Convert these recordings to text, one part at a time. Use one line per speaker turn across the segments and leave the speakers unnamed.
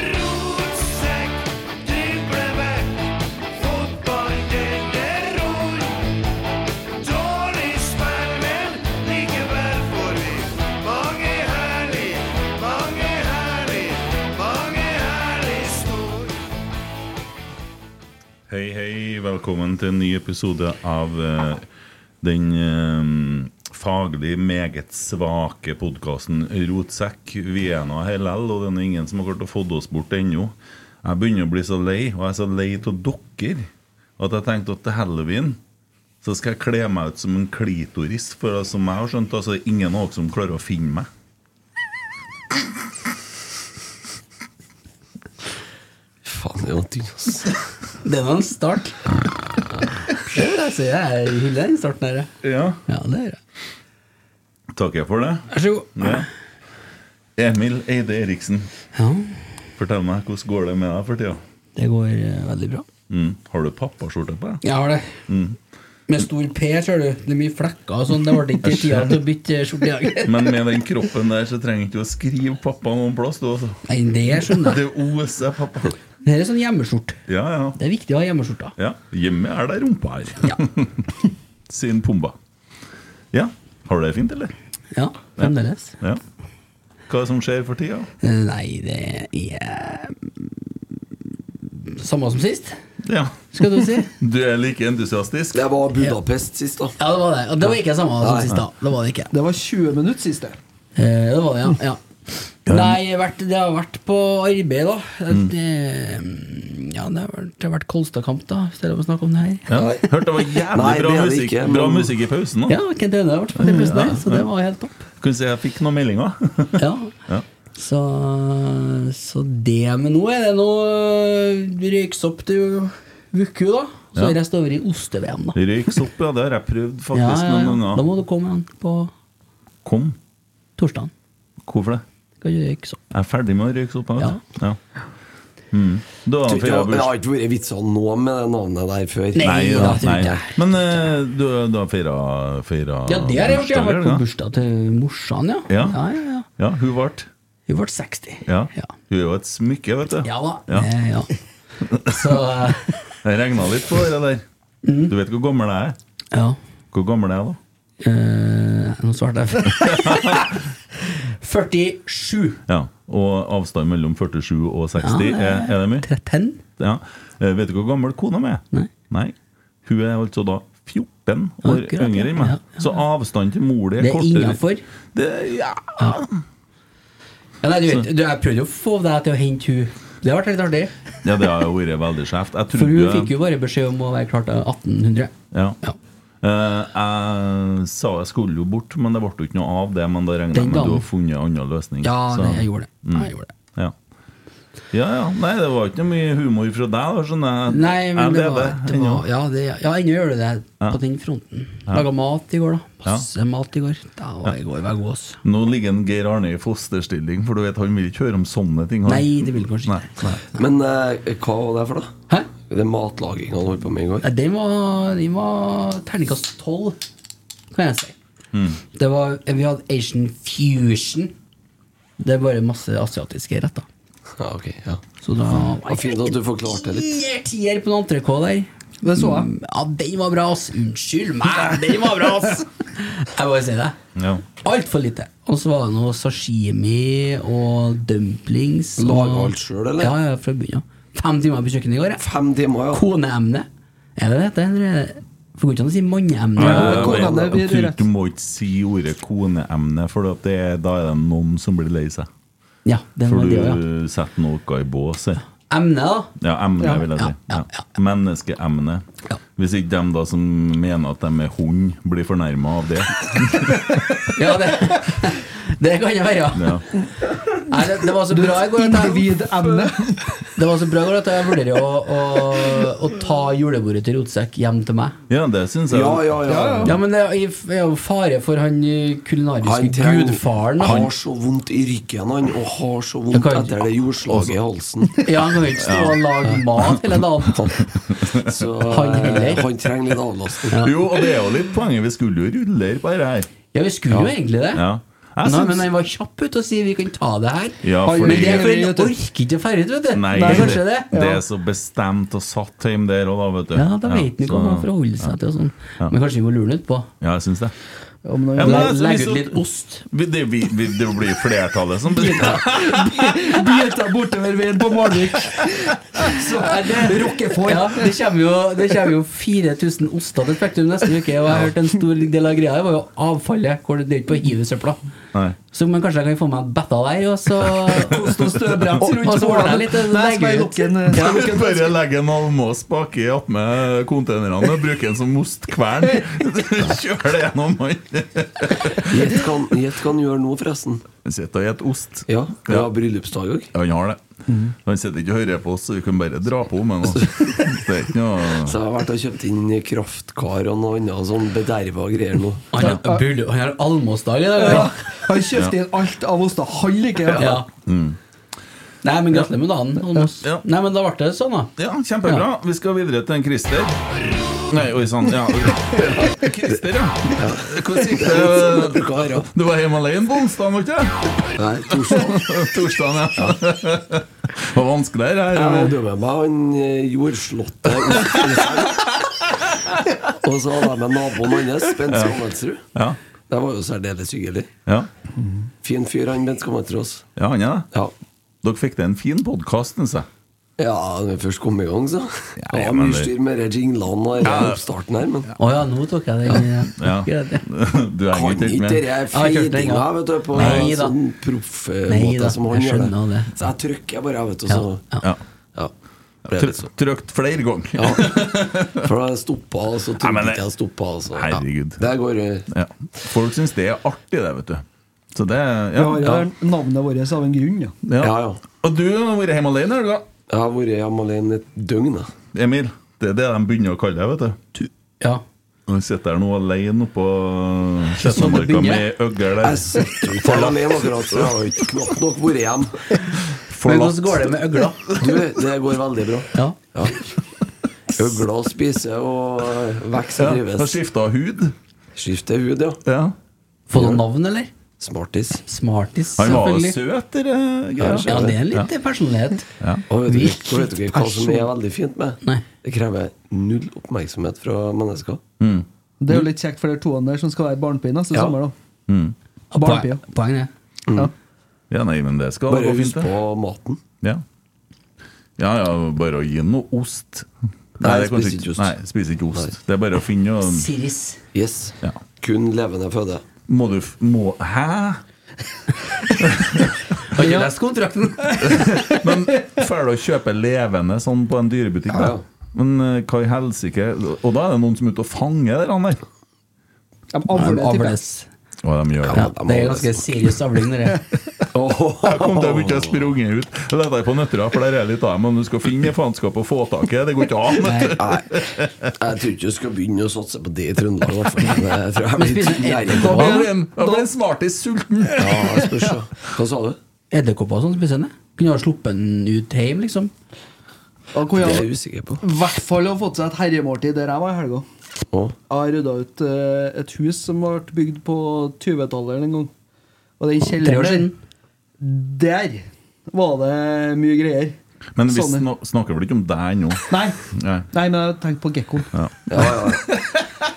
Rotsekk, driblevekk, fotball gjelder ord. Dårlig spill, men likevel får vi mange herlig, mange herlig, mange herlig snor.
Hei, hei. Velkommen til en ny episode av eh, den eh, faglig meget svake podkasten Rotsekk. Vi er nå her likevel, og den er ingen som har klart å få oss bort ennå. Jeg begynner å bli så lei, og jeg er så lei av dere at jeg tenkte at til halloween så skal jeg kle meg ut som en klitoris. For som jeg har skjønt, altså, det er ingen av dere som klarer å finne meg.
Faen, det var tynn, ass. Ah.
Det var en start. Det vil jeg si. Jeg hyller den starten her. jeg.
Ja,
Ja, det gjør jeg.
takker jeg for det.
Vær så god.
Ja. Emil Eide Eriksen,
Ja,
fortell meg hvordan går det med deg for tida?
det går eh, veldig bra.
Mm. Har du pappaskjorte på deg?
Jeg har det.
Mm.
Med stor P, ser du. Det er mye flekker og sånn. Det ble ikke tida til å bytte skjorte i dag.
Men med den kroppen der så trenger ikke du å skrive pappa noen plass. Du, altså.
Nei, det skjønner jeg.
Det oser pappa.
Det her er sånn hjemmeskjort.
Ja, ja.
Det er viktig å ha hjemmeskjorta.
ja. Hjemme er det rumpa her. Sin Pumba. Ja. Har du det fint, eller?
Ja, fremdeles.
Ja. Hva er det som skjer for tida?
Eh, Nei, det er mm, Samme som sist,
Ja.
skal du si.
Du er like entusiastisk?
Jeg var Budapest sist, da.
Ja, det var det. Og det var ikke samme som
Nei.
sist, da. Det var det ikke.
Det var 20 minutter sist, det.
Eh, det var det, ja.
Mm.
ja. Nei, jeg har vært, det har vært på arbeid, da.
Mm.
At, eh, ja, det har vært, det har vært Kolstadkamp, da, i stedet for å snakke om det her.
Ja. Hørte det var jævlig
Nei,
bra
det er det
musikk
ikke, men-
Bra musikk i pausen nå.
Ja, Kent Aune har vært på det
Mm,
plutselig, så det var helt topp.
Kunne si jeg fikk noen meldinger.
Ja.
Ja.
Så, så det Men nå er det noe røyksopp til Vuku, da. Så
Ja.
er resten over i oste-VM, da.
Røyks opp, ja. Det har jeg prøvd
Ja,
faktisk
ja,
noen
ja. Da
ganger.
må du komme igjen på
Kom.
torsdagen.
Hvorfor det?
Skal du røyke sopp?
Jeg er ferdig med å røyke sopp. Ja. Ja. Mm. Da
Tror
har Freja
ikke Det var- det har
bursdag.
ikke vært vitsa nå med det navnet der før.
Nei,
ja,
da, tror ikke jeg.
Men eh, du, du har feira feira
Ja, det har jeg gjort. Jeg
bursdager,
har vært på
da?
bursdag til morsan, ja.
Ja.
ja, ja, ja.
Ja, hun ble
Hun ble 60.
ja.
ja.
Hun er jo et smykke, vet du.
Ja da.
Ja.
Eh, ja. Så eh,
Jeg regna litt på det der.
Mm.
Du vet hvor gammel jeg er?
Ja.
Hvor gammel er jeg da?
Eh, nå svarte jeg. 47.
Ja. Og avstand mellom 47 og 60,
Ja,
er, er det mye?
13?
Ja. Eh, Vet du hvor gammel kona mi er?
Nei.
Nei. Hun er altså da 14 år
Akkurat, ja.
yngre enn meg.
Ja, ja,
Så avstanden til mor di
Det
er
er
kortere.
innenfor.
Det, ja.
Ja, nei, du vet, du, jeg prøvde jo å få deg til å hente hun Det har vært litt artig.
ja, det har jo vært veldig skjevt. Jeg
For hun
trodde-
fikk jo bare beskjed om å være klar til 1800.
Ja.
Ja.
Eh, jeg sa jeg skulle jo bort, men det ble jo ikke noe av det. Men da regner jeg
Den
med du
dagen.
har funnet en annen løsning.
Ja,
Så- Mm.
det, jeg gjorde det. Ja, jeg gjorde det.
Ja. ja, ja. Nei, det var ikke noe mye humor fra deg. Da, skjønner jeg.
Nei, men
Jeg
det var,
lever
det
ennå.
var Ja, det, ja ennå gjør du det på den fronten. Laga mat i går, da. Passe mat i går. Da var jeg i går var god, ass.
Nå ligger en Geir Arne i fosterstilling, for du vet han vil ikke høre om sånne ting. han.
Nei, det ville kanskje
Nei.
ikke Nei.
Men eh, hva var det for noe?
Hæ?
Det er matlaginga han holdt på med i går?
Nei, Den var, den var terningkast 12, kan jeg si.
Mm.
Det var, vi hadde Asian fusion. Det er bare masse asiatiske retter.
Ja, ok, ja
Så da
Det var Ah, Fint at du forklarte det
Tier-
litt.
Tier på en entrecôte der.
Det så jeg.
Mm, Ja, den var bra, ass. Unnskyld meg, den var bra, ass! Jeg bare sier det.
Ja.
Altfor lite. Og så var det noe sashimi og dumplings. og-
Laget alt selv, eller?
Ja, ja, fra bunnen av. Fem timer på kjøkkenet i går. jeg.
Fem timer, ja.
Koneemne. Er det det heter? Eller er det- For går ikke an å si manneemne.
Jeg
går
vet-
an,
det
jeg
blir
tror
rett.
Du eh, må ikke si ordet koneemne, for at det, er- da er det noen som blir lei seg.
Ja, det
For
var
du
det, ja.
setter noe i bås her.
Emne, da.
Ja, emne, vil jeg si.
ja,
Ja,
ja,
Menneskeemne.
Ja.
Hvis ikke dem da som mener at de er hund, blir fornærma av det.
Ja, det, det kan det være.
Ja.
Nei, det, det var så bra i går at jeg,
Individemne.
det var så bra i går at jeg vurderer å, å, å ta julebordet til Rotsekk hjem til meg.
Ja, det syns jeg.
Ja, ja, ja.
Ja, men det er jeg er jo fare for han eh,
Han
kulinariske
trenger-
gudfaren. da.
har så vondt i ryggen, han, og har så
Jeg
vondt
kan-
etter det jordslaget i halsen.
Ja, han kan jo ikke stå og lage mat hele dagen.
Så
Han heller.
eh, han trenger litt avlastning.
Jo, og det er jo litt poenget. Vi skulle jo rulle her på dette her.
Ja, vi skulle jo egentlig det.
Ja. Jeg
Nei,
syns-
men han var kjapp ute og sier vi kan ta det her.
Ja,
Han-
fordi-
Men det er fordi han
Vet du.
orker ikke å ferde ut, vet du.
Nei,
det er
det,
kanskje det.
det er så bestemt og satt hjemme der òg, da, vet du.
Ja, da vet han
Ja,
ikke hva han
så-
forholder seg til og sånn. Men kanskje vi må lure han utpå.
Ja, jeg syns det.
Om noen-
Ja, men altså,
Legg
hvis
ut
du-
litt ost.
Vi- Det, vi, vi, det blir flertallet som bestemmer.
Biter bortover veien på Malvik. Rockefòr.
Ja, det kommer jo, det kommer jo 4000 oster til Spektrum neste uke, og jeg har hørt en stor del av greia her var jo avfallet. Hvor det det er ikke på å hive søpla.
Nei.
Så men kanskje jeg kan få meg en betta der, og så
Kost og støvbremse
Og- og
rundt
så ordner jeg litt, eh,
hårene. Nei,
legger
skal jeg
ut.
lukke en- eh, skal jeg lukke en
Bare legge en almås baki attmed containerne og bruke den som ostkvern. Kjør det gjennom han.
Gjett hva han- gjett hva han gjør nå, forresten.
Sitter og spiser ost.
Ja, ja bryllupsdag òg.
Ja, han har det.
Mhm.
Han sitter ikke og hører på oss, så vi kan bare dra på med noe. Det er ikke noe
Så jeg har vært og kjøpt inn kraftkar og noe annet sånn bederva greier nå.
Han har bull- han har almosdag i dag.
Ja,
eller?
han kjøpte inn alt av oster. Han liker det.
Ja. Nei, men gratulerer med dagen, Almos.
Ja.
Nei, men da ble det sånn, da.
Ja, kjempebra. Vi skal videre til en Christer. Nei, oi sann. Ja. Christer, ja. Hvordan gikk
Sånn
det?
at hva er det?
Du var hjemme alene på onsdag, var du ikke?
Nei, Torsdag.
Torsdag, ja. Det var vanskelig her.
Jeg
her.
hadde med meg han eh, jordslåtte ost- Og så hadde jeg med naboen hans, Bent Skammelsrud.
Ja.
Det var jo særdeles hyggelig.
Ja.
Fin fyr, han Bent Skammelsrud. ass.
ja, han er det.
Ja.
Dere fikk til en fin podkast, syns jeg.
ja, når vi først kom i gang, så.
Ja,
Det
ja,
var
men
mye
det-
styr med de jinglene og den oppstarten her, men
Å ja, nå tok jeg den. Ja.
Ja.
Akkurat, ja.
Du
kan
henger ikke helt
ikke
med.
det er
har ikke hørt det
feidinga,
engang.
vet du, på
Nei
en
da.
sånn proff eh,
Nei da,
måte som han
jeg
gjør det.
skjønner det.
Så jeg trykker bare, vet du,
Ja,
så
Ja.
Ja. Ble det
Trykt,
sånn.
trykt flere ganger.
Ja. For da stoppa, og
Nei,
så trodde
men
ikke
det-
jeg stoppa. Altså.
Herregud.
Ja. Der går eh,
Ja. Folk syns det er artig, det, vet du. Så det
Vi
Ja.
har
ja.
jo navnet vårt av en grunn, ja.
Ja, ja.
Og du har vært hjemme alene, har du da?
Jeg har vært hjemme alene et døgn. Jeg.
Emil. Det er det de begynner å kalle deg, vet du.
ja.
Og sitter her nå alene oppå
sånn det
Slettemarka
begynner.
med øgler
Jeg
der.
sitter jo ikke her alene akkurat, så jeg har jo ikke knapt nok vært hjemme.
Men
Forlatt.
hvordan går det med øgla?
Du, det går veldig bra.
Ja.
Ja. Øgler spiser og eh,
Ja,
vokser og
Har
trives.
skifta hud.
Skifter hud, ja.
Ja.
Få noe navn, eller?
Smartis.
Smartis,
Han var jo
selvfølgelig.
søt, det der greia.
Ja, det er en litt personlighet.
Og vet du,
Hvilken
og vet dere hva som er veldig fint med
Nei.
det? krever null oppmerksomhet fra mennesker.
Det er jo litt kjekt for de toene der som skal være barnepie neste
Ja.
sommer, da.
Poeng,
Barnepia.
poeng, det.
Ja.
Ja, nei, men det skal
Bare
gå
husk
fint, det.
på maten.
Ja. ja, ja, bare å gi noe ost.
Nei,
det er kanskje
spiser ikke ost.
Nei, spiser ikke ost.
Nei.
Det er bare å finne noe
Siris.
Yes.
Ja.
Kun levende føde.
Må du f- må, Hæ?
Har ikke lest kontrakten.
Men får du å kjøpe levende sånn på en dyrebutikk?
Ja, ja.
Da? Men eh, hva i helsike Og da er det noen som er ute og fanger de der.
De avler, tipper jeg.
Avles.
Og de gjør det.
Ja, det er ganske seriøs avling, det der.
Jeg kom til å begynne å sprunge ut. Jeg Lette på Nøtterøy, for der er litt av dem. Men du skal finne faenskap og få tak i det. Det går ikke an. vet du.
Nei, jeg tror ikke du skal begynne å satse på det i Trøndelag. i hvert fall. Det tror jeg
Men
blir
spiser
nærmere.
Da
edderkopper?
blir en, da blir en smartis sulten.
Ja, jeg spørs, ja. Hva sa du?
Edderkopper og sånn spiser han det. Kunne ha sluppet den ut hjem, liksom.
Da kunne
Det er
jeg
jeg usikker på.
i hvert fall ha fått seg et herremåltid der jeg var i helga.
Å,
Jeg har rydda ut eh, et hus som ble bygd på 20-tallet en gang. Og den
Tre år
kjelleren
siden.
der var det mye greier.
Men vi
Sånne.
snak- snakker vel ikke om deg ennå?
Nei,
Nei.
nei, men jeg tenkte på gekkoen.
Ja, ja.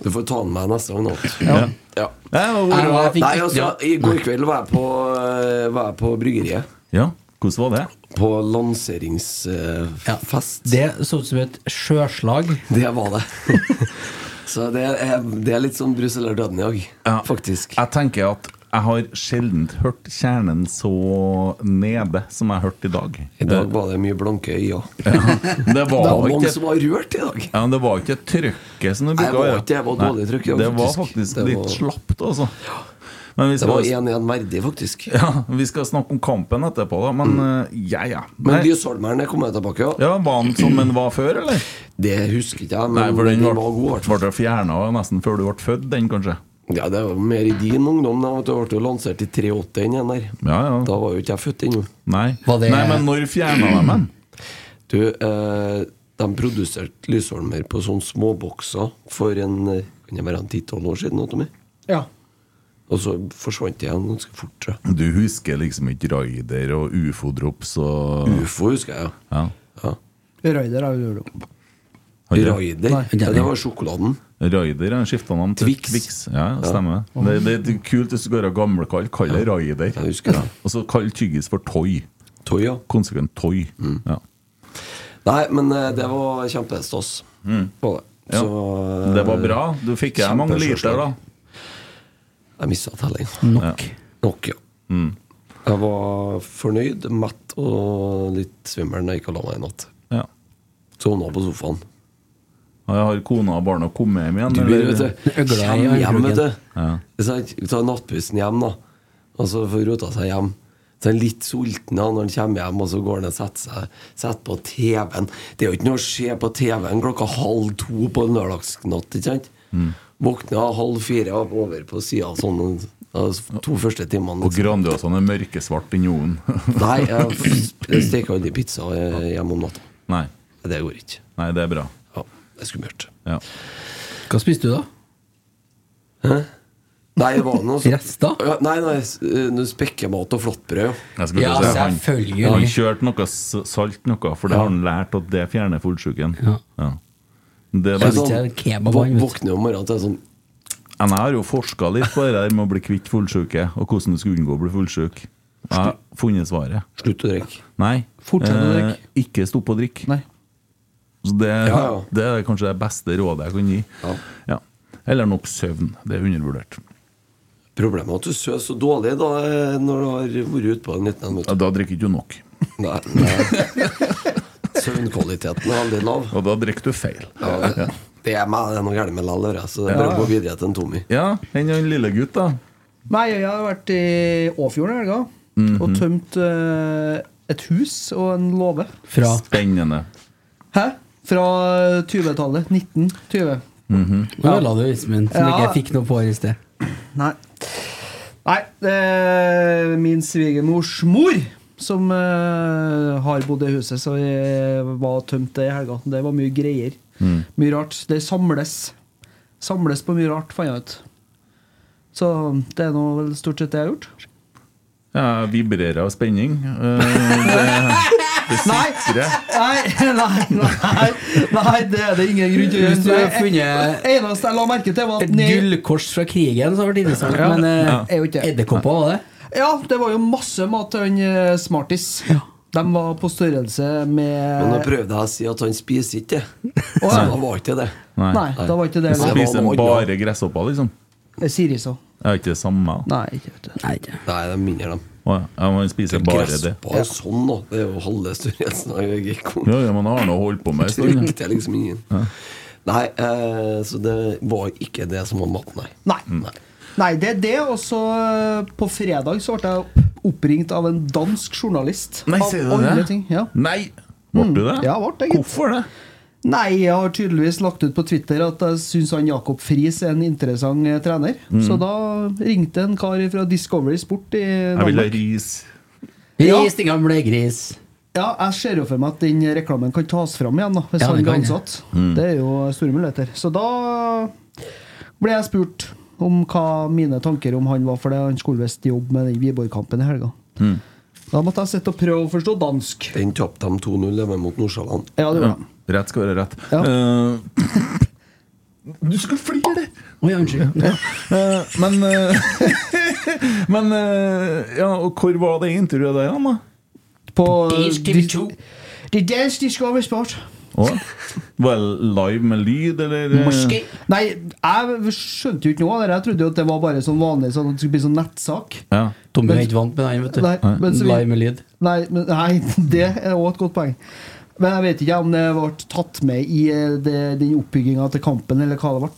Du får ta den med neste gang. nå.
Ja.
Ja.
Ja, og
Nei,
hvor-
jeg fikk
Nei, altså,
ikke-
I går kveld var jeg på, eh, var jeg på bryggeriet.
ja, hvordan var det?
På
Ja.
lanseringsfest.
Det så ut som et sjøslag.
Det var det. Så det er, det er litt sånn Brussel eller døden i dag,
Ja.
faktisk.
Jeg tenker at jeg har sjelden hørt kjernen så nede som jeg har hørt i dag.
I dag var det mye blanke øyne.
Det
Det
var
var mange
ikke
som var rørt i dag.
ja, men det var ikke trykket som det
Nei,
bruker
det var ikke- det var dårlig trykk, ja,
Det var
faktisk.
faktisk
Det
litt
var-
slapt, altså. Men vi
Det var
skal,
1-1 verdig, faktisk.
ja, vi skal snakke om kampen etterpå, da. Men eh, ja, ja.
Mm. Men
Nei.
Lysholmeren er kommet tilbake, ja.
Ja, Var han som han var før, eller?
Det husker ikke jeg, men
Nei, for den
den var god. i hvert fall.
ble fjerna nesten før du ble født, den kanskje?
Ja, det var mer i din ungdom. Da, vet du, ble jo lansert i 83 enn den der.
Ja, ja.
Da var jo ikke jeg født ennå.
Nei.
Var det-
Nei, men når fjerna de den?
Du, eh, de produserte Lysholmer på sånne småbokser for en eh, Kan det være en 10-12 år siden? Noe, Tommy?
Ja.
og så forsvant det igjen ganske fort, tror jeg.
Du husker liksom ikke Raider og ufo-drops og
Ufo husker jeg, ja.
ja.
ja.
Raider er jo dårlig.
Raider.
Nei.
Ja, det var sjokoladen.
Raider er skifta navn til
Twix.
Twix. Ja, stemmer. Det, det er kult hvis du går av gamlekall. Kall det Raider.
Jeg husker det.
Og så kall tyggis for Toy.
Toy, ja.
Konsekvent Toy.
Mm.
Ja.
Nei, men eh, det var kjempestas. På det.
Mm. Ja.
Så, eh,
Det var bra. Du fikk jeg mange liter, da.
Kjempeskjørsel. Jeg mista tellinga.
Nok.
Nok, ja.
Mm.
Jeg var fornøyd, mett og litt svimmel da jeg gikk og la meg i natt.
Ja.
Sovna på sofaen.
Og jeg har kona og barna kommet hjem igjen?
Du blir,
eller?
vet du,
Øgla i
kjem hjem,
armbruken.
vet du. Sant? Ta nattbussen hjem, da. Og så får rota seg hjem. Så er han litt sulten da når han kommer hjem, og så går han og setter seg setter på TV-en. Det er jo ikke noe å se på TV-en klokka halv to på en lørdagsnatt, ikke sant? Våkna halv fire og over på sida sånn de to første timene. liksom.
Og Grandiosaen er mørkesvart inni ovnen.
Nei, jeg steker aldri pizza eh, hjemme om natta.
Nei.
Det går ikke.
Nei, det er bra.
Ja, det er skummelt.
Ja.
Hva spiste du, da?
Nei, det var noe
Rester?
Ja, nei, nei, s- eh, noe spekkemat og flatbrød. ja.
Jeg skulle
Ja,
til å si, han-
selvfølgelig.
Han kjørte noe s- salt noe, for det har han lært at det fjerner fullsjuken.
Ja.
Ja. Det er
Jeg
bare-
vet ikke, kebab var han, vet
våk-
du.
sånn, Våkner om morgenen til en sånn
Men jeg har jo forska litt på det der med å bli kvitt fullsjuke, og hvordan du skal unngå å bli fullsjuk. Jeg har funnet svaret.
Slutt å drikke.
Nei.
Fortsett å
eh,
drikke.
Ikke stopp å drikke.
Nei.
Så det,
Ja, ja.
det er kanskje det beste rådet jeg kan gi.
Ja.
Ja. Eller nok søvn. Det er undervurdert.
Problemet er at du sover så dårlig da, eh, når du har vært ute på en liten
Ja,
minutt.
Da drikker du ikke nok.
Nei, nei. Søvnkvaliteten er veldig lav.
Og da drikker du feil.
Ja, det- det er meg, det er noe gærent med lell, hører jeg, så det er bare å gå videre til en Tommy.
Ja, enn han lille gutt, da.
Nei, jeg har vært i Åfjorden i helga og tømt eh, et hus og en låve.
Fra
Spennende.
Hæ? Fra 20-tallet. 1920.
Nå ødela du ismen, som
Ja.
ikke jeg fikk noe på her i sted.
Nei. Nei, det er min svigermors mor som eh, har bodd i huset, så jeg var tømt det i helga. Det var mye greier.
Mm.
Mye rart. Det samles. Samles på mye rart, fant jeg ut. Så det er nå vel stort sett det jeg har gjort.
Ja, jeg vibrerer av spenning. Eh, Det, det sikrer.
Nei, nei, nei, nei det er det ingen grunn til å
Hvis du har
gjøre. e-
funnet
Eneste jeg la merke til, var
et
at ned-
gullkors fra krigen, så har det vært interessant, men eh,
er jo ikke det.
edderkopper var det?
Ja, det var jo masse mat til han eh, Smartis. De var på størrelse med
Men nå prøvde jeg å si at han spiser ikke,
Eh. Å,
så
ja.
da var ikke det.
Nei.
Nei, da var ikke det
Nei.
lov.
Spiser
var noe
bare gresshopper, liksom?
Det er Siri så.
Det er ikke det samme.
Nei, ikke vet du.
Nei, ikke.
Nei, de minner dem.
Å, ja, ja, man spiser bare det.
Gresspar sånn, da. Det er jo halve størrelsen av gekkoen.
Ja, ja, man har nå holdt på med en stund.
Trykte jeg liksom ingen. Nei, eh, så det var ikke det som var maten, nei.
Mm.
Nei. Nei, det er det. Og så eh, på fredag så ble jeg oppringt av en dansk journalist.
Nei,
Av
sier du
alle
det?
Ting. Ja. Mm.
Nei! Ble du det?
Ja, ble det, gitt.
Hvorfor det?
Nei, jeg har tydeligvis lagt ut på Twitter at jeg syns han Jakob Friis er en interessant eh, trener.
Mm.
Så da ringte en kar fra Discovery Sport i
Jeg vil ha
Danmark.
ris.
Ja.
Ris, din gamle gris.
Ja, jeg ser jo for meg at den reklamen kan tas fram igjen, da, hvis
Ja,
han
den
blir
kan Mm. det.
ansatt. Det er jo store muligheter. Så da ble jeg spurt om hva mine tanker om han var, for det han skulle visst jobbe med den Viborg-kampen i helga.
Mm.
Da måtte jeg sitte og prøve å forstå dansk.
Den tapte de 2-0 hjemme mot Nordsjælland.
Ja, det
Ja.
gjorde jeg.
Rett skal være rett.
Ja.
Eh, du skulle flire!
Oi, unnskyld.
Eh, men eh, Men eh, ja, og hvor var det intervjuet der, da?
På
Dansk TV2.
Det er dansk Discovery Sport.
Å? Var det live med lyd, eller? eh?
Morske.
Nei, jeg skjønte jo ikke noe av det. Jeg trodde jo at det var bare sånn vanlig, sånn at det skulle bli sånn nettsak.
Ja.
Tommy er ikke vant med den, vet du.
Nei, men så vi-
Live med lyd.
Nei, men, nei det er òg et godt poeng. Men jeg vet ikke om det ble tatt med i eh, det, den oppbygginga til kampen, eller hva det ble.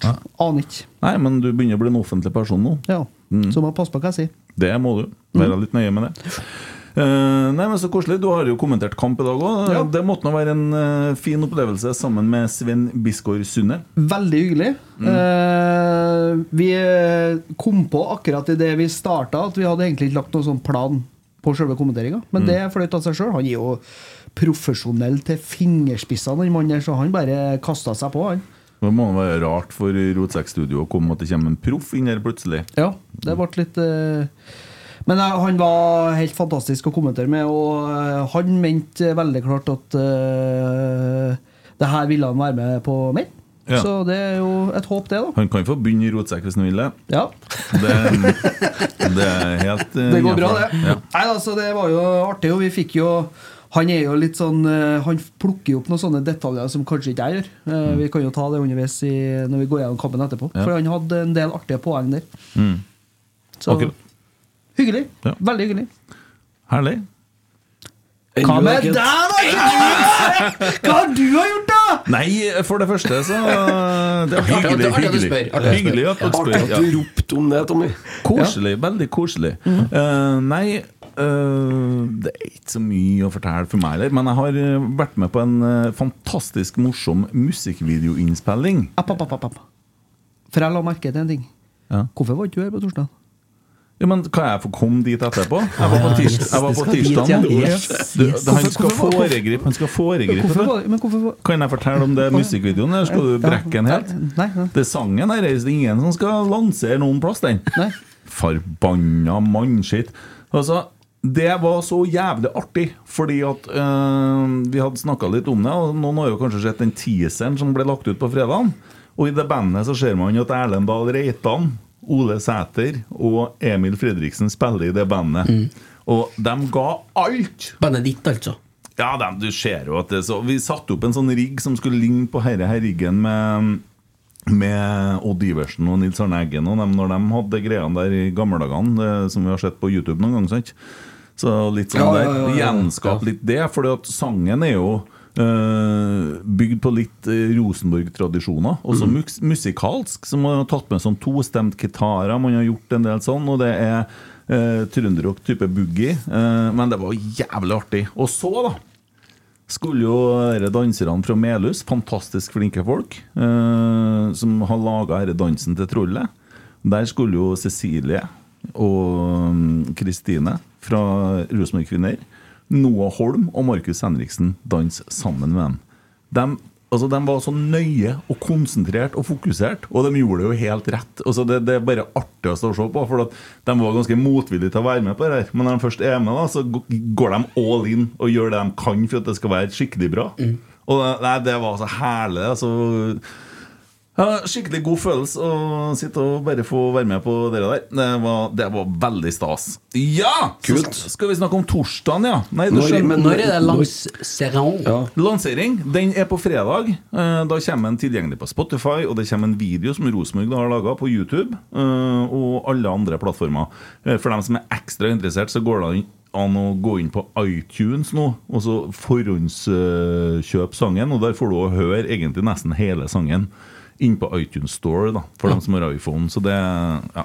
Aner ikke.
Nei, men du begynner å bli en offentlig person nå.
Ja. Så må jeg passe på hva jeg sier.
Det må du.
Mm.
Være litt nøye med det. Eh, nei, men Så koselig. Du har jo kommentert kamp i dag òg.
Ja.
Det måtte nå være en eh, fin opplevelse sammen med Sven Bisgaard Sunde.
Veldig hyggelig. Eh, vi eh, kom på akkurat idet vi starta, at vi hadde egentlig ikke lagt noen sånn plan på selve kommenteringa. Men det fløt av seg sjøl. Han er jo profesjonell til fingerspissene, den mannen der, så han bare kasta seg på, han.
Det må det være rart for Rotsekk Studio å komme at det kommer en proff inn her plutselig.
Ja, det ble litt eh, Men eh, han var helt fantastisk å kommentere med, og eh, han mente eh, veldig klart at eh, det her ville han være med på mer.
Ja.
Så det er jo et håp, det, da.
Han kan få begynne i Rotsekk hvis han vil det.
Ja,
Det, det er helt eh,
Det går bra,
innenfor.
det. Nei, altså, det var jo artig, og vi fikk jo han er jo litt sånn eh, Han plukker jo opp noen sånne detaljer som kanskje ikke jeg gjør. Eh, Vi kan jo ta det underveis i, når vi går gjennom kampen etterpå.
Mm. Ja.
For han hadde en del artige poeng der.
Ja. Mm.
Så
Akkurat.
hyggelig.
Ja.
Veldig hyggelig.
Herlig.
Hva med deg, da? Hva har du har gjort, da?
Nei, for det første, så eh, Det er
Artig at du-
hyggelig.
artig at du
Hyggelig,
spør, artig at du spør.
hyggelig at dere
Artig
spør.
at
Ja.
du ropte om det, Tommy.
Koselig. Veldig koselig. Eh, nei, eh, det er ikke så mye å fortelle for meg heller, men jeg har eh, vært med på en eh, fantastisk morsom musikkvideoinnspilling.
App, app, app, app, app. For jeg la merke til en ting.
Ja.
Hvorfor var ikke du her på torsdag?
Ja, men Kan jeg få komme dit etterpå? Jeg var på,
Ah,
tirs
yes,
jeg var
det
på
skal dit,
tirsdag
ja.
nå.
Yes,
Du,
yes.
Han skal
Hvorfor- hvorfor-
foregripe. Han skal foregripe
Hvorfor
det.
var, men hvorfor var
Kan jeg fortelle om det musikkvideoen? Eller skal du brekke den helt?
Nei, nei.
Det er sangen her er det ingen som skal lansere noen plass, den.
Nei.
Forbanna mannskitt. Altså, det var så jævlig artig, fordi at øh, vi hadde snakka litt om det. Og noen har jo kanskje sett den teaseren som ble lagt ut på fredag. Og i det bandet så ser man at Erlend Dahl Reitan, Ole Sæter og Emil Fredriksen spiller i det bandet. Og de ga alt
Bandet ditt, altså.
ja, dem, du ser jo at det er så Vi satte opp en sånn rigg som skulle ligne på herre her riggen med med Odd Iversen og Nils Arne Eggen og dem når de hadde greiene der i gamle dagene, eh, som vi har sett på YouTube noen gang, sant? Så litt sånn
Ja,
der,
ja, ja, ja.
gjenskap litt det, for sangen er jo eh, bygd på litt eh, Rosenborg-tradisjoner, også
Mhm.
mus musikalsk, som har tatt med sånn tostemt gitarer, man har gjort en del sånn, og det er uh, trønderrock type boogie, eh, men det var jævlig artig. Og så, da, skulle jo dere danserne fra Melhus, fantastisk flinke folk, eh, som har laga denne dansen til trollet. Der skulle jo Cecilie og mm, Kristine fra Rosenborg Kvinner, Noah Holm og Markus Henriksen danse sammen med dem. dem altså, de var så nøye og konsentrert og fokusert, og de gjorde det jo helt rett. Altså, det, det er bare artigst å se på, for at de var ganske motvillige til å være med på det her. Men når de først er med, da, så g- går de all in og gjør det de kan for at det skal være skikkelig bra. Og det- nei, Det var så herlig. altså... Ja, skikkelig god følelse å sitte og bare få være med på dere der. Det var, det var veldig stas. Ja! så
Kult.
Skal vi snakke om torsdagen, ja? Nei, du
Når-
skjønner.
men-
Når er det lansering?
Ja.
Lansering den er på fredag. Eh, Da kommer den tilgjengelig på Spotify, og det kommer en video som Rosenborg da har laga på YouTube eh, og alle andre plattformer. Eh, For dem som er ekstra interessert, så går det an- an å gå inn på iTunes nå og så forhåndskjøpe sangen. Og der får du å høre egentlig nesten hele sangen inn på iTunes Store, da, for dem som har iPhone. Så det Ja.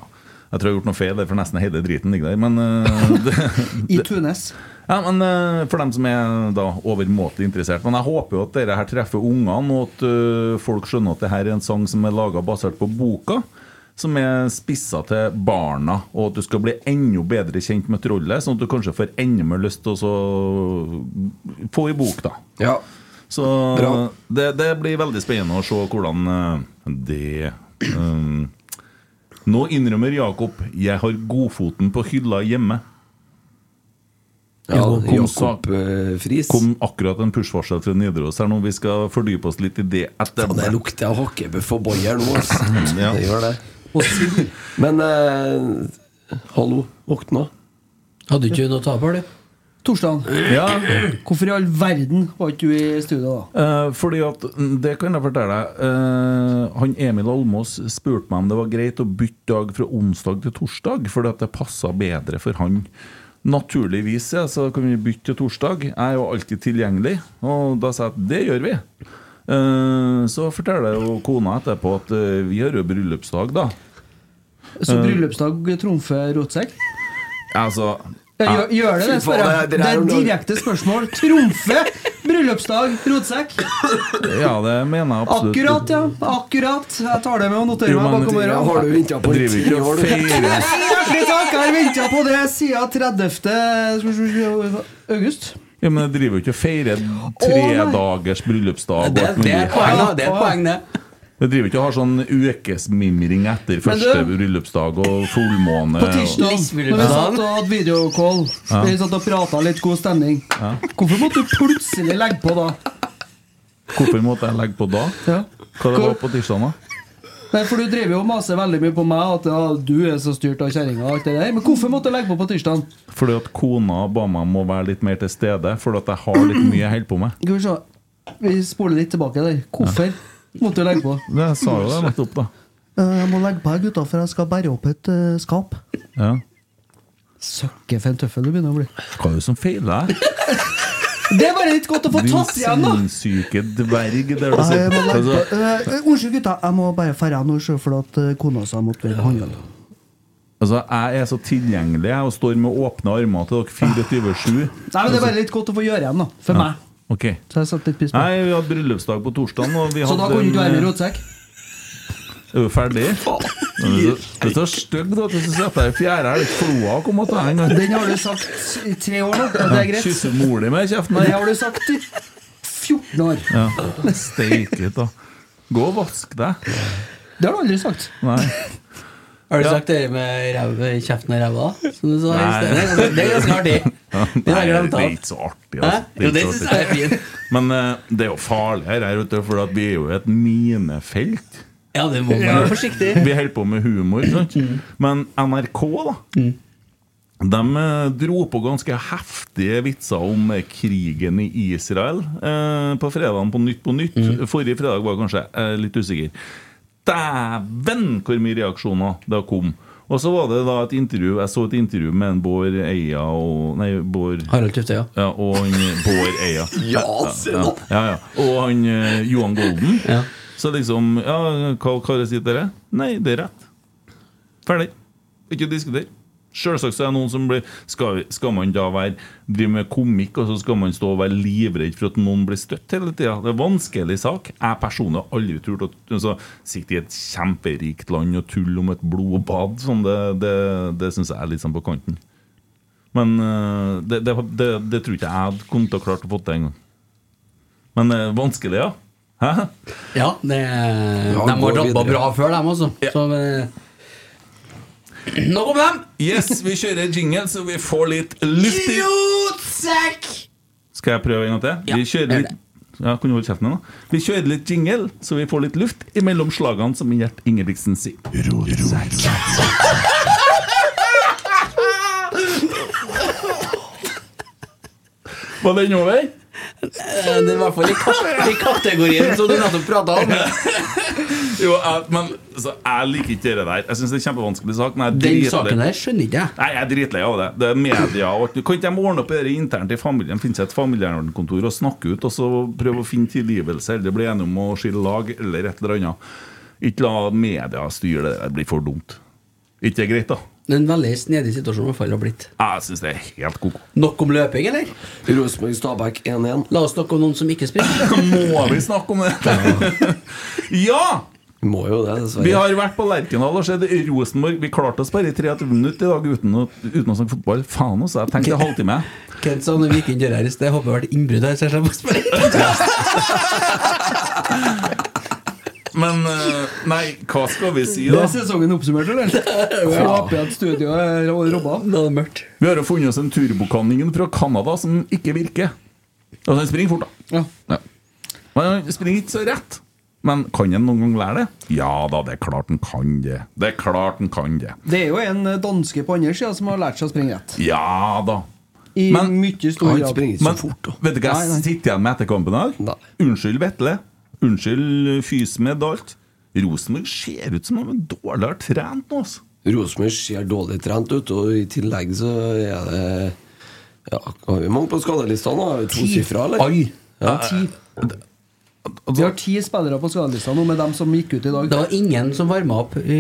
Jeg tror jeg har gjort noe feil, der, for nesten hele driten ligger der. Men eh, det,
I Tunes.
ja, men eh, For dem som er da overmåtelig interessert. Men jeg håper jo at dere her treffer ungene, og at eh, folk skjønner at det her er en sang som er laga basert på boka. Som er spissa til barna, og at du skal bli enda bedre kjent med trollet. Sånn at du kanskje får enda mer lyst til å så få i bok, da.
Ja.
Så
Bra.
det, det blir veldig spennende å se hvordan eh, det eh, Nå innrømmer Jakob 'jeg har godfoten på hylla hjemme'.
ja
kom sak.
Jakob eh, Friis.
kom akkurat en push-varsel fra Nidaros her nå. Vi skal fordype oss litt i det etter
Og det lukter av hakkebøff og boyer nå, ass.
Ja.
Det gjør det. Men eh, hallo, våkna.
Hadde du ikke noe å ta på, du?
Torsdagen.
Ja,
Hvorfor i all verden var ikke du i studio da?
eh, fordi at mm, Det kan jeg fortelle deg. Eh, han Emil Almås spurte meg om det var greit å bytte dag fra onsdag til torsdag, fordi at det passa bedre for han. Naturligvis ja, så kan vi bytte til torsdag. Jeg er jo alltid tilgjengelig. Og da sa jeg at det gjør vi. Eh, så forteller jo kona etterpå at eh, vi har jo bryllupsdag, da.
Så bryllupsdag trumfer rotsekk?
Altså
Ja, gjør, gjør det det,
Fy
spør
faen,
jeg.
det er- det er
Det er
jo noe-
direkte spørsmål. Trumfe bryllupsdag, rotsekk?
Ja, det mener jeg absolutt.
Akkurat, ja. Akkurat. Jeg tar det med og noterer
Jo,
meg
men-
bakom
Ja,
øret.
har du venta på
Jeg driver
ti
ikke og
år, du?
feirer
Hei, Hjertelig takk! Jeg har venta på det siden 30. august.
Ja, men jeg driver jo ikke og feirer
Å, nei.
tredagers bryllupsdag. og
Det,
alt
det er
mulig.
et poeng, da. Det er et
Å, ja.
poeng, det.
Jeg driver ikke og har sånn ukesmimring etter første bryllupsdag og fullmåne.
På
og-
tirsdag,
Lissebryllupsdagen.
når vi satt og hadde videocall, vi satt og prata litt god stemning. Hvorfor måtte du plutselig legge på da?
Hvorfor måtte jeg legge på da?
Ja.
Hva det var på tirsdag, da?
Nei, For du driver jo og maser veldig mye på meg at ja, du er så styrt av kjerringa og alt det der. Men hvorfor måtte du legge på på tirsdag?
Fordi at kona ba meg om å være litt mer til stede, fordi at jeg har litt mye jeg holder på med.
Skal vi se. Vi spoler litt tilbake der. Hvorfor måtte du legge på?
Det sa jo jeg nettopp, da.
Eh, Jeg må legge på her, gutta, for jeg skal bære opp et eh, skap.
Ja.
Søkke for en tøffel du begynner å bli.
Hva er det som feiler deg?
Det er bare litt godt å få
Din
tatt igjen, da!
sinnssyke dverg der du
Nei, jeg må
sitter.
legge
Altså,
på. Eh, Unnskyld, gutta. Jeg må bare dra nå, sjøl fordi at eh, kona sa jeg måtte være på håndjern.
altså, jeg er så tilgjengelig jeg, og står med åpne armer til dere 24-7.
Nei, men Det er bare litt godt å få gjøre igjen, da. For meg.
Ok.
Så jeg satt litt pris på
Nei, vi hadde bryllupsdag på torsdag, og vi
Så da
hadde
kunne du ikke være med i
en- eh,
rotsekk?
Er du ferdig? Du er så stygg da, at du setter deg i fjæra. Er det ikke floa å komme til deg en gang?
Den har du sagt i tre år nå, og det er greit.
Kysser mor di med kjeften
Det
her?
har du sagt i 14 år.
Ja. Steike ta. Gå og vask deg.
Det har du aldri sagt.
Nei.
Har du
Ja.
sagt det med ræv, kjeften og ræva? Som du sa i
Nei.
sted? Det er ganske- Det er ganske artig. Det har
Nei,
jeg glemt
det er
av.
ikke så artig.
Hæ?
Altså.
Jo, det
ikke
syns
så
jeg
artig.
er fint.
Men eh, det er jo farlig her, her ute, for at vi er jo et minefelt.
Ja, det må man være forsiktig.
Vi holder på med humor. Sant? Men NRK, da. De eh, dro på ganske heftige vitser om eh, krigen i Israel eh, på fredagen på Nytt på Nytt. Forrige fredag var jeg kanskje eh, litt usikker. Dæven, hvor mye reaksjoner det kom! Og så var det da et intervju Jeg så et intervju med en Bård Eia og Nei, Bård
Harald Tufte, ja.
ja, og han eh, Bård Eia.
Ja, se
Ja,
da!
ja, ja. Og han eh, Johan Golden.
Ja.
Så liksom ja, Hva hva sier dere? Nei, det er rett. Ferdig. Ikke diskuter. Selvsagt så er det noen som blir Skal, skal man da være drive med komikk, og så skal man stå og være livredd for at noen blir støtt hele tida? Det er en vanskelig sak. Jeg personlig har aldri turt å altså, sitte i et kjemperikt land og tulle om et blodbad. Sånn, det det, det syns jeg er litt sånn på kanten. Men eh, det, det, det, det tror ikke jeg hadde kommet til å klart å få til engang. Men eh, vanskelig, ja. Hæ?
Ja, det, de
Ja, gå
har dabba
videre.
bra før, dem også. Så, eh, Nok om dem!
Yes, vi kjører jingle, så vi får litt luft i
Idiotsekk!
Skal jeg prøve en gang til?
Ja,
vi kjører
gjør
litt ja, kan du holde kjeften din da? Vi kjører litt jingle, så vi får litt luft imellom slagene, som Gjert Ingebrigtsen sier. Var den over?
Det er i hvert fall i, kate- i kategorien som du nettopp prata om.
Jo, jeg, men så, jeg liker ikke det der. Jeg syns det er en kjempevanskelig sak. Men jeg
Den
driter det-
saken der skjønner ikke jeg.
Nei, jeg er dritlei av det. Det er media og alt. Kan ikke de ordne opp i det internt i familien? Finne seg et familievernkontor og snakke ut, og så prøve å finne tilgivelse, eller bli enige om å skille lag, eller et eller annet. Ikke la media styre det. Det blir for dumt. Ikke det er greit, da?
Det er en veldig snedig situasjon i hvert fall har blitt.
Jeg syns det er helt koko.
Nok om løping, eller?
Rosenborg-Stabæk 1-1.
La oss snakke om noen som ikke springer.
Må vi snakke om det? ja!
Må jo det,
Vi
dessverre.
har vært på Lerkendal og sett Rosenborg. Vi klarte oss bare i 33 minutter i dag uten å, uten å snakke fotball. Faen også, jeg tenkte halvtime.
Kent sa når vi gikk inn døra her i sted, håper det har vært innbrudd her. Så jeg slipper å spørre.
Men eh, nei, hva skal vi si,
Det
da?
er sesongen oppsummert, eller? Jeg håper at studioet er robba.
Da er det mørkt.
Vi har jo funnet oss en turbokanningen fra Canada som ikke virker. Altså, den springer fort, da.
Ja.
Men den springer ikke så rett. Men kan en noen gang lære det? Ja da, det er klart den kan det. Det er klart den kan det.
Det er jo en eh, danske på andre sida som har lært seg å springe rett.
Ja da.
I
Men-
mye stor
Han
grad.
springer ikke
Men
så fort, da.
vet du hva
Nei, nei.
jeg sitter igjen med etter kampen i
Nei.
dag? Unnskyld Vetle. Unnskyld Fysmed og alt. Rosenborg ser ut som de er dårligere trent nå, altså.
Rosenborg ser dårlig trent ut, og i tillegg så er det Ja, har vi mange på skadelista nå? Har vi to sifra, eller?
Ai.
Ja.
Vi har ti spillere på skadelista nå, med dem som gikk ut i dag.
Det var ingen som varma opp i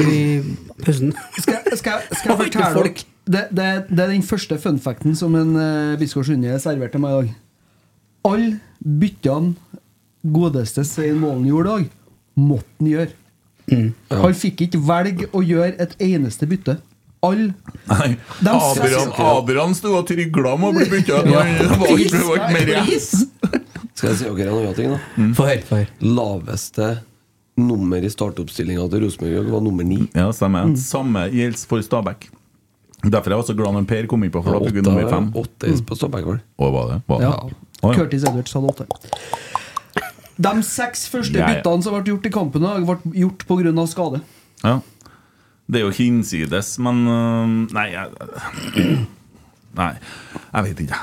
pausen.
Skal, jeg- skal, jeg- skal jeg
Oi,
fortelle
folk.
dere det, det, det er den første funfacten som en uh, Biskårs Hunde serverte meg i dag. Alle byttene godeste Svein Målen gjorde i dag, måtte han gjøre.
Mm.
Han fikk ikke velge å gjøre et eneste bytte. Alle
Nei,
De
Abraham,
sier-
Abraham sto og trygla om å bli bytta ut. men Det var ikke- det var ikke mer igjen.
Skal jeg si dere en annen ting, da?
Få høre, få høre.
Laveste nummer i startoppstillinga til Rosenborg i dag var nummer ni.
Ja, stemmer. Samme gjelder for Stabæk. Derfor er jeg også glad når Per kom inn på, for da fikk vi nummer fem.
åtte på Stabæk, var det?
Å, var det? Var det?
Ja.
Å, ja.
Curtis Edwards hadde åtte. De seks første
Ja, ja.
byttene som ble gjort i kampen, i dag, ble gjort pga. skade.
Ja. Det er jo hinsides, men øh, Nei, jeg, nei, jeg vet ikke.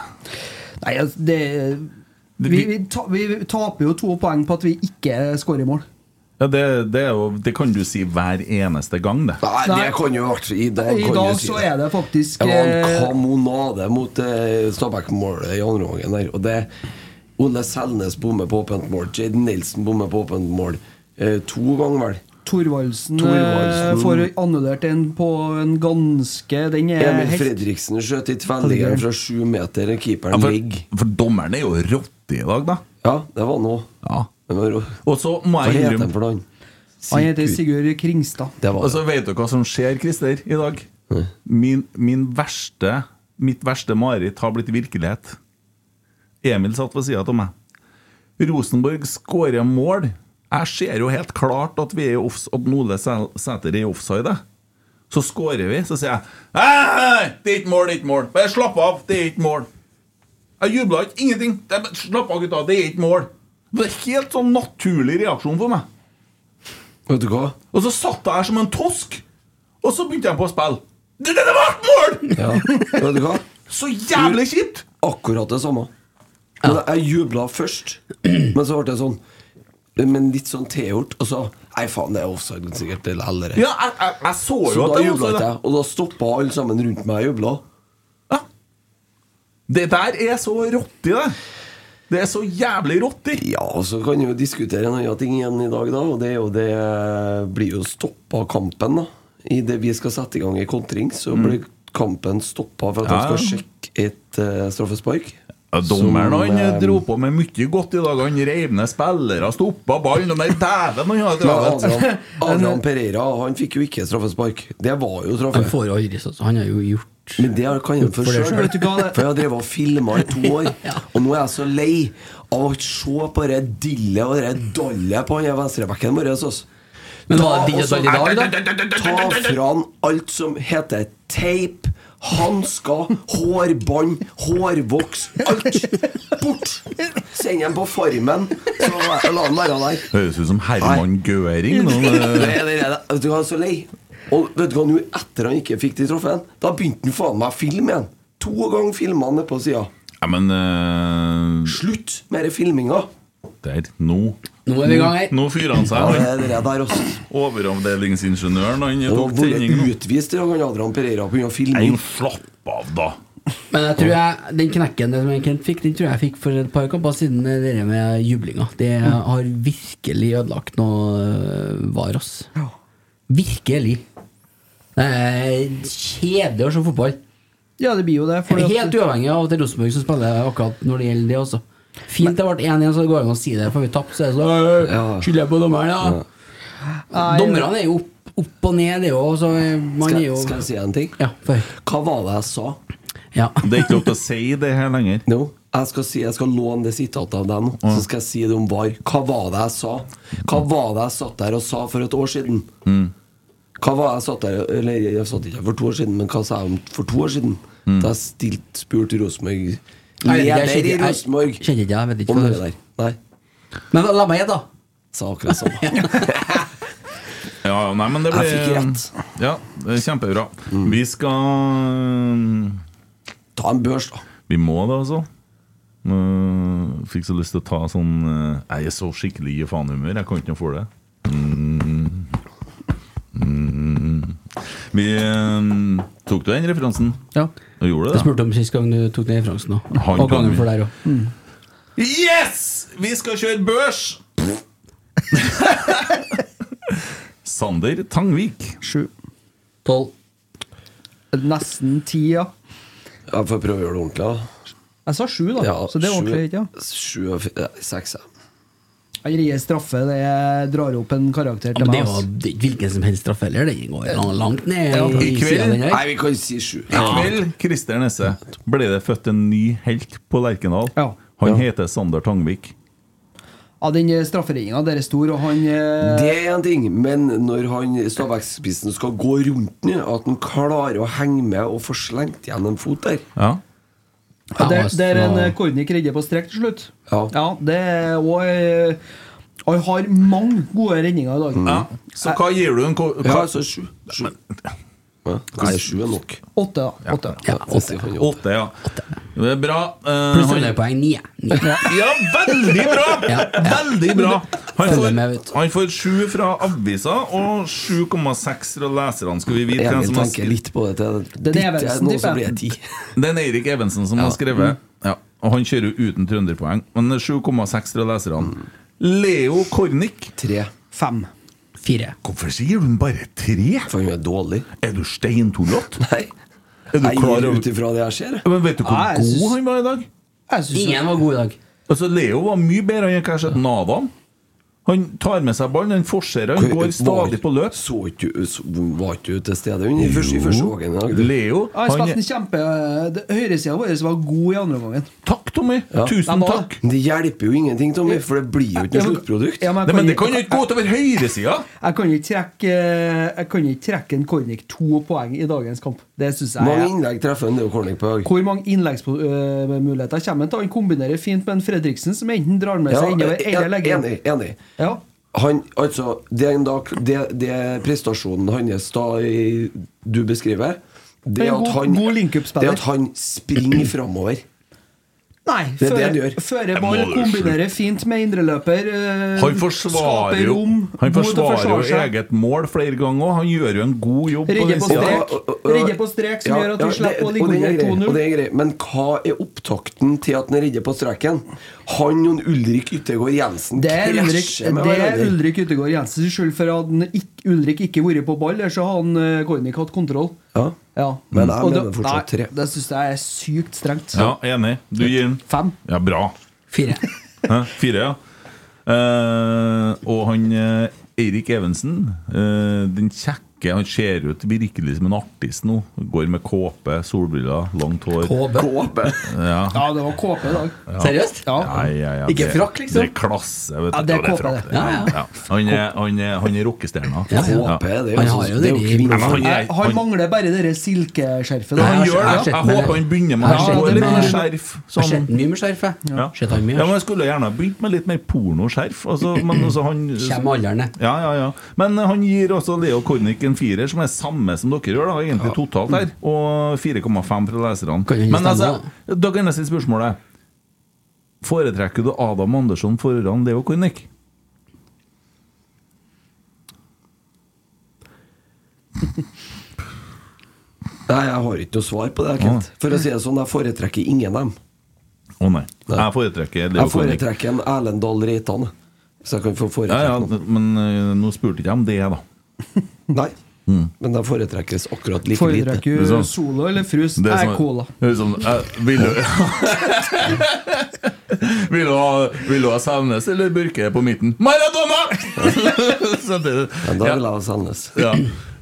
Nei, altså, det vi, vi, ta, vi taper jo to poeng på at vi ikke skårer mål.
Ja, det, det, er jo, det kan du si hver eneste gang, det.
Nei,
Nei.
det kan jo vært I dag,
I
kan
dag
du si
så
det.
er det faktisk
Det var en
eh,
kamonade mot eh, Stabæk-målet i andre omgangen der. Og det Ole Selnes bommer på åpent mål. Jade Nelson bommer på åpent mål. Eh, to ganger, vel.
Thorvaldsen eh,
Thorvaldsen.
får annullert en på en ganske Den er
Emil
helt
Fredriksen skjøt i tverrliggeren fra sju meter. Keeperen
Ja, for,
ligger.
for dommeren er jo rotte i dag, da.
Ja, det var nå.
Ja.
Det var rå-
Og så må
Hva
jeg
heter han
innrømme Altså-
for noe?
Han heter Sigurd Kringstad.
Det var
Og så vet du hva som skjer, Christer, i dag? Min, min verste, mitt verste mareritt har blitt virkelighet. Emil satt ved sida av meg. Rosenborg skårer mål. Jeg ser jo helt klart at, vi er i offs at Ole Sæ- Sæter er i offside. Så skårer vi, så sier jeg Hei, det er ikke mål, det er ikke mål. Bare slapp av, det er ikke mål. Jeg jubla ikke. Ingenting. Det er bare- Slapp av, gutta. Det er ikke mål. Det er helt sånn naturlig reaksjon for meg.
Vet du hva?
Og så satt jeg her som en tosk, og så begynte jeg på å spille. Det, det, det var et mål!
Ja. Vet du hva?
Så jævlig kjipt!
Akkurat det samme. Men jeg jubla først, men så ble det sånn Men litt sånn tilgjort. Og så Nei, faen, det er offside sikkert. Eller eller.
Ja, jeg, jeg, jeg så jo
Så
at
da
det
jubla
var
ikke
det.
jeg, og da stoppa alle sammen rundt meg og jubla.
Ja. Det der er så råttig, det. Det er så jævlig råttig.
Ja, og så kan vi jo diskutere en annen ting igjen i dag, da. Og det, er jo det blir jo stoppa kampen, da. Idet vi skal sette i gang en kontring, så
Mm.
blir kampen stoppa for at
Ja, ja.
han skal sjekke et eh, straffespark.
Dommeren
Som,
han
eh,
dro på med mye godt i dag. Han reiv ned spillere, stoppa ballen. Og med dæven, han hadde
Men
travet.
Adrian, Adrian Pereira han fikk jo ikke straffespark. Det var jo
Han
straffe.
får jo aldri sånn. Han har jo gjort
Men det kan jeg for
For det
sjøl.
selv.
For jeg har drevet og filma i to år. Og nå er jeg så lei av å se på det dillet og det dallet på han der venstrebacken vår. altså.
Men var
Ta
det ditt
også-
dall i dag, da?
Ta fra han alt som heter teip, hansker, hårbånd, hårvoks. Alt! Bort! Send dem på Farmen, så la- la han være der.
Høres ut som Herman Gøring.
Mm.
nå. eh,
Det er det der, Vet du hva, jeg er så lei. Og vet du hva, nå etter han ikke fikk de trofeen, da begynte han faen meg å filme igjen. To ganger filma han nede på sida.
Ja, men eh,
Slutt med den filminga.
Der. Nå.
Nå er vi i gang her.
Nå fyrer han
Ja,
seg.
det
han.
er det der også.
Overavdelingsingeniøren, han
Og
tok
vært
tenning nå.
utvist i dag, han Adrian Pereira, pga.
Nei,
filming.
slapp av, da.
Men jeg tror jeg, den knekken den som jeg Kent fikk, den tror jeg jeg fikk for et par kamper siden eh, det der med jublinga. Det har virkelig ødelagt noe øh, var, ass. Virkelig. Det er kjedelig å se fotball.
Ja, det blir jo det. fordi at-
Helt uavhengig av at det er Rosenborg som spiller akkurat når det gjelder det også. Fint det ble 1-1, så det går an å si det, for vi tapte, så er det sånn
Ja.
«Øh, Skylder jeg på dommeren, da?
Nei,
Dommerne er jo opp, opp og ned, det er jo så Man
Skal,
er jo
skal jeg si en ting?
Ja. For,
Hva var det jeg sa?
ja.
Det er ikke lov til å si det her lenger.
No. Jeg skal, si, jeg skal låne det sitatet av deg nå, så skal jeg si det om VAR. Hva var det jeg sa? Hva var det jeg satt der og sa for et år siden? Hva var det jeg satt der Eller jeg satt ikke for to år siden, men hva sa jeg om for to år siden? Da jeg stilt, spurte Rosenborg
Nei, jeg
Leder i
kjenner- jeg
Rosenborg
kjenner ikke, jeg vet ikke
om
hva
det
det er.
der. Nei,
Men la meg gjette, da.
sa akkurat samme.
Ja, nei, men det
Jeg
blir
fikk rett. Mm.
Ja, det er kjempebra. Vi skal
Ta en børs, da.
Vi må det, altså. Uh, fikk så lyst til å ta sånn eh, Jeg er så skikkelig i faenhumør. Jeg kan ikke noe for det. Mm. Mm. Vi eh, Tok du den referansen?
Ja.
Du gjorde
Jeg
det? da?
spurte om sist gang du tok den referansen òg.
Han
Og gangen
kan-
for der òg.
Yes! Vi skal kjøre børs! Sander Tangvik.
Sju.
Tolv.
Nesten ti, ja.
Jeg får prøve å gjøre det ordentlig. da.
Jeg sa sju, da.
Ja,
så det er
sju-
ordentlig høyt, ja.
Sju og fi- nei, seks, ja.
Jeg gir straffe. Det er- drar opp en karakter
Ja,
til
men det
meg.
var
ass.
det er ikke hvilken som helst straff heller. Den går lang- langt ned
Ja, i
i sida,
kveld.
den her.
Nei, vi kan si sju.
I kveld, Christer Nesse, ble det født en ny helt på Lerkendal.
Ja.
Han
Ja.
heter Sander Tangvik.
Ja, den strafferigninga der er stor, og han eh,
Det er en ting, men når han Stabæk-spissen skal gå rundt den, at han klarer å henge med og få slengt igjen en fot der
Ja.
Ja, der,
altså.
der en eh, Kornik redder på strekk til slutt.
Ja.
det er òg Han har mange gode redninger i dag.
ja.
Mm.
Så hva gir du en ko-
Ja,
hva,
altså sju. sju. Ja. Nei, sju er nok.
Åtte, da. Åtte.
Ja,
Jeg sier han jo.
Åtte, ja. Det er bra. Eh,
Pluss
han-
underpoeng ni. ni.
Ja, veldig bra! Veldig bra. Han
Følger med, vet
får,
du.
han får sju fra avisa og 7,6 fra leserne, skal vi vite. hvem
Emil
som har
tenker
skrevet.
litt på det til
Den er
Ditt er
Evensen,
noe som
tipper
blir
jeg.
ti.
Det er en Eirik Evensen som har skrevet. Ja, og han kjører jo uten trønderpoeng, men det er 7,6 fra leserne. Leo Kornik.
Tre.
Fem.
Fire.
Hvorfor sier du bare tre?
For han er dårlig.
Er du steintullete?
Nei.
Er du
Jeg
klar
gir
over-
ut ifra det jeg ser. jeg.
Men vet du hvor
Nei, jeg
god
syns-
han var i dag?
Jeg synes
Ingen var god i dag.
Altså, Leo var mye bedre enn jeg har sett Navan. Han tar med seg ballen, han forserer, han går stadig på løp.
Så ikke du så- Var ikke du til stede under første, i første gangen i dag? du?
Leo,
Ja, jeg
han
spilte en kjempe eh, det- Høyresida vår var god i andre omgangen.
Takk, Tommy!
Ja.
Tusen
Nei,
takk!
Men Det hjelper jo ingenting, Tommy, for det blir jo ikke noe sluttprodukt.
Ja, men
Nei, men det
jeg
kan
kan
jo
ikke
ikke gå utover høyresida!
jeg kan ikke trekke eh, Jeg kan ikke trekke en Kornik to poeng i dagens kamp. Det synes jeg
Mange
er
innlegg treffer han, det er jo Corning på dag.
hvor mange innleggsmuligheter kommer han til? Han kombinerer fint med en Fredriksen, som enten drar med seg innover eller legger
eh, enig, enig.
Ja.
Han, altså, det, er en dag, det, det er prestasjonen hans da i- du beskriver, det
Men
er at
god-
han,
god link-up-spiller.
det er at han springer framover.
Nei,
Det er det han gjør.
fører- fører ball,
må-
kombinerer fint med indreløper. eh,
Han forsvarer
skaper
jo
rom,
Han
god til å
forsvarer jo
forsvare seg.
eget mål flere ganger òg. Han gjør jo en god jobb på
Rigger
den
på
sida.
strek. Redder på strek som gjør at vi
det-
slipper å ligge
og det er
under
greit,
2-0.
og det er greit. Men hva er opptakten til at han redder på streken? Han og Ulrik Yttergård Jensen
Det er Ulrik,
krasjer med
det er
hverandre.
Ulrik Utegård Jensens skyld, for hadde han ikk- Ulrik ikke vært på ball, eller så hadde han eh, Kornik hatt kontroll.
Ja.
Ja.
Men jeg
Og det-
mener fortsatt tre.
nei, Det syns jeg er sykt strengt.
Ja, enig. Du gir den
Fem.
Ja, bra.
Fire.
Hæ? Fire, ja. Eh, og han eh, Eirik Evensen, eh, den kjekke Han ser ut virkelig som en artist nå. Går med kåpe, solbriller, langt hår.
KB.
Kåpe.
Ja, det var KP i dag.
Seriøst?
Ja.
Nei, ja, ja,
Ikke
det-
frakk, liksom?
Det er klasse. Vet du.
Ja, det er
Ja,
kåpe,
frakk,
det.
Ja,
Ja, ja.
ja. Han er, han er, han er rockestjerna.
Ja, ja.
Kåpe, det er
Han
jo
har jo
sånn- det er
det
jo
i-
kvinner.
Men
Jeg,
han,
han
han,
mangler bare det der silkeskjerfet. da.
han gjør det.
Jeg har sett- jeg har sett
Jeg
den,
håper han begynner med
Jeg har
han
sett
får
den
litt
med-
mer skjerf.
Har
Sånn.
sett mye med skjerf, jeg.
Ja.
Sett han mye.
Ja, men jeg skulle gjerne ha begynt med litt mer pornoskjerf. Altså, men altså han
Kjem alderen, det.
ja, ja, ja. Men han gir også Leo Kornik en firer, som er samme som dere gjør, da, egentlig totalt her. Og 4,5 fra leserne.
Mm. Kan jo
Men
stemme,
altså, da kan jeg si spørsmålet Foretrekker du Adam Andersson foran Leo Kornik?
Nei, jeg har ikke noe svar på det. Kent. For å si det sånn, jeg foretrekker ingen av dem.
Å nei. Jeg foretrekker Leo
Jeg
Kornik.
foretrekker en Erlend Dahl Reitan. Hvis jeg kan få
Ja,
foretrekke
ja,
noen.
men eh, nå spurte ikke jeg om det, da.
Nei.
Mm.
Men de foretrekkes akkurat like lite.
Foretrekker
Liksom.
du Solo eller Frus?
Det sånn-
Jeg
som
er cola.
det er som- jeg- vil du Vil du ha, vil du ha Sandnes eller Børke på midten? Maradona! Så det-
Men da
ja,
vil jeg ha Sandnes.
ja,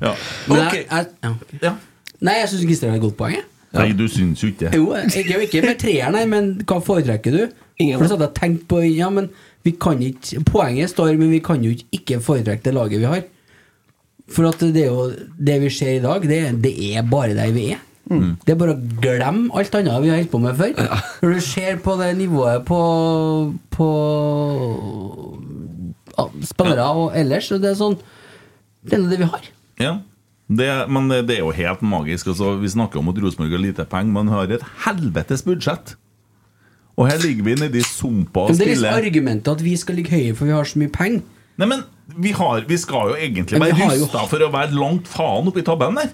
ja.
Men jeg-
Ok.
jeg- ja, ok.
Ja.
Nei, jeg syns Christer har et godt poeng. jeg.
Nei, du syns jo ikke det.
Jo, ikke, ikke med treeren, nei, men hva foretrekker du?
Ingen.
For så hadde jeg tenkt på Ja, men vi kan ikke Poenget står, men vi kan jo ikke ikke foretrekke det laget vi har. For at det er jo Det vi ser i dag, det, det er bare der vi er. Det er bare å glemme alt annet vi har holdt på med før. Når du ser på det nivået på, på ja, spillere og ellers, så det er sånn Det er nå det vi har.
Ja. Det, men det, det er jo helt magisk. Altså, vi snakker om at Rosenborg har lite penger, men har et helvetes budsjett. Og her ligger vi nedi sumpa og
Men det er liksom
spiller.
argumentet at vi skal ligge høyere for vi har så mye penger.
Nei, men vi, har, vi skal jo egentlig
Men vi
være
har jo-
rusta for å være langt faen oppi tabellen der.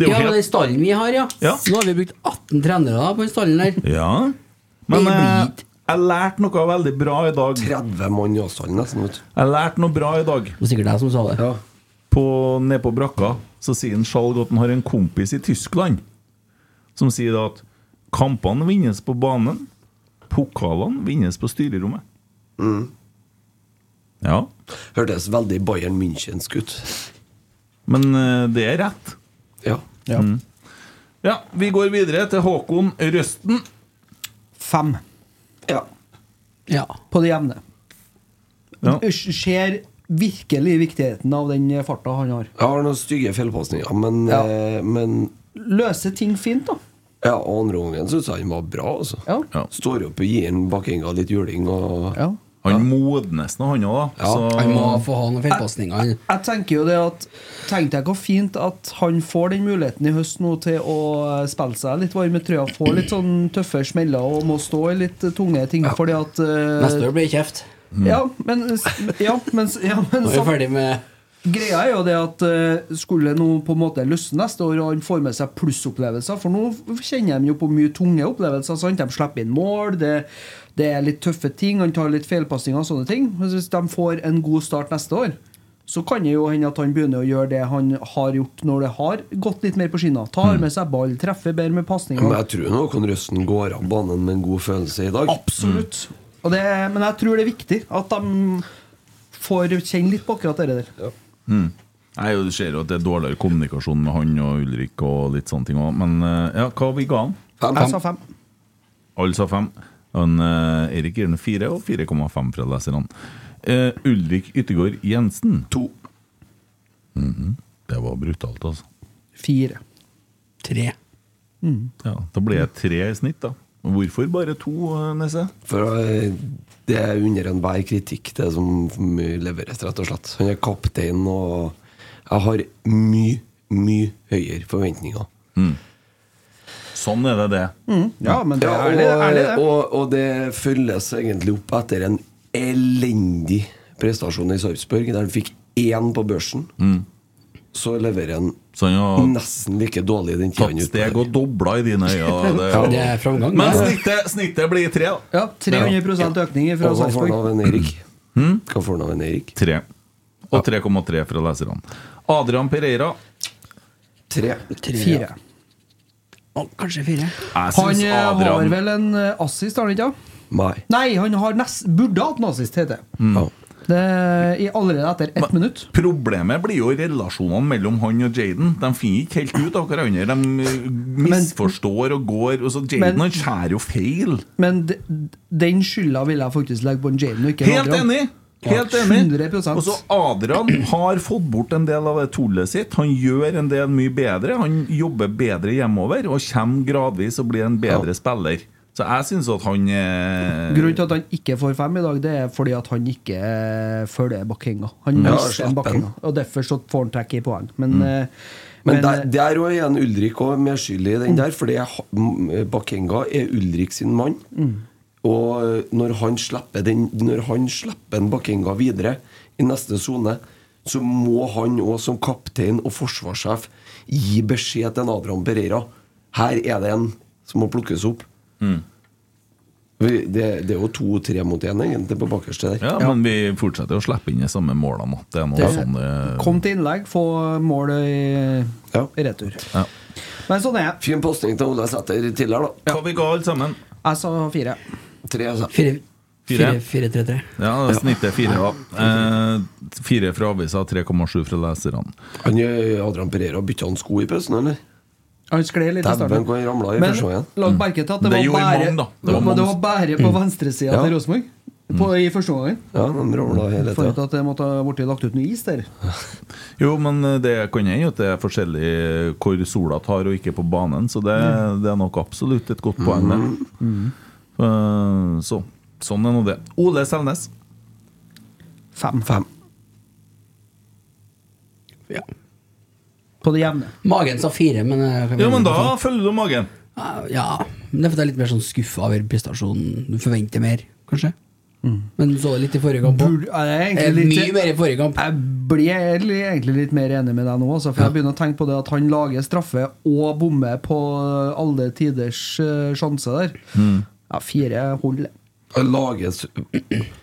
Det er
Ja,
jo
men den
helt
stallen vi har, ja.
Ja.
Nå har vi brukt 18 trenere da, på den stallen der.
Ja. Men
Det blir
eh,
ikke.
Jeg lærte noe veldig bra i dag.
30 mann i avstand, nesten. Vet. du.
Jeg lærte noe bra i dag.
Det var sikkert deg som sa det.
på, ned på brakka så sier en Skjalg at han har en kompis i Tyskland som sier da at kampene vinnes på banen, pokalene vinnes på styrerommet.
Mm.
Ja,
Hørtes veldig Bayern Münchensk ut.
men eh, det er rett.
Ja.
Ja, Vi går videre til Håkon Røsten.
Fem
ja.
Ja.
på det jevne.
Ja.
Sk- Ser virkelig viktigheten av den farta han har.
Jeg har noen stygge feilpasninger, men,
Ja.
eh, men
Løser ting fint, da.
ja, andre gangen syns jeg han var bra, altså.
Ja.
Ja.
Står opp og gir en bakkinga litt juling og
Ja.
Han modnes nå, han òg, da.
Ja,
Han
Så
må få ha noen feilpasninger.
Jeg tenker jo det at Tenk deg hvor fint at han får den muligheten i høst nå til å eh, spille seg litt varm i trøya, få litt sånn tøffe smeller og må stå i litt tunge ting fordi at eh,
Neste år Mm. blir det kjeft.
Ja, men, ja, men, ja, men
Nå er vi
sam-
ferdig med
Greia er jo det at eh, skulle nå på en måte løsne neste år, og han får med seg plussopplevelser For nå f- kjenner de jo på mye tunge opplevelser. Sant? De slipper inn mål, det, det er litt tøffe ting, han tar litt feilpasninger og sånne ting. Men Hvis de får en god start neste år, så kan det jo hende at han begynner å gjøre det han har gjort når det har gått litt mer på skinna. Tar med seg ball, treffer bedre
Men
med pasninger.
jeg tror nok han Røsten går av banen med en god følelse i dag.
Absolutt. Og det, men jeg tror det er viktig at de får kjenne litt på akkurat det der.
Nei, jo, Du ser jo at det er dårligere kommunikasjon med han og Ulrik og litt sånne ting òg. Men eh, ja, hva vi ga han?
Jeg sa fem.
Alle sa fem. Han, eh, Erik gir den fire, og 4,5 fra leserne. Eh, Ulrik Yttergård Jensen. To. Det var brutalt, altså.
Fire.
tre.
Ja, da ble jeg tre i snitt, da. Hvorfor bare to, eh, Nesse?
For eh, det er under enhver kritikk, det som leveres, rett og slett. Han er kaptein, og jeg har mye, mye høyere forventninger.
Mm. Sånn er det, det.
Ja, men det
Ja,
er
og,
ærlig, ærlig det.
og, og det følges egentlig opp etter en elendig prestasjon i Sarpsborg, der han fikk én på børsen.
Mm.
Så leverer han
Så han har
nesten like dårlig den tida
tatt
han
steg og dobla i dine øyne. Det,
Ja, det er framgang.
Men
det.
snittet, snittet blir tre, da.
Ja, 300 økning fra
Og hva får han
Sarpsborg.
av en Erik?
Mm?
Hva får han av en Erik?
Tre. Og 3,3 fra leserne. Adrian Pereira.
Tre.
Fire.
Å, kanskje fire.
Jeg
Han
syns
eh, har
Adrian
vel en eh, assist, har han ikke? ja?
Nei.
Nei, han har nest, burde hatt en assist, heter det.
Ja.
det. i- Allerede etter ett minutt.
Problemet blir jo relasjonene mellom han og Jaden. De finner ikke helt ut av hverandre. De eh, misforstår og går. Og så
Men-
Jaden han skjærer jo feil.
Men de, den skylda vil jeg faktisk legge på en Jaden og ikke en
Helt
Adrian.
enig! Helt
Ja,
enig.
100%.
Og så Adrian har fått bort en del av det tullet sitt. Han gjør en del mye bedre. Han jobber bedre hjemover og kommer gradvis og blir en bedre spiller. Så jeg syns at han eh,
Grunnen til at han ikke får fem i dag, det er fordi at han ikke eh, følger bakkenga. Han
Ja,
mister
slapp Mm.
den bakkenga, og derfor så får han trekk i poeng. Men, eh,
Men,
men,
der,
eh,
der også er en Ulrik også med skyld i den der, fordi jeg ha- m- eh, Bakenga er Ulrik sin mann. Og eh, når han slipper den Når han slipper en Bakenga videre i neste sone, så må han òg som kaptein og forsvarssjef gi beskjed til en Adrian Pereira. Her er det en som må plukkes opp. Vi- Det, det er jo to-tre mot én, egentlig, på bakerste der.
ja, men vi fortsetter å slippe inn de samme målene. da. Det er noe
Det-
sånn eh,
kom til innlegg, få mål i,
Ja.
i retur.
Ja.
Men sånn er jeg.
Fin posting til Ole Sæter tidligere, da.
Hva vi ga alle sammen?
Jeg sa fire.
Tre, altså.
Fire,
Fire.
fire, fire, tre, tre.
Ja, snittet fire, da. Eh, fire fra avisa, 3,7 fra leserne.
Han, eh, Adrian Pereira bytta han sko i pausen, eller?
Han skled litt i
Dæven,
starten.
hvor han ramla i
Men
første gangen. Mm.
lag merke til at det,
Det gjorde
var bare
mange, da. Det
det
var
var, det
mange.
var bare på venstresida
Ja. Mm.
til Rosenborg på- i første omgang.
Ja, han ramla hele
Fant ut
tida.
at det måtte ha blitt lagt ut noe is der.
Jo, men eh, det kan hende at det er forskjellig hvor sola tar og ikke på banen, så det, det er nok absolutt et godt poeng, det. Mm. Eh, så sånn er nå det. Ole Selnes.
Fem
Fem.
Ja.
på det jevne.
Magen sa fire, men eh, kan vi-
Ja, men da følger du magen.
Ja, men det er fordi jeg er litt mer sånn skuffa over prestasjonen. Du forventer mer, kanskje. Men du så det litt i forrige kamp òg.
Burde- jeg er egentlig
Mye
litt-
mer i forrige kamp.
Jeg blir egentlig- egentlig litt mer enig med deg nå, altså, for jeg begynner å tenke på det at han lager straffe og bommer på alle tiders eh, sjanse der. Ja, fire holder.
Han lages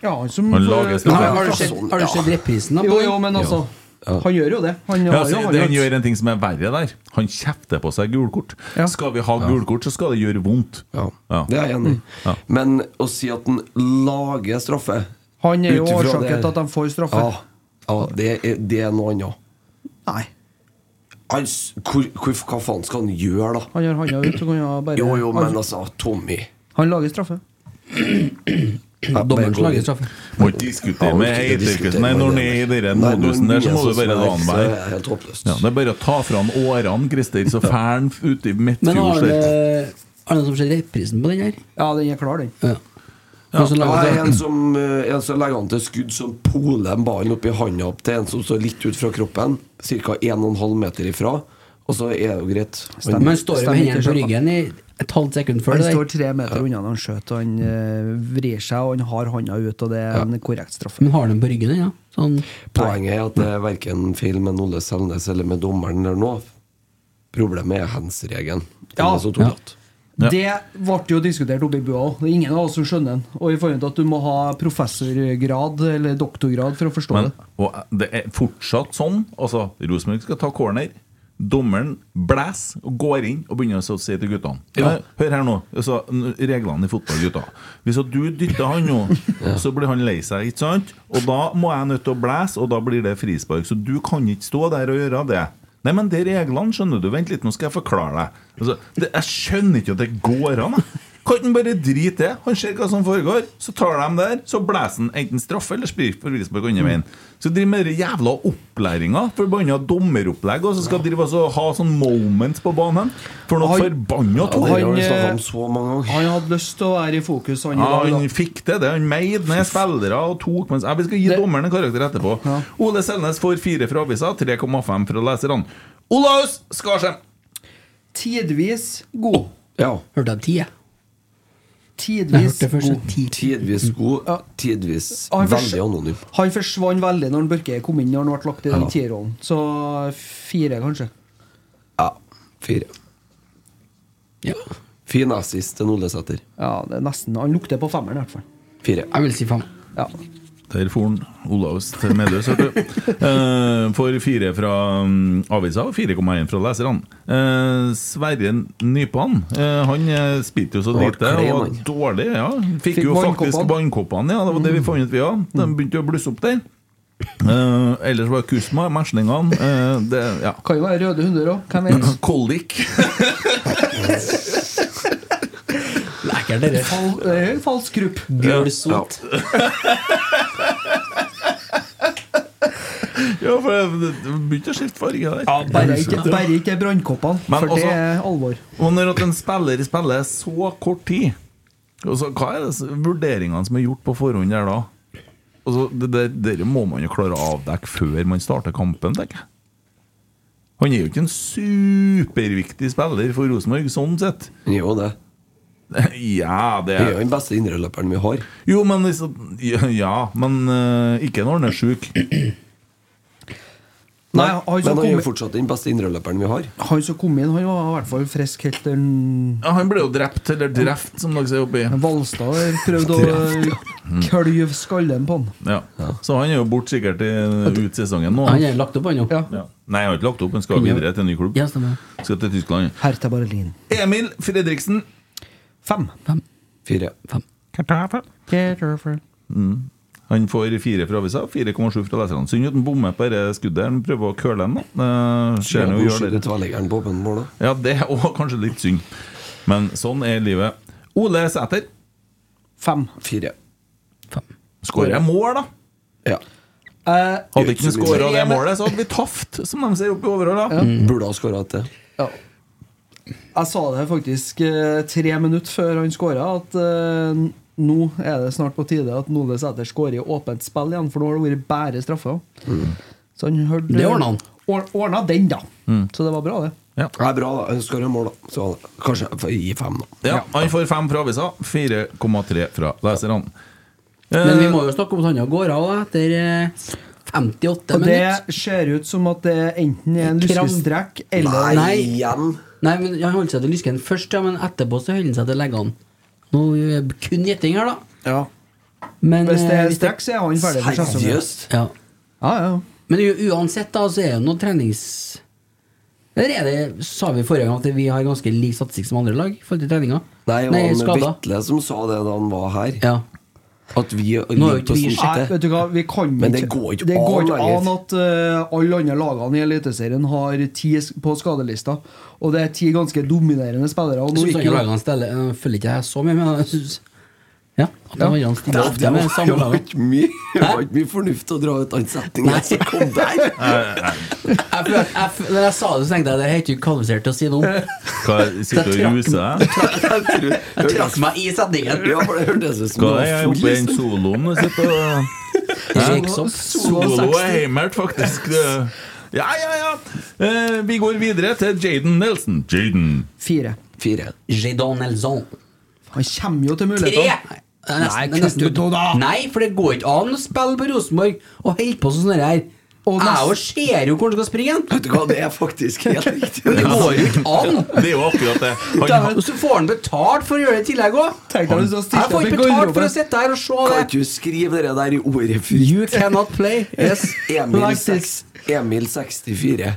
Ja, han som
Han lager
Men
Ja,
Har, har, du
ja.
sett, har du sett reprisen? da, på
sånn, Jo,
den?
jo, men altså.
Ja.
Han gjør jo det. Han,
Ja,
har
altså,
jo
han
handlet.
gjør en ting som er verre der. Han kjefter på seg gulkort.
Ja.
Skal vi ha gulkort, så skal det gjøre vondt.
Ja,
Ja.
det er jeg enig i. Men å si at han lager straffe
han er jo
utifra det
årsaken
her-
til at de får straffe.
Ja, ja det, er, det er noe annet.
Nei.
Han s- hvor, hvor, hva faen skal han gjøre, da?
Han har handa ut. Så kan han bare
Jo, jo, men
han,
altså, Tommy
han lager straffe.
Ja,
Dommeren som
bare-
lager straffe.
Må ikke diskutere med
Ja, ikke
Heiderkvist. Nei,
diskutere med
når han
det.
er i den
Nei, når
modusen der,
han
så må du
er
bare
sånn
la han
her, så
være.
er det Helt håpløst.
Ja, det er bare å ta fra han årene, Christer, så fær han ute i
Men har
midtfjord.
det
der.
har det noen som ser reprisen på den her?
Ja, den er klar, den.
Ja. Noen som
Ja,
lager sånn-
det er
straffe?
en som, eh, en som legger an til skudd som poler en ballen opp i handa opp til en som står litt ut fra kroppen, ca. 1,5 meter ifra, og så er det jo greit. Men-
Men han står jo med
Stemmer ikke,
hendene på
skjønner.
ryggen i et halvt sekund før
Han
det
står
der.
tre meter unna når han skjøt, og han eh, vrir seg, og han har handa ut, og det er en korrekt straffe.
Men har den på ryggen, den, ja? Sånn
Poenget er at det er verken feil med Olle Selnes eller med dommeren eller noe. Problemet er hands-regelen. Den
Ja.
er så tullete.
Det ble jo diskutert oppe i bua òg. Det er ingen av oss som skjønner den. Og i forhold til at du må ha professorgrad eller doktorgrad for å forstå
Men
det.
og eh, det er fortsatt sånn. Altså, Rosenborg skal ta corner. Dommeren blæser og går inn og begynner så å si til guttene
Ja.
Hør her nå, altså, n- reglene i fotball, gutta. Hvis at du dytter han nå, så blir han lei seg, ikke sant? Og da må jeg nødt til å blæse, og da blir det frispark. Så du kan ikke stå der og gjøre det. Nei, men det er reglene, skjønner du. Vent litt, nå skal jeg forklare deg. Altså, det, jeg skjønner ikke at det går an. jeg. Kan han bare drite det? Han ser hva som foregår. Så tar de der, så blæser han enten straffe eller sprir for frispark andre veien. Så driver med den jævla opplæringa, forbanna dommeropplegg, og så skal drive altså ha sånn moments på banen. For noe
Han-
forbanna
Ja, det har
Han,
vi snakket om
eh,
så mange ganger.
Han hadde lyst til å være i fokus, han i
Ja,
dag.
han
da.
fikk det. det Han meide ned spillere og tok mens ja, Vi skal gi
Det-
dommeren en karakter etterpå.
Ja.
Ole Selnes får fire fra avisa, 3,5 fra leserne. Olaus Skarsheim!
Tidvis god.
Ja.
Hørte jeg ti, jeg. Jeg
Tidvis
hørte først
god.
en ti.
Tidvis god, tidvis
Han fors-
veldig anonym.
Han forsvant veldig når Børke kom inn, når han ble lagt i den
Ja.
tierrollen. Så fire, kanskje.
Ja. Fire.
Ja.
Fin assist til Olle Sæter.
Ja, det er nesten Han lukter på femmeren, i hvert fall.
Fire.
Jeg vil si fem.
Ja.
Der for han Olaus til Meløs, hørte du. Eh, får fire fra mm, avisa og 4,1 fra leserne. Eh, Sverre Nypan eh, Han eh, spilte jo så
Ble
lite og
klein,
var
han.
dårlig. Ja. Fikk,
Fikk
jo faktisk
vannkoppene.
vannkoppene, ja. Det var det
Mm.
vi fant ut, vi òg. De begynte jo å blusse opp der. Eh, ellers var Kusma, meslingene eh, det, ja.
Kan jo være røde hunder òg, hvem vet?
Koldik.
Lekker dere.
Fal, det er en falsk grupp.
Bjølsot.
Ja, for det det begynte å skifte farge der.
Bare ikke, bare ikke brannkoppene,
Men
for
også-
det er alvor.
Og når at en spiller spiller så kort tid altså, Hva er det s- vurderingene som er gjort på forhånd der da? Altså, det, det, dere må man jo klare å avdekke før man starter kampen, tenker jeg. Han er jo ikke en superviktig spiller for Rosenborg, sånn sett.
Han gjør jo det.
Ja, det
Han er jo den beste indreløperen vi har.
Jo, men liksom, Ja, men eh, ikke når han er sjuk.
Nei, han som,
Men han er jo
kom,
fortsatt den beste indreløperen vi har.
han som kom inn, han var i hvert fall frisk helt til en-
Ja, han ble jo drept, eller drept, som dere sier oppi.
Valstad der prøvde å kølve skallen på han.
Ja. Så han er jo borte sikkert i, ut sesongen nå.
Han er lagt opp, han jo.
Ja.
Ja. Nei, jeg har ikke lagt opp. Han skal videre til en ny klubb.
Ja, stemmer.
Skal til Tyskland.
Hertha Berlin.
Emil Fredriksen.
Fem.
Fire.
Mm. Han får fire fra avisa, 4,7 fra leserne. Synd at han bommer på dette skuddet. Han prøver å køle den, da. Eh, Ser han jo
Hvor
gjør
skyter
det.
tverrleggeren på åpen mål, da?
Ja, det er også kanskje litt synd. Men sånn er livet. Ole Sæter.
Fem.
Fire.
Skårer mål, da.
Ja.
Eh,
Hadde ikke han skåra det målet, så hadde vi tapt, som de sier oppe i Overhalla.
Burde ha skåra et til.
ja. Jeg sa det faktisk eh, tre minutter før han skåra, at eh, nå er det snart på tide at Nole Sæter skårer i åpent spill igjen, for nå har det vært bare straffer. Så han hørte
Mm. Det ordna han. Mm.
Or- Ordna den, da. Så det var bra, det.
Nei, bra. da. Han skårer mål, da. Så kanskje jeg får gi fem, da.
Ja, han får fem fra avisa, 4,3 fra leserne.
Men vi må jo snakke om at han jo går av etter eh, 58
Og
minutter.
det ser ut som at det enten er en lyskestrekk eller
Nei.
igjen!
Nei, men Han holdt seg til lysken først, ja, men etterpå så holder han seg til leggene. Nå er det kun gjetting her, da.
Ja.
Men,
Hvis det
eh,
er
hvis det-
strekk, så er han ferdig for sesongen.
Seriøst?
Ja.
Ja, ja.
Men u uansett, da, så er det noe trenings... Eller er det, sa vi forrige gang at vi har ganske lik statistikk som andre lag i forhold til treninga?
Nei, det var han
skader.
Vetle som sa det da han var her.
Ja.
At vi
Nå er
ligger
jo
på
ikke vi
sånn
Nei,
sjette.
vet du hva, vi kan
Men det går ikke
det går
an
ikke
lenger.
an at eh, alle andre lagene i Eliteserien har ti sk- på skadelista, og det er ti ganske dominerende spillere. Og
Jeg
nå
synes
gikk
ikke
jo
lagene stiller Jeg følger ikke jeg så mye, men jeg synes Ja. At de andre
Ja.
Det
stiller
var-
ofte med
det
samme
var
laget.
ikke mye Det var ikke mye fornuft å dra ut annen setning enn som kom der.
Eh,
Jeg, føler- jeg, føler- når jeg sa det, så tenkte jeg det er helt ikke kvalifisert til å si noe om.
Hva, sitter du og eh? ruser deg?
Jeg tror-
Jeg trakk meg i setningen.
Ja, for det hørtes ut som
Hva
det var
er jeg oppe i den
full-
soloen du sitter og
Shakes up.
Solo er heimert, faktisk. Det- Ja, ja, ja. Eh, vi går videre til Jaden Nelson. Jaden.
fire.
Fire.
Jadon Elzon.
Han kommer jo til
Tre!
mulighetene.
Det er nesten- det er nesten-
kutt ut nå da.
Nei, for det går ikke an å spille på Rosenborg og holde på sånn her.
Og
Jeg
nest-
jo ser jo hvor han skal springe hen!
Vet du hva, det er faktisk helt riktig.
Men det går jo ikke an!
Det er jo akkurat det. Han,
Og så får han betalt for å gjøre det i tillegg òg!
Tenk deg hvis du har stilt
Jeg får
opp i
ikke betalt for å
garderoben.
sitte her og
Kan
se
ikke
det!
du skrive det der i ordet
You
fritt?
cannot play. Yes.
Emil,
Like
seks,
this.
Emil 64.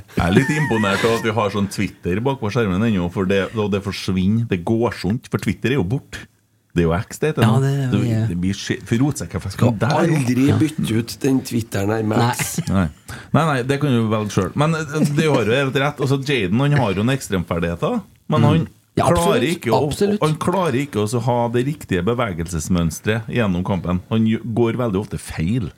jeg er litt imponert over at vi har sånn Twitter bak på skjermen ennå, for det, og det forsvinner. Det går sånt, for Twitter er jo borte. Det er jo X, det heter
Ja,
nå.
det er jo-
det, det blir skje- For rotsekk er faktisk ikke der. jo.
Aldri bytte ut den Twitteren her med
Nei.
X.
Nei. nei, nei, det kan du velge sjøl. Men eh, du har jo helt rett. Altså, Jaden han har jo noen ekstremferdigheter, men han,
Mm. Ja, absolutt.
klarer ikke å,
Absolutt.
han klarer ikke å ha det riktige bevegelsesmønsteret gjennom kampen. Han gjø- går veldig ofte feil.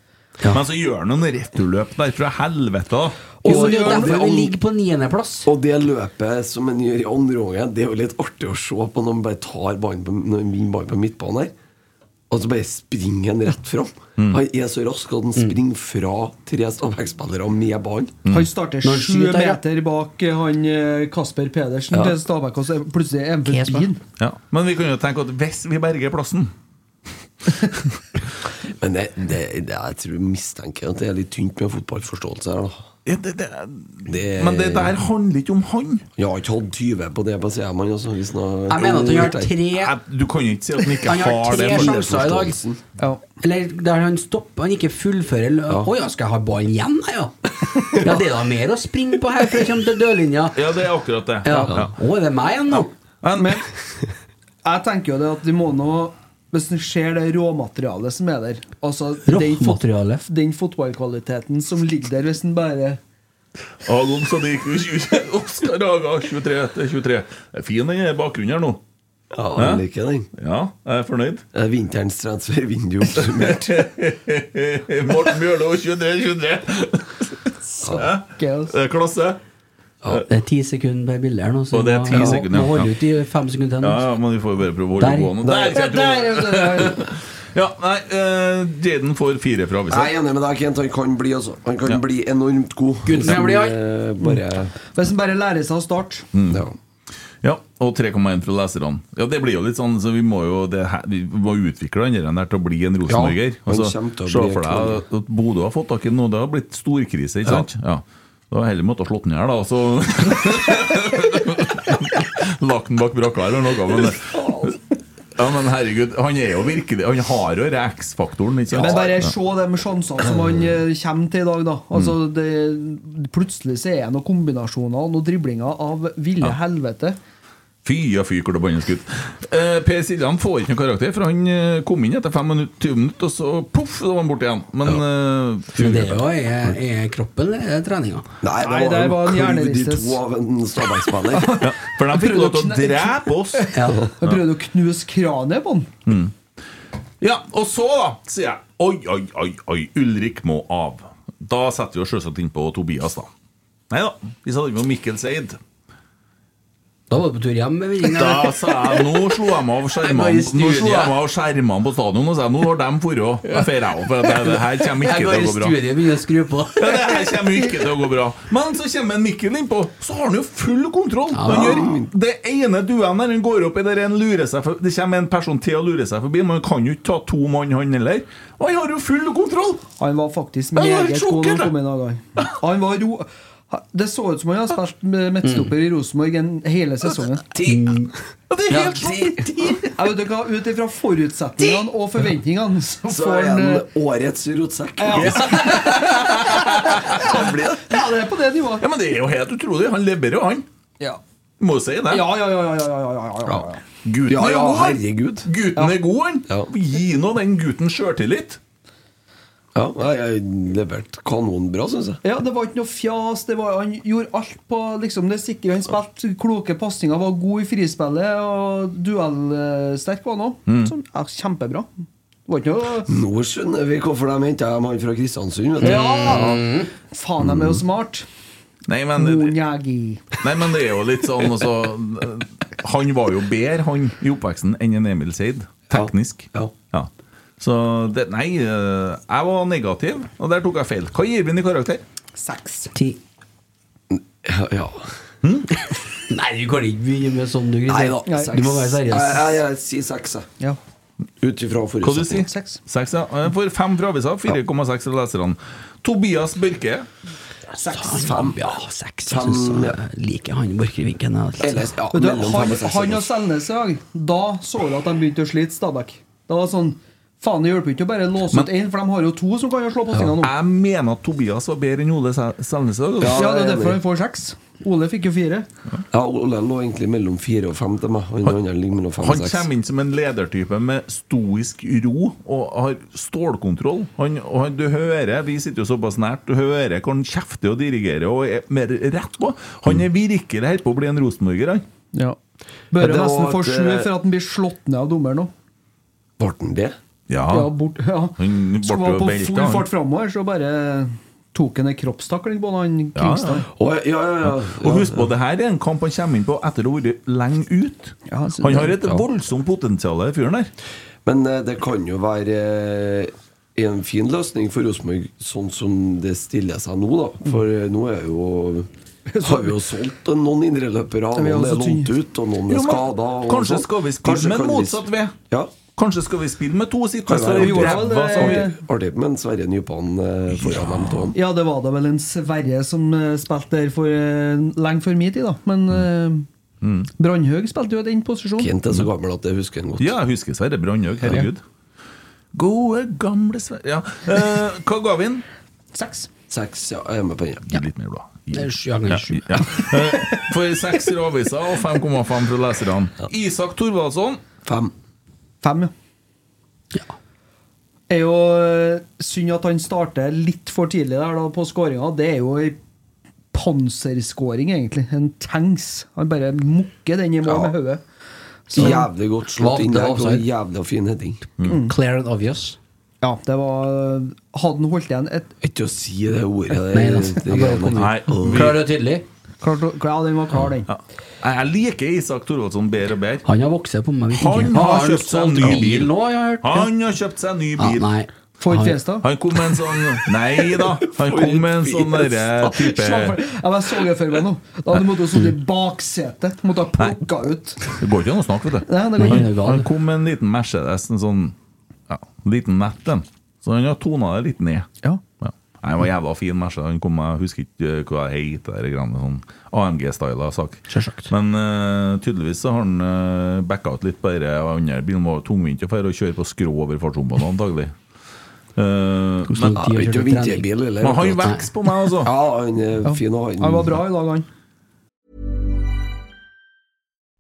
Men så gjør han noen returløp der fra helvete.
Jo, men det er jo
Og-
derfor vi ligger på niendeplass.
Og det løpet som en gjør i andre omgang, det er jo litt artig å se på når man bare tar ballen på, når man vinner ballen på midtbanen her. Og så bare springer han rett fram.
Mm.
Han er så rask at han springer fra tre Stabæk-spillere med ballen.
Mm.
Han starter
Når han
sju
skyter, ja.
meter bak eh, han eh, Kasper Pedersen til Stabæk, og så er plutselig er han
Kasper.
forbi han.
Ja. Men vi kan jo tenke at hvis vi berger plassen
Men det, det, det, jeg tror mistenker at det er litt tynt med fotballforståelse her, da.
ja, det, det,
Det-
Men det der handler ikke om han.
Jeg har ikke hatt 20 på det på CM-en. Altså, hvis nå-
Jeg mener at han har tre
Jeg- Du kan jo ikke si at han ikke
Han har
har det.
tre
for-
sjanser i dag.
forståelsen.
Ja.
Eller der han stopper, han ikke fullfører lø- Å ja. skal jeg ha ballen igjen, jeg, ja? ja, det er da mer å springe på her før jeg kommer til dørlinja.
Ja, det er akkurat det.
Ja.
Ja.
Å, er det meg igjen nå?
Men jeg tenker jo det at de må nå hvis en ser det råmaterialet som er der altså den, fot
Råmaterialet?
den fotballkvaliteten som ligger der, hvis en bare
Alon Sadiq 20, Oskar Haga 23 til 23. Det er Fin den er i bakgrunnen her nå.
Ja, jeg liker den.
Ja, jeg er fornøyd.
Det er Vinterens transfervindu oppsummert.
Morten Bjørlo 23 23.
Gaus. altså.
Det er klasse.
Det er ti sekunder per bilde her nå, så
Og det er ti
må-
sekunder,
må holde
ja.
ut i fem sekunder
Ja,
til. nå.
ja, men vi får jo bare prøve å holde
Der.
gående.
Der,
Der, der,
Der, der, der.
Ja, nei, eh, Jaden får fire fra avisa.
Jeg er enig med deg, Kent. Han kan bli, altså. Han kan
Ja.
bli enormt god.
Gud, men jeg blir
Eh, Bare
Hvis en bare lærer seg å starte.
Mm.
ja.
Ja, og 3,1 fra leserne. Ja, det blir jo litt sånn, så vi må jo det her, Vi må utvikle den der til å bli en Rosenborger.
han
Altså,
kommer til å
Se
bli
for
en
deg at Bodø har fått tak i den nå. Det har blitt storkrise, ikke sant? Ja. Da har jeg heller måttet ha slått den i hjel, da. og Så Lagt den bak brakka eller noe. Men, ja, men herregud, han er jo virkelig Han har jo den X-faktoren, ikke sant?
Men bare
Ja.
se de sjansene som han eh, kommer til i dag, da. Altså, det, plutselig så er det noen kombinasjoner og noen driblinger av ville helvete.
Fy ja, fy, hvor det bannes gutt. Eh, per Siljan får ikke noen karakter, for han eh, kom inn etter 5 minutter, 20 minutter, og så poff, så var han borte igjen. Men eh, fy,
Men det er jo er, er kroppen eller er det treninga?
Nei, det
Nei,
var,
der var
en
han
kløyvd i
hjernerystes.
to av en Stabæk-spiller.
Ja, for de fikk lov til å drepe oss.
Ja.
Han prøvde å knuse kraniet på han.
Ja, Og så, da, sier jeg oi, oi, oi, oi, Ulrik må av. Da setter vi oss selvsagt innpå Tobias, da. Nei da, vi satte innpå Mikkel Seid.
Da var du på tur hjem med vinninga.
Da sa jeg nå slo jeg meg av
Jeg går i
skjermene Nå
studiet.
slo jeg meg av skjermene på stadion og sa nå har de dratt òg. Jeg feirer jeg òg, for det, det her kommer
Jeg
ikke
går
til å
i
gå bra.
studiet og begynner å skru på.
Ja, det her kommer jo ikke til å gå bra. Men så kommer en Mikkel innpå, så har han jo full kontroll. Han gjør det ene duellen der, han går opp i der en lurer seg for, Det kommer en person til og lurer seg forbi, men han kan jo ikke ta to mann, han heller. Og han har jo full kontroll!
Han var faktisk
var
meget
helt
god når
sjokkert,
han kom
jeg.
inn i dag. Han var ro... ha- Det så ut som han hadde spilt med midtstopper i Rosenborg en- hele sesongen.
Mm.
Ja, Det er helt
Ja,
vanvittig! Jeg vet ikke hva, Ut ifra forutsetningene og forventningene, så
Så
får
er
han eh,
han årets rotsekk. Han blir-
Ja, det er på det nivået.
Ja, men det er jo helt utrolig. Han leverer jo, han.
Ja,
Må jo si det.
ja, ja. ja, ja, ja, ja, ja, ja, ja.
Gutten
Ja,
er
ja,
god, han.
herregud.
Gutten er god, han.
Ja.
Gi nå den gutten sjøltillit.
Ja, jeg jeg leverte kanonbra, syns jeg.
Ja, Det var ikke noe fjas. Det var, han gjorde alt på liksom, det sikre. Han spilte kloke pasninger, var god i frispillet og duellsterk var han òg. Ja, kjempebra. Det var ikke noe
Nå skjønner vi hvorfor de henta han fra Kristiansund. Vet du.
Ja! Faen, de er jo smart
Nei men,
Monjagi.
nei, men det er jo litt sånn altså, Han var jo bedre, han, i oppveksten enn en Emil Seid. Teknisk.
Ja.
Ja. Så det, nei, eh, jeg var negativ, og der tok jeg feil. Hva gir vi den i karakter?
Seks.
Ja, ja.
Nei, du kan ikke begynne med sånn, du,
Nei da.
Kristian.
seks.
Du må være seriøs.
Jeg, jeg, jeg sier seks, jeg.
Ja.
Ut ifra
Hva du sier
forutsetning.
Seks.
Seks, ja. Eh, For fem fra avisa, 4,6 fra leserne. Tobias Børke.
Seks,
Fem,
fem.
ja, seks.
Fem,
Jeg synes
ja.
jeg liker han Borchgrevinken. jeg,
Eller,
altså.
ja,
Vet du,
mellom fem
han,
og seks.
han og Selnes i dag, da så du at de begynte å slite Stabæk. Da var det sånn Faen, det hjelper ikke å bare låse ut én, for de har jo to som kan jo slå pasningene nå.
Jeg mener at Tobias var bedre enn Ole Sel- Selnes. i dag, altså.
Ja,
Ja, det
jeg
er
er
derfor
enig.
han får seks. Ole fikk jo fire.
Ja, Ole lå egentlig mellom fire og fem til meg. Han, han, ligger mellom fem
Han
og seks.
kommer inn som en ledertype med stoisk ro og har stålkontroll. Han, og han, du hører, Vi sitter jo såpass nært. Du hører hvor han kjefter og dirigerer og er mer rett på. Han er virkelig her på å bli en rosenborger, han.
Ja.
Ja,
Bør
det
nesten
var
få
at,
sju
eh,
for at han blir slått ned av dommeren nå.
Ble han det?
Ja.
Ja, bort, ja.
Han ble
Skulle være
jo
på
beltet,
full
han.
fart framover, så bare tok han en kroppstakling på han
Ja,
Kringstad.
Å, ja, ja, ja.
Og husk på, det her er en kamp han kommer inn på etter å ha vært lenge ut.
Ja, jeg synes
Han har
det-
et voldsomt potensial, den fyren der.
Men eh, det kan jo være eh, en fin løsning for Rosenborg, sånn som det stiller seg nå, da. For eh, nå er jo har vi jo solgt en- noen indreløpere, og
vi er
noen er
også
lånt
tynne.
ut, og
Jo,
noen er
men
skada.
kanskje skal vi spille med en motsatt ved?
Ja.
Kanskje skal vi spille med to sitt?
Kan være
så er det
i
hvert fall,
ræva som-
eh,
Artig med en Sverre Nypan eh, foran dem to.
Ja, det var da vel en Sverre som eh, spilte der for eh, lenge før min tid, da. Men eh, Brandhaug spilte jo i den posisjonen.
Kent er så gammel at jeg husker han godt.
Ja, jeg husker Sverre Brandhaug. Herregud. Gode, gamle Sverre Ja. eh, hva ga vi den?
Seks.
Seks, ja, jeg er med på den.
Gi litt mer, da. Gi-
Det er sju ganger sju.
Ja. Eh, For seks fra avisa og 5,5 fra leserne. Isak Thorvaldsson.
Fem.
Fem, ja.
Ja.
er jo eh, synd at han starter litt for tidlig der da på skåringa. Det er jo ei panserskåring, egentlig. En tanks. Han bare mukker den i mål
Ja.
med hodet. Så-
Jævlig godt slått
Hva?
inn
Det
der,
var
og
offside.
jævlig fin heading.
Clear and obvious.
Ja, det var eh, Hadde han holdt igjen et
Ikke å si det ordet.
Nei,
Det,
da.
det,
Jeg bare
greiene.
kom ut.
Nei, vi,
Klar og tydelig.
klart, å- Ja, den var klar, den.
ja. Jeg liker Isak Thorvaldsson bedre og bedre.
Han har vokst på meg. virkelig.
Han har kjøpt seg en
solgt
ny bil.
nå, jeg har hørt.
Han har kjøpt seg en ny
Ja,
bil.
sånn nei.
For
Han-
Fjelstad.
Han kom med en sånn Nei da. Han kom med en sånn derre
Slapp av.
type
Ja, men Jeg så det for meg nå. Da hadde du måttet sitte i baksetet. Måtte ha plukka ut.
Det går ikke an å snakke, vet du.
Nei, det går
Nei.
ikke.
er
Han,
gal.
han kom med en liten Mercedes, en sånn ja, liten nett, den. Så han har tona det litt ned.
Ja.
Ja. Nei, det var jævla fin match. Han kom med, jeg husker ikke eh, hva det heter, det greiene, sånn AMG-styla sak.
Selvsagt.
Men eh, tydeligvis så har han uh, backa ut litt på dette. og andre bilen var tungvint å fære og kjøre på skrå over fartsområdene antagelig. Eh,
Hvordan
men,
Ja,
tid har
ikke
kjørt trening?
vinterbil, eller?
men han
vet du.
vokser på meg, altså.
Ja, han er fin og
Han var bra i dag, han.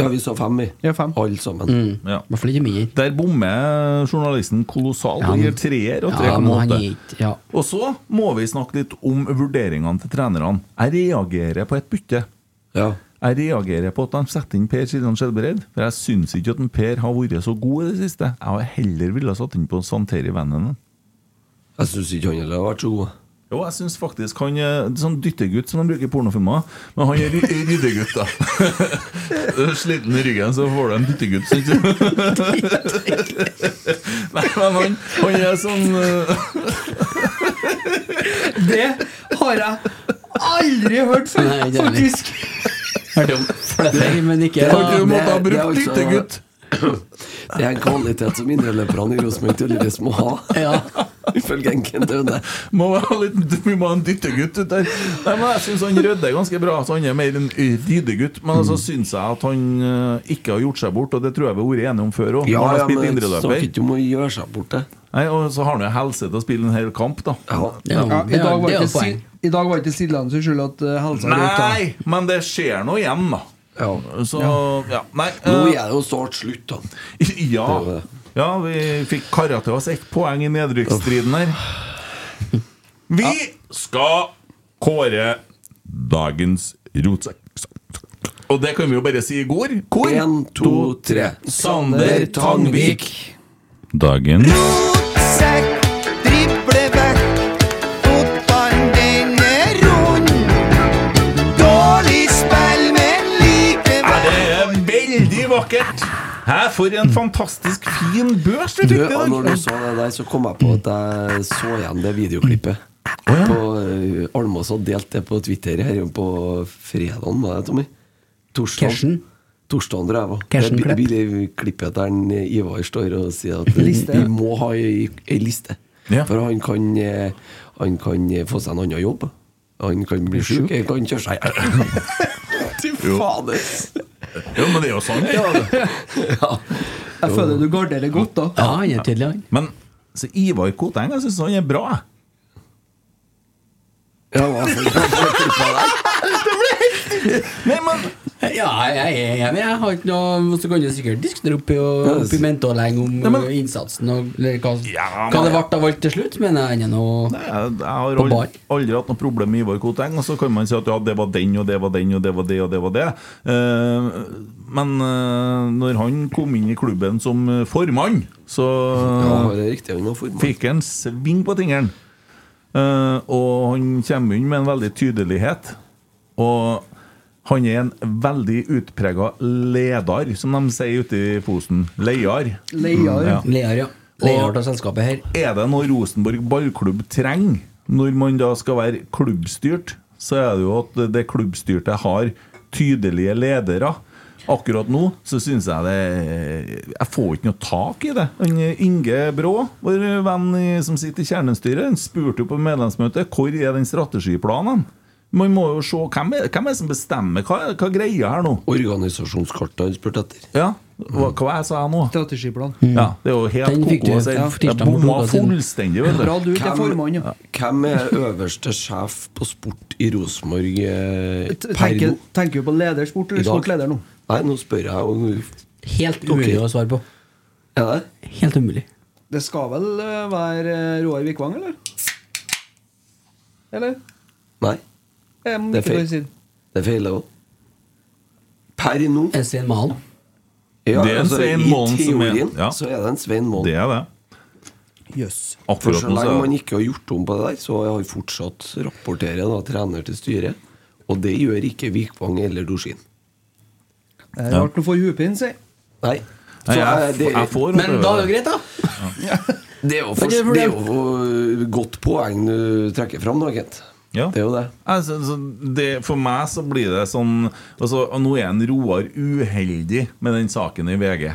Ja, vi så fem, vi.
Ja, fem.
Alle sammen.
ja.
I hvert fall ikke mindre.
Der bommer journalisten kolossalt og gir treer og
Ja, men han
3,8.
gir ikke ja.
Og så må vi snakke litt om vurderingene til trenerne. Jeg reagerer på et bytte.
Ja.
Jeg reagerer på at de setter inn Per Siljan Skjelbreid. For jeg syns ikke at en Per har vært så god i det siste. Jeg har heller ville ha satt inn på Santeri Vennene.
Jeg syns ikke han heller har vært så god.
Jo, jeg syns faktisk han er sånn dyttegutt som de bruker i pornofilmer. Men han er ry- ryddegutt, da. Eh, Sliten i ryggen, så får du en dyttegutt, syns du. Nei, men han, han er sånn eh,
Det har jeg aldri hørt før,
Nei, det er det.
faktisk!
Hørte om fletter, men ikke
Kan du
det-
måtte ha
det er
brukt
altså-
dyttegutt?
Det er en kvalitet som indreløperne i Rosenborg tydeligvis må ha.
Ja.
Ifølge Kent Aune.
Må ha litt, vi må ha en dyttegutt ut der. Nei, men jeg syns han Rødde er ganske bra, så han er mer en ryddegutt. Men
Mm.
så syns jeg at han eh, ikke har gjort seg bort, og det tror jeg vi har vært enige om før òg.
Ja, ja,
han har spilt
men
indreløper.
snakker ikke om å gjøre seg borte.
Nei, Og så har han jo helse til å spille en hel kamp, da.
Ja,
Ja.
Ja,
det
i,
er-
dag var
det er
ikke
jo poeng.
Sil- I dag var ikke Sildeland sin skyld at eh, helsa røyk. da.
Nei, men det skjer nå igjen, da.
Ja.
Så ja. Nei.
Nå
eh,
er det jo snart slutt, da.
ja.
Det er det.
ja, vi fikk kara til oss ett poeng i nedrykksstriden her. Vi skal kåre dagens rotsekk. Og det kan vi jo bare si i går. Hvor?
Én, to, tre.
Sander Tangvik. Dagen
Sekk, drible vekk, fotballen den er rund. Dårlig spill, men likevel
Det er veldig vakkert! Hæ, for en fantastisk fin børs vi
Du,
fikk i
og
dag!
når du sa det der, så kom jeg på at jeg så igjen det videoklippet. På eh, Almås har delt det på Twitter her på fredagen, var det, Tommy? Torsdag.
Cashen?
Torsdagen, tror jeg. var.
Cashen
Det er
Klepp?
bi- bi- klippet der en Ivar står og sier at
Liste,
vi
ja.
må ha ei ei liste.
Ja.
For han kan, eh, han kan eh, få seg en annen jobb. Han kan bli sjuk, han kan kjøre seg Fy fader!
Jo, men det er jo sånn. sant, ja. det.
Jeg føler du garderer godt, da.
Ja, han er tydelig, han.
Men så Ivar Koteng, jeg syns han er bra.
Ja, hva for-
Nei, men
Ja, jeg er enig. Jeg har ikke noe Så kan du sikkert diskutere oppi,
Ja,
oppi
s-
mente og lenge om
Nei, men-
eh, innsatsen og eller hva,
Ja,
hva
men-
det ble av alt til slutt, men jeg er nå
Nei, jeg, jeg har
På
aldri,
bar.
aldri hatt noe problem med Ivar Koteng. Og så kan man si at ja, det var den, og det var den, og det var det, og det var det. Eh, men eh, når han kom inn i klubben som eh, formann, så
Ja, det er riktig, han var formann.
fikk han sving på tingene. Eh, og han kommer inn med en veldig tydelighet. Og han er en veldig utprega leder, som de sier ute i Fosen. Leier.
Leier.
Ja.
Lear, ja. Lear av selskapet her.
Er det noe Rosenborg ballklubb trenger når man da skal være klubbstyrt, så er det jo at det klubbstyrte har tydelige ledere. Akkurat nå så syns jeg det Jeg får ikke noe tak i det. Han eh, Inge Brå, vår venn i, som sitter i kjernestyret, han spurte jo på medlemsmøtet hvor er den strategiplanen. Man må jo se hvem er, hvem er det som bestemmer hva, hva greia her nå.
Organisasjonskartet han spurte etter.
Ja, hva, hva jeg sa jeg nå?
Strategiplan.
Ja, det er jo helt
Den fikk
koko.
du,
å si.
ja,
Jeg
tirsdag for to
bomma
dager siden.
fullstendig, vet du.
Bra du ikke er
Hvem-
formann, ja.
Hvem er øverste sjef på sport i Rosenborg eh, per
Tenker,
nå?
tenker du på ledersport
I
eller
dag?
sportleder nå?
Nei, nå spør jeg om
Helt umulig
Ok.
å svare på.
Er det?
Helt umulig.
Det skal vel eh, være eh, Roar Vikvang, eller? Eller?
Nei,
Jeg må
Det er
ikke
feil.
bare si det.
det er feil, det òg. Per nå
Er Svein Malen.
ja, altså,
Det er en Svein Målen
I
som er-
teorien
ja.
så er det en Svein Målen.
Det er det.
Jøss.
For
Akkurat
så
nå så
lenge
er
man
det
ikke har gjort om på det der, så har fortsatt rapporterer da, trener til styret. Og det gjør ikke Vikvang eller Dorsin.
Det er Rart du får hodepine, si.
Nei. Så
Nei,
jeg,
jeg,
det,
jeg får
Men da er det jo greit, da.
det er jo
Men det er
for- det er jo eh, godt poeng du trekker fram nå, Kent.
Ja.
Det er jo det.
Altså, så det, for meg så blir det sånn altså, og Nå er en Roar uheldig med den saken i VG.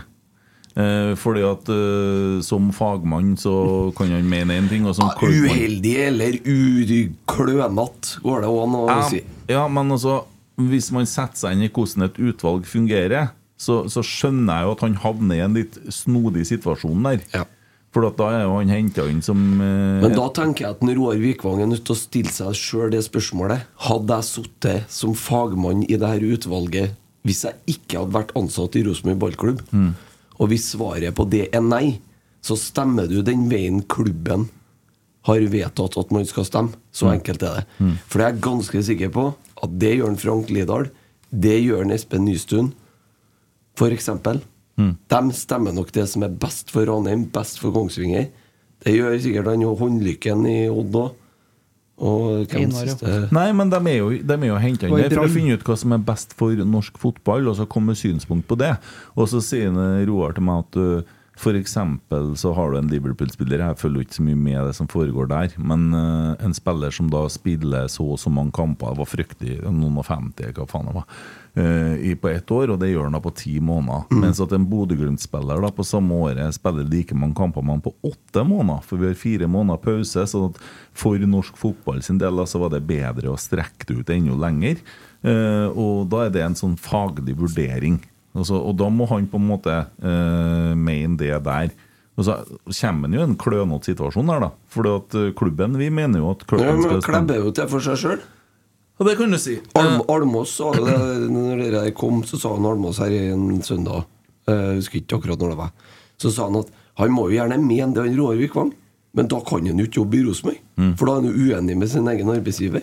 Eh, fordi at eh, som fagmann så kan han mene én ting, og som klubbmann-
Ah, Uheldig eller uklønete, går det an å
Ja,
si.
Ja, men altså Hvis man setter seg inn i hvordan et utvalg fungerer, så, så skjønner jeg jo at han havner i en litt snodig situasjon der.
Ja.
For at da er jo han henta inn som eh,
Men da tenker jeg at når Roar Vikvang er nødt til å stille seg sjøl det spørsmålet. Hadde jeg sittet som fagmann i det her utvalget hvis jeg ikke hadde vært ansatt i Rosenborg ballklubb, og hvis svaret på det er nei, så stemmer du den veien klubben har vedtatt at man skal stemme. Så enkelt er det. For det er jeg ganske sikker på at det gjør en Frank Lidahl, det gjør en Espen Nystuen, for eksempel. De stemmer nok det som er best for Ranheim, best for Kongsvinger. Det gjør sikkert han og håndlykken i Odd òg. Og hvem
Einar, ja.
siste
Nei, men de er jo, de er jo hentet inn
Var i
der for å
Drang.
finne ut hva som er best for norsk fotball, og så komme med synspunkt på det. Og så sier han, eh, Roar til meg at uh, for eksempel så har du en Liverpool-spiller, jeg følger jo ikke så mye med det som foregår der, men eh, en spiller som da spiller så og så mange kamper, var fryktelig, noen og 50, hva faen det var, eh, i, på ett år, og det gjør han da på ti måneder. Mens at en Bodø-Glimt-spiller da på samme året spiller like mange kamper, men på åtte måneder, for vi har fire måneder pause, sånn at for norsk fotball sin del da, så var det bedre å strekke det ut enda lenger. Eh, og da er det en sånn faglig vurdering. Altså, og da må han på en måte eh, mene det der. Og så kommer han jo i en klønete situasjon der, da. For at eh, klubben Vi mener jo at
Ja,
klubben
men
skal
Klebbe er jo til for seg sjøl.
Ja, det kan du si.
Alm, Almås sa jo det Når det der kom, så sa han Almås her en søndag Eh, Jeg husker ikke akkurat når det var Så sa han at han må jo gjerne mene det han Roar Vikvang Men da kan han jo ikke jobbe i Rosenborg, For da er han jo uenig med sin egen arbeidsgiver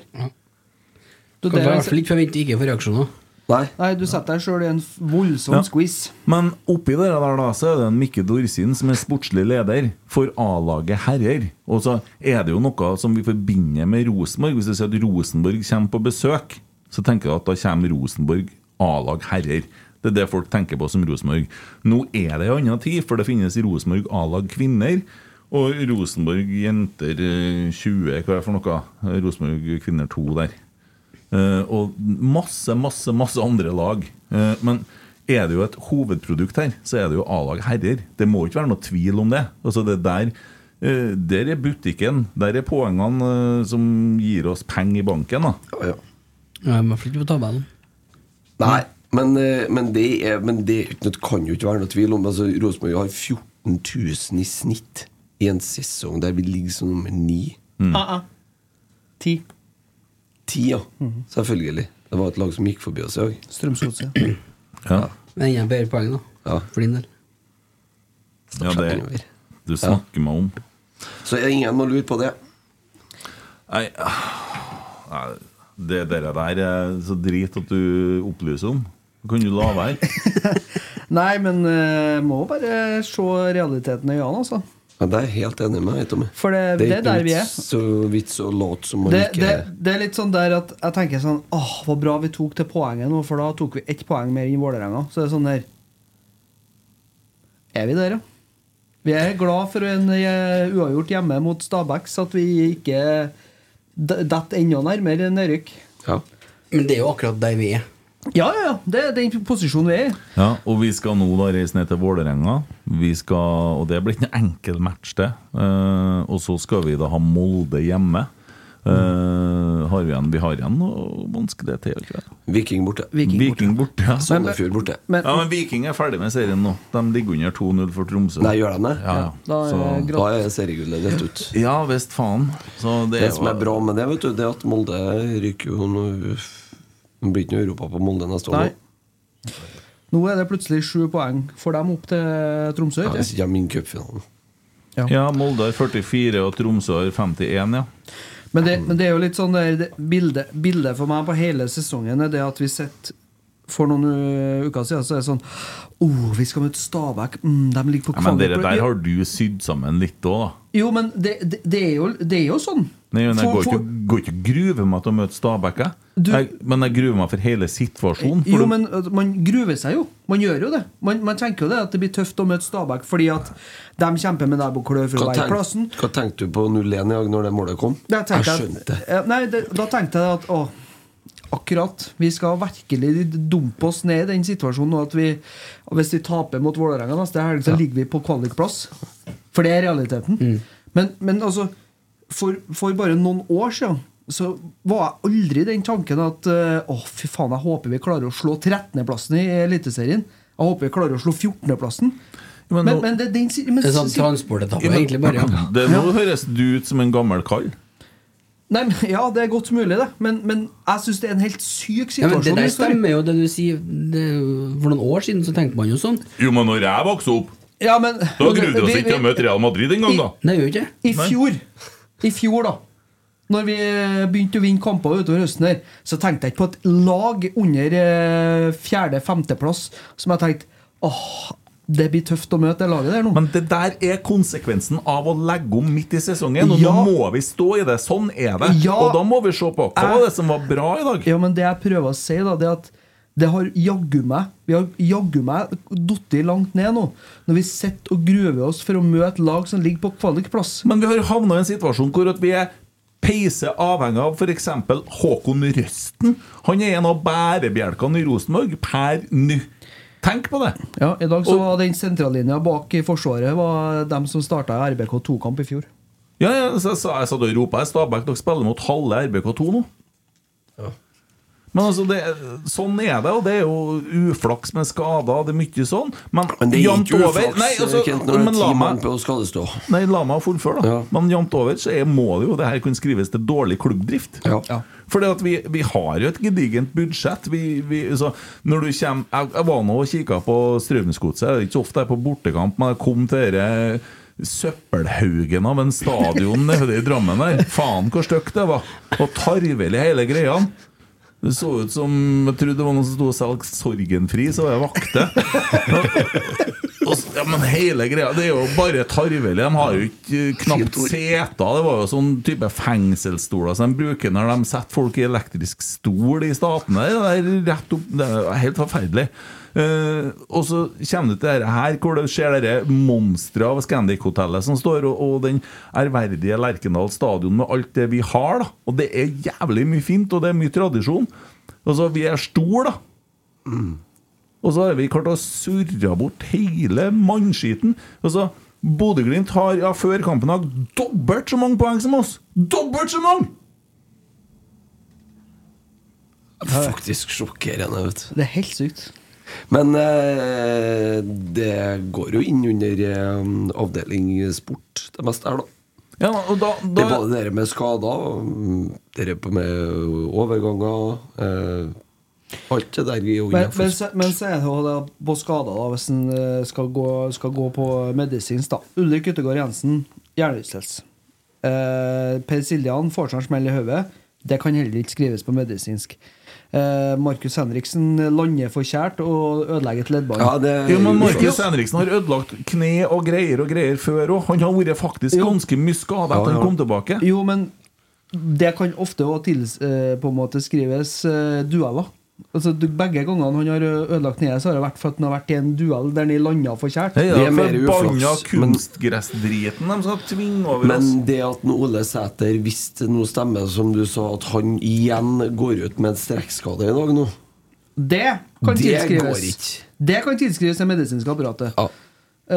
Du
det er
kan i hvert
altså-
fall ikke forvente ikke for reaksjoner.
Nei,
Nei, du setter deg sjøl i en f- voldsom
Ja.
squeeze.
Men oppi det der da, så er det en Mikke Dorsin som er sportslig leder for A-laget herrer. Og så er det jo noe som vi forbinder med Rosenborg. Hvis du sier at Rosenborg kommer på besøk, så tenker du at da kommer Rosenborg A-lag herrer. Det er det folk tenker på som Rosenborg. Nå er det en annen tid, for det finnes Rosenborg A-lag kvinner. Og Rosenborg jenter eh, 20, hva er det for noe? Rosenborg kvinner 2 der. Eh, og masse, masse, masse andre lag. Eh, men er det jo et hovedprodukt her, så er det jo A-lag herrer. Det må ikke være noe tvil om det. Altså det der, eh, der er butikken. Der er poengene eh, som gir oss penger i banken. Da.
ja, ja.
Ja, I hvert fall ikke på tabellen.
Nei men, eh, men, det er, men det er jo ikke noe- kan jo ikke være noe tvil om altså, Rosenborg har 14 000 i snitt I en sesong der vi ligger som nummer 9
Ah, ah. Ti.
10, ja,
Mhm.
selvfølgelig Det var et lag som gikk forbi oss i dag
Strømsgodset.
Ja.
Men enda bedre poeng, da.
Ja.
For din del.
Ja, det du snakker meg om.
Så er det ingen må lure på det
Nei, nei det der, der er så drit at du opplyser om. Kan du la være?
Nei, men eh, må bare se realiteten i øynene, altså.
Ja, det er jeg helt enig med deg, Tommy.
For det- det er
ikke
der vi er.
vits- Så vits å late som man
Det,
ikke
det, det er litt sånn der at jeg tenker sånn Åh, hvor bra vi tok det poenget nå, for da tok vi ett poeng mer enn Vålerenga. Så det er sånn der Er vi der, ja? Vi er glad for en eh, uavgjort hjemme mot Stabæk, så at vi ikke d- detter enda nærmere nedrykk.
ja.
Men det er jo akkurat der vi er.
Ja, ja, ja. Det er den posisjonen vi er i.
Ja, og vi skal nå da reise ned til Vålerenga. Vi skal, og det blir ikke en enkel match, det. Eh, og så skal vi da ha Molde hjemme. Eh, har vi, en, vi har igjen noe vanskelig til, gjør vi ikke det?
Viking borte.
Viking borte. Ja.
Sandefjord borte.
Men,
ja, men Viking er ferdig med serien nå. De ligger under 2-0 for Tromsø.
Nei, gjør de det?
ja, ja.
da er det
Da
grått.
er seriegullet rett ut.
ja visst faen. Så det,
Det
er
som
jo-
er bra med det, vet du, det er at Molde ryker jo nå Det blir ikke noe Europa på Molde neste år.
Nei.
nå.
Nå er det plutselig sju poeng for dem opp til Tromsø.
Ja,
ikke?
Hvis ikke de vinner cupfinalen.
Ja, Molde har 44 og Tromsø har 51, ja.
Men det, men det er jo litt sånn der, det, bildet, bildet for meg på hele sesongen er det at vi sitter for noen ø, uker siden, så er det sånn oh, vi skal møte Stabæk. Mm, de ligger på
ja men dere
kvalikpla-
der har du sydd sammen litt òg, da.
Jo, men det, det, det, er jo, det er jo sånn.
Nei, men jeg
For-
går ikke,
for-
går ikke og gruer meg til å møte Stabæk. jeg.
Du-
Jeg, men jeg gruer meg for hele situasjonen. For
jo,
du-
men ø, man gruer seg jo. Man gjør jo det. Man, man tenker jo det at det blir tøft å møte Stabæk fordi at de kjemper med nebb og klør for
Hva,
å være i
tenk,
plassen.
hva tenkte du på 0-1 i dag når det målet kom?
Da
jeg
tenkte jeg,
skjønte det.
Ja, Nei, det, da tenkte jeg at å, akkurat. Vi skal virkelig dumpe oss ned i den situasjonen. Og at vi, og hvis vi taper mot Vålerenga neste helg, så ligger vi på kvalikplass. For det er realiteten. Men, men altså, for, for bare noen år siden så var jeg aldri i den tanken at eh, å, fy faen, jeg håper vi klarer å slå 13.-plassen i Eliteserien. Jeg håper vi klarer å slå 14.-plassen.
Men
Men,
nå-
men, det er den si- men,
Det er sånn
si-
transportetappe, egentlig bare. Ja.
Det nå høres du ut som en gammel kall.
Nei, men, ja, det er godt mulig, det. Men, men jeg syns det er en helt syk
Ja, men det
situasjon.
der
vi står i.
stemmer jo, det du sier. Det, er jo- for noen år siden så tenkte man jo sånn.
Jo, men når jeg vokste opp,
ja, men, vi- vi-
Real Madrid en
gang, da.
Det gjør jo ikke det.
I fjor, I fjor da når vi begynte å vinne kamper utover høsten, her, så tenkte jeg ikke på eh, et lag under fjerde-femteplass som jeg tenkte åh, det blir tøft å møte det laget der nå.
Men det der er konsekvensen av å legge om midt i sesongen, og
Ja.
nå må vi stå i det. Sånn er det.
Ja.
Og da må vi se på hva var det som var bra i dag.
Ja, men det jeg prøver å si, da, det er at det har jaggu meg Vi har jaggu meg falt langt ned nå. Når vi sitter og gruer oss for å møte lag som ligger på kvalikplass.
Men vi har havna i en situasjon hvor at vi er peise avhengig av f.eks. Håkon Røsten. Han er en av bærebjelkene i Rosenborg per nå. Tenk på det!
Ja, I dag så
Og-
var den sentrallinja bak i Forsvaret var dem som starta RBK2-kamp i fjor.
Ja, ja, så, så, jeg satt og ropa i Stabæk dere spiller mot halve RBK2 nå. Men altså, det, sånn er det, og det er jo uflaks med skader. Det er mye sånn. Men,
Men det er
jevnt
ikke
over-
uflaks,
Nei, altså,
eh, Kent, når det
men
er
la
ti
meg-
mann på skadestå.
Nei, la meg fullføre, da.
Ja.
Men jevnt over så er, må det jo det her kunne skrives til dårlig klubbdrift.
Ja.
Ja.
For vi, vi har jo et gedigent budsjett. Vi, vi, så når du kommer, jeg, jeg var nå og kikka på Strømsgodset. Det er ikke så ofte jeg er på bortekamp, men jeg kom til dette søppelhaugen av en stadion nede i Drammen der. Faen, hvor stygt det var! Og tarvelig, hele greia. Det så ut som Jeg trodde det var noen som sto og solgte Sorgenfri, så var jeg vakte. Og s- Ja, men hele greia Det er jo bare tarvelig. De har jo ikke eh, knapt seter. Det var jo sånn type fengselsstoler som de bruker når de setter folk i elektrisk stol i statene. Det er rett opp Det er helt forferdelig. Eh, og så kommer du til dette her, hvor du ser dette monsteret av Scandic-hotellet som står, og, og den ærverdige Lerkendal stadion med alt det vi har, da. Og det er jævlig mye fint, og det er mye tradisjon. Og så vi er store, da. Og så har vi klart å surre bort hele mannskiten. Og så Bodø-Glimt har ja, før kampen har dobbelt så mange poeng som oss! Dobbelt så mange!
Faktisk sjokkerende, vet du.
Det er helt sykt.
Men eh, det går jo inn under eh, avdeling sport, det meste her, da.
Ja, og da,
Det
da
er både det der med skader, mm, det der på med overganger eh, Alt det der er jo
Men, men,
innenfor
så- men så er det jo det på skader, da, hvis en eh, skal gå, skal gå på medisinsk, da. Ulrik Yttergård Jensen, hjernerystelse. Eh, per Siljan får seg en smell i hodet. Det kan heller ikke skrives på medisinsk. Eh, Markus Henriksen lander for kjært og ødelegger et leddbånd.
Ja, det
jo, men Markus
Ja,
Henriksen har ødelagt kne og greier og greier før òg. Han har vært faktisk ganske mye skada etter han kom tilbake.
Jo, men det kan ofte også tils, eh, på en måte skrives eh, dueller. Altså, du, begge gangene han har ø, ødelagt kneet, så har det vært for at han har vært i en duell der han landa for kjært.
Det
Det er
er
mer
den forbanna
uflaks, men-
kunstgressdriten de skal tvinge over
Men
oss.
det at nå Ole Sæter, hvis det nå stemmer som du sa, at han igjen går ut med en strekkskade i dag nå
Det kan
Det
tilskrives.
går ikke.
Det kan tilskrives det medisinske apparatet.
Ja.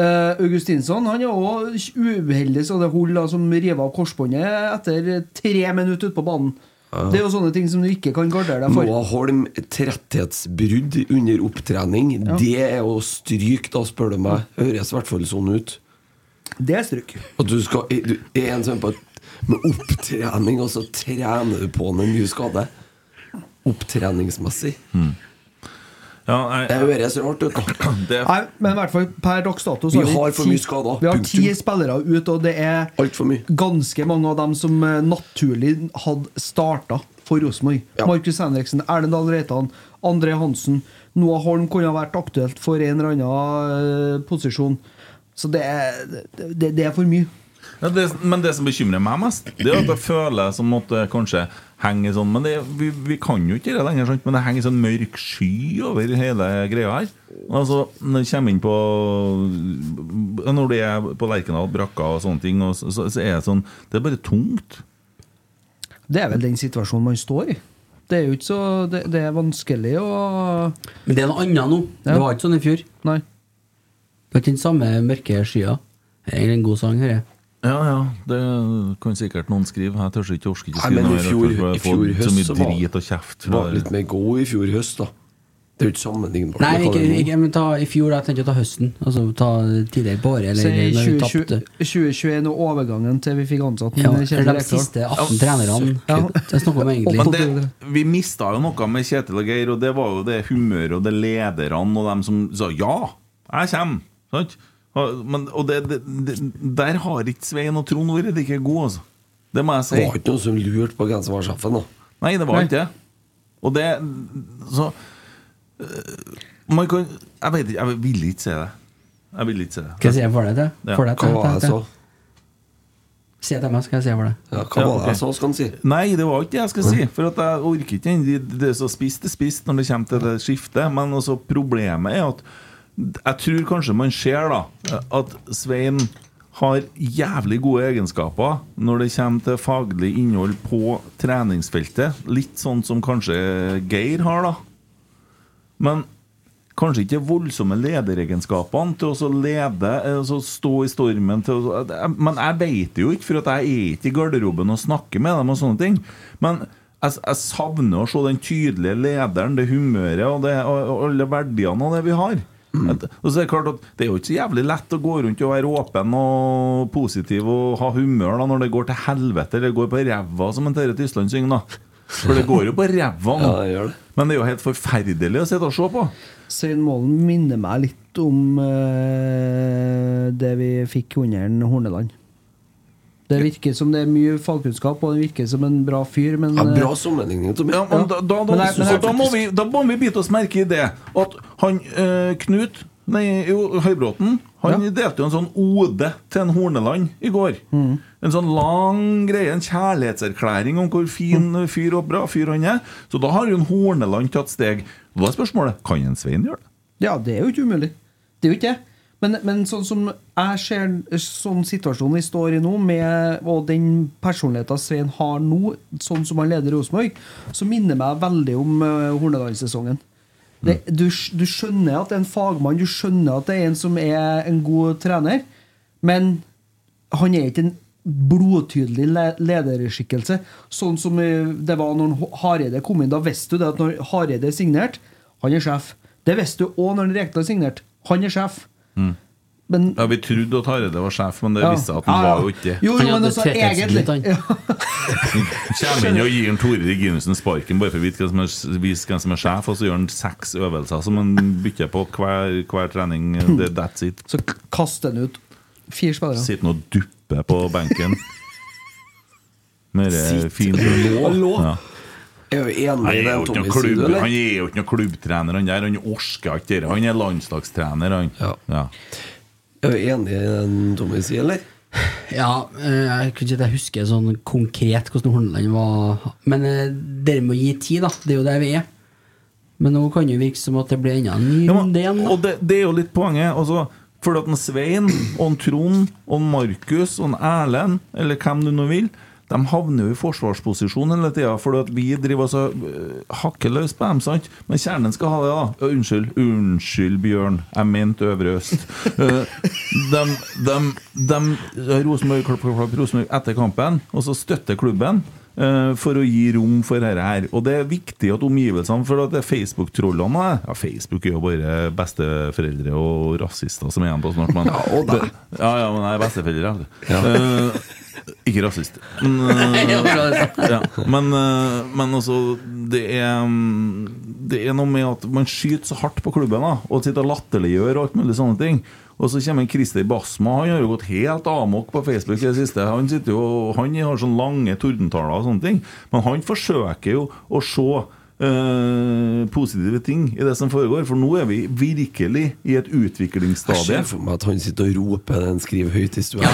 Eh, Augustinsson han er også uheldig så det holder da, som river av korsbåndet etter tre minutter ute på banen. Det er jo sånne ting som du ikke kan gardere deg for.
Noah Holm, tretthetsbrudd under opptrening. Det er å stryke, da, spør du meg. Høres i hvert fall sånn ut.
Det er strykk.
At du skal du er en sånn på et- med opptrening, og så trener du på han en mye skade. Opptreningsmessig.
Ja, nei,
Det høres rart ut, da.
det er
Nei, men i hvert fall per dags dato så
Vi har for
ti-
mye skader.
Vi har
Punktum.
ti spillere ute, og det er
Altfor mye.
ganske mange av dem som eh, naturlig hadde starta for Rosenborg.
Ja.
Markus Henriksen, Erlend Dahl Reitan, André Hansen. Noah Holm kunne ha vært aktuelt for en eller annen eh, posisjon. Så det er, det, det er for mye.
Ja, det, men det som bekymrer meg mest, Det er at jeg føler som at det kanskje henger sånn Men det, vi, vi kan jo ikke gjøre det lenger, sant? men det henger sånn mørk sky over hele greia her. Altså, Når du kommer inn på Når det er på Lerkendal, brakka og sånne ting, og så, så, så er det sånn Det er bare tungt.
Det er vel den situasjonen man står i. Det er jo ikke så Det, det er vanskelig å
Men det er noe annet nå.
Ja.
Det var ikke sånn i fjor.
Nei.
Det er ikke den samme mørke skya. Det er en god sang, hører jeg.
Ja, ja, det kan sikkert noen skrive. Jeg tør ikke orker ikke å
Nei,
skrive
men i
noe. her,
fjor-
for jeg
i fjor
får
høst så
så
var-
mye drit og kjeft.
Var litt mer god i fjor høst, da. Det er jo ikke sammenlignbart.
Nei,
med hva
ikke,
det er nå.
ikke, men ta i fjor. da. Jeg tenkte å ta høsten. Altså ta tidligere på året,
Så i
eller når vi
2020
tapte.
2021 og overgangen til vi fikk ansatt
Ja,
Kjetil
eller de
Rekdal.
siste 18 trenerne.
Ja.
Det snakker vi om
Men
egentlig.
det, vi mista jo noe med Kjetil og Geir, og det var jo det humøret og det lederne og dem som sa ja, jeg kommer. Sant? Og, men, og det, det, det, der har ikke Svein og Trond vært like gode, altså. Det må jeg si.
Det var ikke noen som lurte på hvem som var sjefen, da.
Nei, det var ikke det. Og det eh, Så øh, Man kan Jeg vet ikke, jeg vil ikke si det. Jeg vil ikke se det.
Skal jeg si for deg til?
Ja.
For deg
Hva
til?
var det jeg
til-
så?
til- Si det til meg, skal jeg si for deg.
Ja, hva
Ja,
var det jeg
ok.
så, skal han si?
Nei, det var ikke det jeg skulle si. For at jeg orker ikke den. Det- Det er så spist det er spist når det kommer til det skiftet. Men også problemet er at jeg tror kanskje man ser da at Svein har jævlig gode egenskaper når det kommer til faglig innhold på treningsfeltet. Litt sånn som kanskje Geir har, da. Men kanskje ikke voldsomme lederegenskapene til å så lede, eh, så stå i stormen til å, jeg- Men jeg vet det jo ikke, for at jeg er ikke i garderoben og snakker med dem og sånne ting. Men jeg, jeg savner å se den tydelige lederen, det humøret og, det, og, og alle verdiene av det vi har.
Mm.
At- Og så er Det klart at det er jo ikke så jævlig lett å gå rundt og være åpen og positiv og ha humør da når det går til helvete eller går på ræva, som en Terje Tysland synger. da For det går jo på ræva nå.
Ja, det gjør det.
Men det er jo helt forferdelig å sitte og se på.
Svein Målen minner meg litt om eh, det vi fikk under en Horneland. Det virker som det er mye fagkunnskap, og det virker som en bra fyr, men
Ja,
eh,
bra sammenligning, Tommy.
Ja, men da, da, da,
Men jeg- men jeg-
så da, må vi, da må vi bite oss merke i det at han eh, Knut Nei, jo, Høybråten Han delte jo en sånn ode til en Horneland i går.
Mm.
En sånn lang greie, en kjærlighetserklæring om hvor fin
Mm.
fyr og bra fyr han er. Så da har jo en Horneland tatt steg. Da er spørsmålet kan en Svein gjøre det.
Ja, det er jo ikke umulig. Det er jo ikke det. Men, men sånn som jeg ser sånn situasjonen vi står i nå, med, og den personligheten Svein har nå, sånn som han leder Rosenborg, så minner meg veldig om uh, Horneland-sesongen. Det, du, sk- du skjønner at det er en fagmann, du skjønner at det er en som er en god trener, men han er ikke en blodtydelig le- lederskikkelse. Sånn som eh, det var når H- Hareide kom inn. Da visste du det at når Hareide er signert, han er sjef. Det visste du òg når Rekdal er signert. Han er sjef. Men
Mm. Ja, Vi trodde at Hareide var sjef, men det
ja.
viste seg at han
Ja, ja.
var jo ikke det.
Jo,
Han
jo, men
hadde
altså,
tretthetslitt,
egentlig
han.
ja.
Kjem inn og gir en Tore Reginussen sparken bare for å vite hvem som er- vise hvem som er sjef, og så gjør han seks øvelser som han bytter på hver, hver trening. Det- That's it.
Så k- kaster han ut fire spillere.
Sitter nå og dupper på benken. Med det fint og lå. Ja.
Jeg er jo
Han
enig i
er
det
jo ikke noe
Tommy
klubb,
sier,
han
eller?
er jo ikke noe klubbtrener, han der. Han orsker ikke det. Han er landslagstrener, han.
Ja.
Ja.
Jeg er jo enig i det Tommy sier, eller?
Ja, eh, jeg kunne ikke at jeg husker sånn konkret hvordan Horneland var Men eh, det med å gi tid, da. Det er jo der vi er. Men nå kan det jo virke som at det blir enda en ny
Ja,
runde
men,
igjen. da.
og det, det er jo litt poenget. Altså, for at en Svein og en Trond og en Markus og en Erlend, eller hvem du nå vil, de havner jo i forsvarsposisjon hele tida, for at vi driver altså øh, hakker løs på dem. sant? Men kjernen skal ha det, da. Ja, Unnskyld, unnskyld, Bjørn. Jeg mente Øvre Øst. Eh, dem, dem, dem, Rosenborg, klapp, klapp, klapp, Rosenborg etter kampen, og så støtter klubben eh, for å gi rom for dette her. Og det er viktig at omgivelsene For at det er Facebook-trollene Ja, Facebook er jo bare besteforeldre og rasister som er igjen på snart, men
Ja, og deg.
Ja, ja, men jeg er besteforeldre.
Ja.
Eh, ikke rasist. Men, eh,
Ja, bra, det sa jeg.
ja. men, eh, men altså det er, mm, det er noe med at man skyter så hardt på klubben da, og sitter og latterliggjør og alt mulig sånne ting. Og så kommer Christer Basma. Han har jo gått helt amok på Facebook i det siste. Han, sitter jo, han har sånne lange tordentaler og sånne ting. Men han forsøker jo å se eh, positive ting i det som foregår, for nå er vi virkelig i et
Jeg
utviklingsstadie.
ser for meg at han sitter og roper den skriver høyt i stua.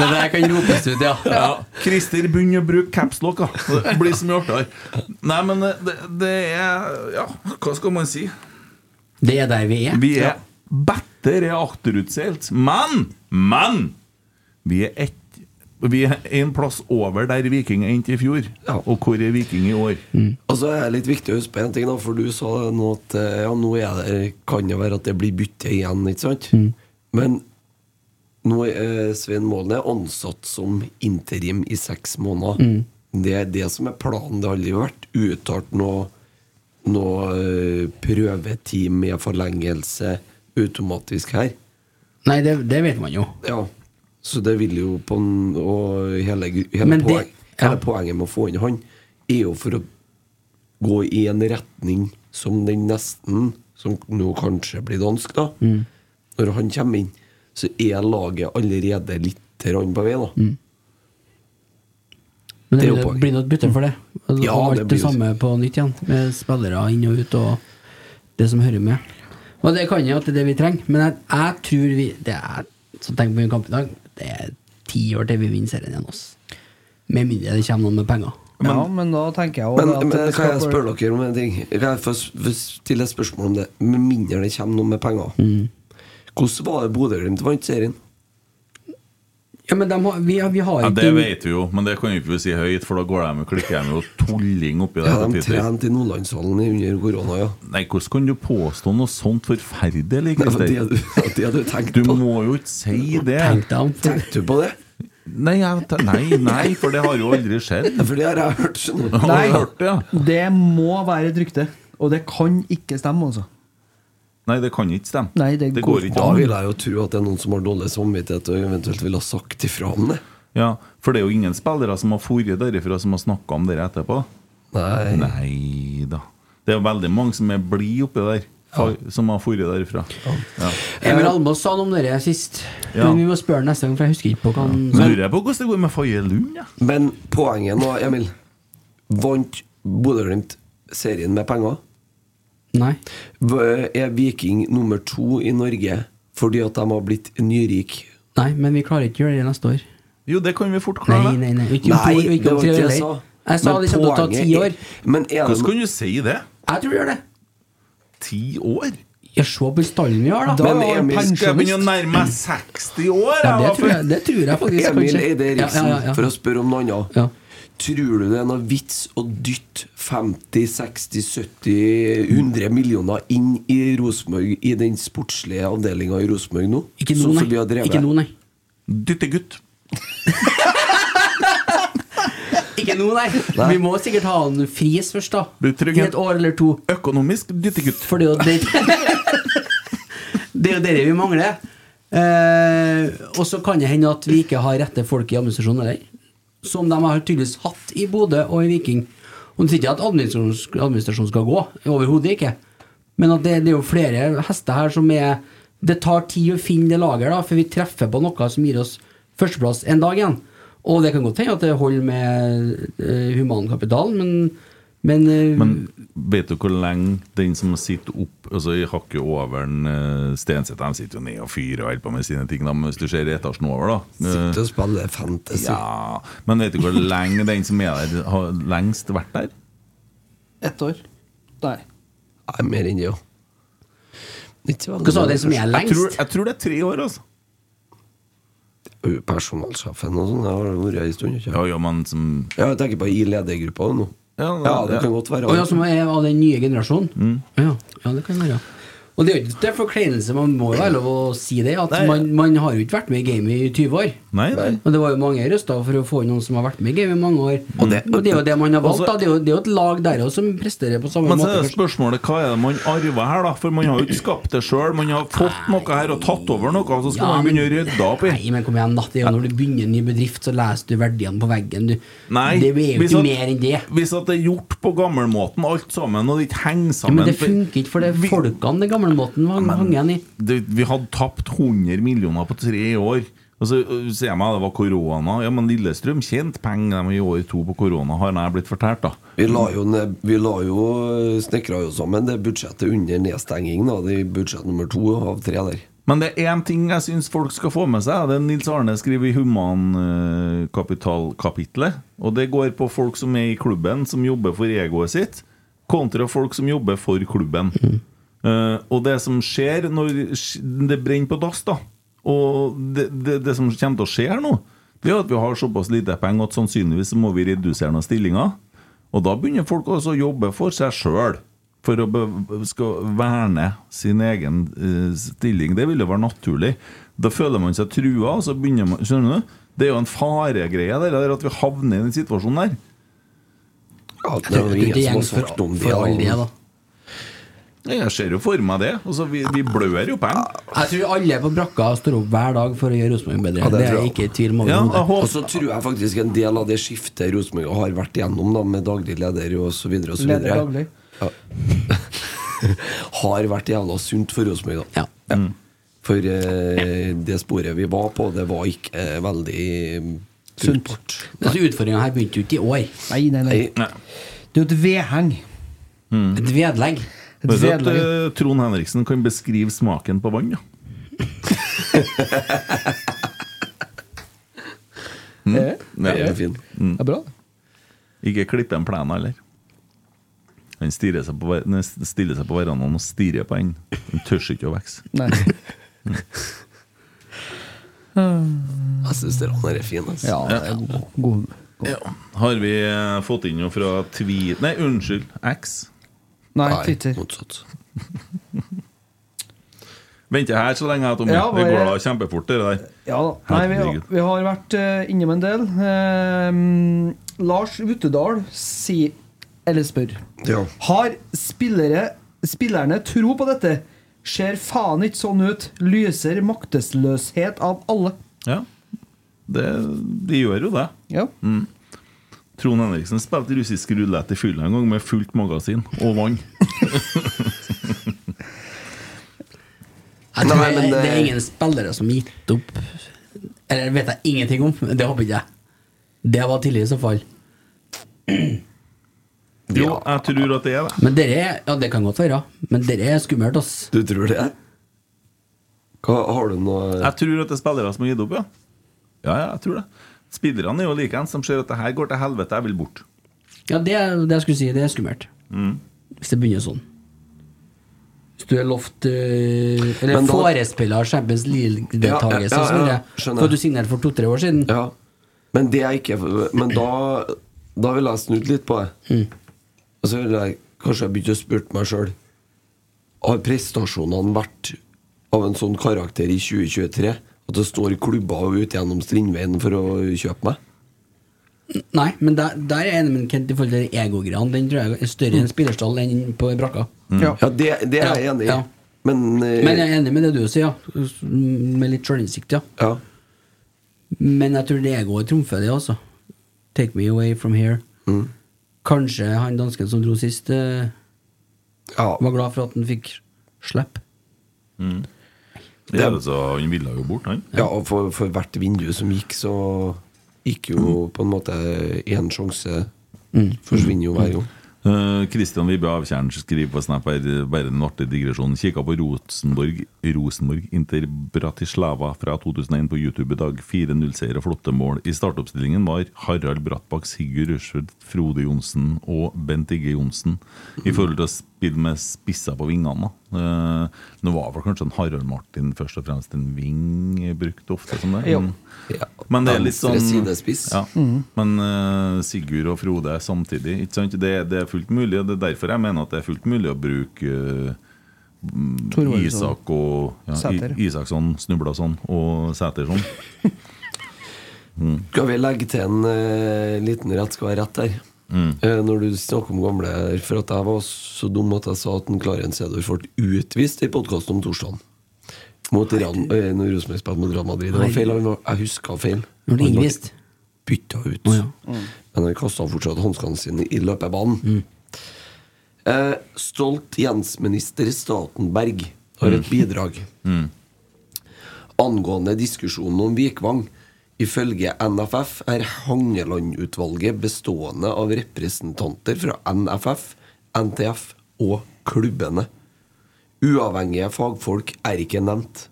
Det der kan ropes ut, ja.
Christer begynner å bruke capslock. da. Det blir så mye artigere. Nei, men eh, det, det- det er Ja, hva skal man si?
Det er der vi er.
Vi er bedre er akterutseilt, men Men! Vi er ett vi er en plass over der Viking endte i fjor.
Ja.
Og hvor er Viking i år?
Og så er det litt viktig å huske på en ting, da, for du sa det nå at eh, ja, nå er det, kan det være at det blir bytte igjen, ikke sant? Men nå er Svein Målen er ansatt som interim i seks måneder. Det er det som er planen. Det har aldri vært uttalt noe, noe eh, prøvetid med forlengelse automatisk her.
Nei, det, det vet man jo.
Ja, så det vil jo på en, Og hele, hele,
Men det-
poeng, hele
ja.
poenget med å få inn han, er jo for å gå i en retning som den nesten, som nå kanskje blir dansk, da.
Mm.
Når han kommer inn, så er laget allerede litt rann på vei, da.
Mm. Men
Det
det,
er jo
blir-
poeng.
blir noe bytte for det. Altså, Og
Ja,
alt
det
det,
blir jo-
samme på nytt igjen, med spillere inn og ut og det som hører med. Og det kan jo at det er det vi trenger, men jeg, jeg tror vi Det er som tenker på en kamp i dag, det er ti år til vi vinner serien igjen, oss. Med mindre det kommer noen med penger.
ja, men da tenker jeg jo
Men,
at
men
det
kan jeg
skal-
spørre dere om en ting? Kan jeg få s- få stille et spørsmål om det? Med mindre det kommer noen med penger.
Mm.
Hvordan var det Bodø-Glimt vant serien?
Ja, men dem har, vi, har- vi har
Ja,
ikke
det vet vi jo, men det kan vi ikke si høyt, for da går de og klikker de jo tulling oppi der.
Ja,
på
de
Twitter.
trente i Nordlandshallen under korona, ja.
Nei, hvordan kan du påstå noe sånt forferdelig?
Det var
Christer?
det du, det du tenkte
Du
på.
må jo ikke si det!
tenkt dem. For,
Tenkte du på det?
Nei, jeg, te- nei, nei, for det har jo aldri skjedd.
Ja, For det har jeg hørt. skjønner du.
Har
Nei.
du hørt det? ja?
Det må være et rykte, og det kan ikke stemme, altså.
Nei, det kan ikke stemme.
Nei, det går
går ikke
Da
an.
vil jeg jo tro at det er noen som har dårlig samvittighet og eventuelt vil ha sagt ifra om det.
Ja, for det er jo ingen spillere som har foret derifra, som har snakka om det etterpå.
Nei.
Nei da. Det er veldig mange som er blide oppi der, fa- som har foret derifra. Ja.
Emil Almås sa noe om det sist,
Ja.
men vi må spørre neste gang, for jeg husker ikke på hva han
Så lurer jeg på hvordan det går med Faye Lund, ja.
Men poenget nå, Emil Vant Bodø-Glimt serien med penger?
Nei.
V- Er Viking nummer to i Norge fordi at de har blitt nyrik?
Nei, men vi klarer ikke å gjøre det neste år.
Jo, det kan vi fort
Nei,
klare.
nei, nei. Ikke om to år, og ikke om tre år heller. Jeg sa liksom det kommer
Men
til å ta
poenget
ti
er-
år.
Men er det
Hvordan kan du si det?
Jeg tror vi gjør det.
Ti år?
Ja, se på stallen vi har, da.
Men
Men er
Emil-
pensjonist.
Skal jeg begynne å nærme meg 60 år?
Ja, det,
jeg,
tror
da,
jeg, det tror jeg faktisk
Emil
kanskje.
Eide
Ja,
Eriksen,
ja, ja.
for å spørre om noe annet.
Ja.
Tror du det er noe vits å dytte 50-60-70-100 millioner inn i Rosenborg, i den sportslige avdelinga i Rosenborg nå?
Ikke nå,
Sånn som vi har
nei.
drevet?
Ikke nå, nei.
for- Dyttegutt.
Ikke nå, nei. Vi må sikkert ha han fris først, da.
Blir trygg,
I
ja.
et år eller to.
Økonomisk dyttegutt.
For det er jo det Det er jo dere vi mangler. Eh, og så kan det hende at vi ikke har rette folk i administrasjonen heller. Som de har tydeligvis hatt i Bodø og i Viking. Og det sier ikke at administrasjonen administrasjon skal gå. Overhodet ikke. Men at det, det er jo flere hester her som er Det tar tid å finne det laget, da, for vi treffer på noe som gir oss førsteplass en dag igjen. Og det kan godt hende at det holder med eh, humankapitalen, men, men, eh,
Men vet du hvor lenge den som sitter opp Altså i hakket over en uh, Stenseth De sitter jo ned og fyrer og holder på med sine ting da, men Hvis du ser etasjen over da eh,
Sitte og spille fantasy.
ja, Men vet du hvor lenge den som er der Har lengst vært der?
ett år. Nei.
Nei, mer enn det, jo. Ikke så veldig
hva sa du, den som er
Jeg tror,
lengst?
jeg tror det er tre år altså
Jo, Personalsjefen og sånn, det har vært en stund. Ikke?
Ja, ja, men som
Ja, Jeg tenker på i ledergruppa nå.
Ja,
Ja, det
ja.
kan godt være.
Og ja, som er av den nye generasjonen?
Mm.
Ja, ja, det kan være. Og det er jo ikke til forkleinelse, man må jo være lov å si det, at
Nei.
man, man har jo ikke vært med i gamet i 20 år.
Nei, nei
Og det var jo mange røster for å få inn noen som har vært med i gamet i mange år.
Og det-
Men det er jo det man har valgt,
Og så-
da. Det er jo, det er jo et lag der også som presterer på samme
men så
måte.
er det
kanskje.
spørsmålet, hva er det man arver her da? For man har jo ikke skapt det selv Man har fått noe her og tatt over noe Og så skal
Ja,
man
men-
begynne å rydde opp i
Nei, men kom igjen, da. Det er jo når du begynner en ny bedrift, så leser du verdiene på veggen. Du.
Nei,
det er jo
hvis
ikke
at-
mer enn det.
Hvis at det er gjort på gammelmåten, alt sammen, og det ikke henger
Ja,
sammen
men det funker ikke for det er
Vi-
folkene den gamle måten man hang igjen i.
det, Vi hadde tapt 100 millioner på tre år. Og så øh, sier jeg meg det var korona. Ja, men Lillestrøm tjente penger de i år to på korona, har jeg blitt fortalt, da.
Vi la jo, ned- vi la jo eh, snekra jo sammen det budsjettet under nedstenging, da. Det er budsjett nummer to av tre der.
Men det er én ting jeg syns folk skal få med seg. Det er Nils Arne skriver i Humankapitalkapitlet. Og det går på folk som er i klubben, som jobber for egoet sitt, kontra folk som jobber for klubben. Eh, og det som skjer når sk- det brenner på dass, da, og det, det, det som kommer til å skje her nå, det er at vi har såpass lite penger at sannsynligvis så må vi redusere noen stillinger. Og da begynner folk også å jobbe for seg sjøl, for å be, skal verne sin egen eh, stilling. Det ville være naturlig. Da føler man seg trua, og så begynner man Skjønner du? Det er jo en faregreie, det der at vi havner i den situasjonen der.
Ja, det
Det
er
er
jo ingen som har
gjengs for,
sagt om det.
for all det, da.
Jeg ser jo for meg det. Altså, vi, vi blør jo penger.
Jeg tror alle på brakka står opp hver dag for å gjøre Rosenborg bedre.
det
det, er
tror
jeg
jeg.
ikke i tvil om.
Ja,
overhodet.
jeg håper-
Og så tror jeg faktisk en del av det skiftet Rosenborg har vært igjennom, da, med daglig leder og så videre og så
Leder
videre,
daglig.
har vært jævla sunt for Rosenborg, da.
Ja.
For eh, det sporet vi var på, det var ikke eh, veldig sunt.
Altså, Utfordringa her begynte jo ikke i år.
Nei, nei, nei.
Nei.
Mm.
Det er jo et vedheng.
Et vedlegg.
Et
Men så at
vedlegg.
eh, Trond Henriksen kan beskrive smaken på vann, ja.
Eh,
Nei,
Den er fin.
Det er bra.
Ikke klippe en plen heller. Han stirrer seg på, ver- nei, stiller seg på verandaen og stirrer på den. Han tør ikke å vokse.
Nei.
Jeg syns den her er fin. Altså.
Ja, det er god. god.
Har vi eh, fått inn noe fra Tvi... Nei, unnskyld. X.
Nei,
Nei,
Twitter.
motsatt.
Venter her så lenge, Tommy.
Ja,
det går da
bare-
kjempefort, det der.
Ja da. Nei, vi, har-
Herregud.
vi har vært eh, innom en del. Ehm, Lars Vuttedal sier, eller spør,
Ja.
har spillere, spillerne tro på dette? Ser faen ikke sånn ut. Lyser maktesløshet av alle.
Ja. Det, de gjør jo det.
Ja.
Trond Henriksen spilte russisk rulett i fylla en gang med fullt magasin og vann.
Jeg tror
Nei, men eh,
det,
det-
det er ingen spillere som har gitt opp. Eller det vet jeg ingenting om, men det håper ikke jeg. Det var tidlig i så fall.
Jo, jeg tror at det er det.
Men dere, er- ja, det kan godt være, men dere er skummelt, ass.
Du tror det? Hva, har du noe
Jeg tror at det er spillere som har gitt opp, ja. Ja, ja, jeg tror det. Spillerne er jo likeens. De ser at det her går til helvete, jeg vil bort.
Ja, det, er- det jeg skulle si, det er skummelt.
Mm.
Hvis det begynner sånn. Hvis du er lovt øh, Eller
Men da-
forespiller Champions League-deltakelse,
Ja, ja, ja, ja,
ja,
skjønner.
for du signerte for to-tre år siden.
Ja. Men det er ikke Men da Da ville jeg snudd litt på det.
Mm.
Og så ville jeg kanskje jeg begynt å spurt meg sjøl Har prestasjonene vært av en sånn karakter i 2023 at det står klubber ut gjennom Strindveien for å kjøpe meg?
Nei, men der, der er jeg enig med Kent i forhold til egogreiene. Den tror jeg er større
Mm.
enn spillerstall enn på brakka.
Ja.
Ja, det, det er jeg
Ja,
enig i.
ja.
Men, eh,
Men jeg er enig med det du sier, ja. Med litt sjølinnsikt, ja.
ja.
Men jeg tror det egoet trumfer det, altså. Take me away from here.
Mm.
Kanskje han dansken som dro sist, eh,
ja.
var glad for at han fikk slipp.
Det er det, så Han ville jo bort, han.
Ja, og for, for hvert vindu som gikk, så gikk jo på en måte én sjanse
Mm.
Forsvinner jo hver gang.
Eh, Kristian Vibbe Avtjern skriver på Snap her, eh, bare en artig digresjon. Kikka på Rosenborg, Rosenborg Inter Bratislava fra 2001 på YouTube i dag. 4-0-seier og flotte mål. I startoppstillingen var Harald Brattbakk, Sigurd Rushfeldt, Frode Johnsen og Bent Igge Johnsen. I forhold til å spille med spisser på vingene. da. Eh, Nå var vel kanskje en Harald Martin først og fremst en ving brukt ofte som det.
Jo.
men-
Ja.
men det er litt
Venstre
sånn
sidespiss.
Ja. Men eh, Sigurd og Frode er samtidig. Ikke sant? Det, det er fullt mulig, og det er derfor jeg mener at det er fullt mulig å bruke eh,
Thorvaldsen.
Isak og ja,
Sæter.
I, Isaksson, Snublason og sånn. Sæterson.
Skal vi legge til en eh, liten rett skal være rett der?
Mm.
Eh, når du snakker om gamle her, for at jeg var så dum at jeg sa at en Clarence Edor ble utvist i podkasten om torsdagen. Mot Real, eh, når Rosenborg spilte mot Real Madrid. Det var feil. han var- Jeg huska
Når
feil.
det
Han ble
innvist.
bytta ut.
Å, ja. Mm.
Men han kasta fortsatt hanskene sine i løpebanen. Eh, stolt Jens-minister Statenberg har et
Mm.
bidrag angående diskusjonen om Vikvang. Ifølge NFF er Hangeland-utvalget bestående av representanter fra NFF, NTF og klubbene. Uavhengige fagfolk er ikke nevnt.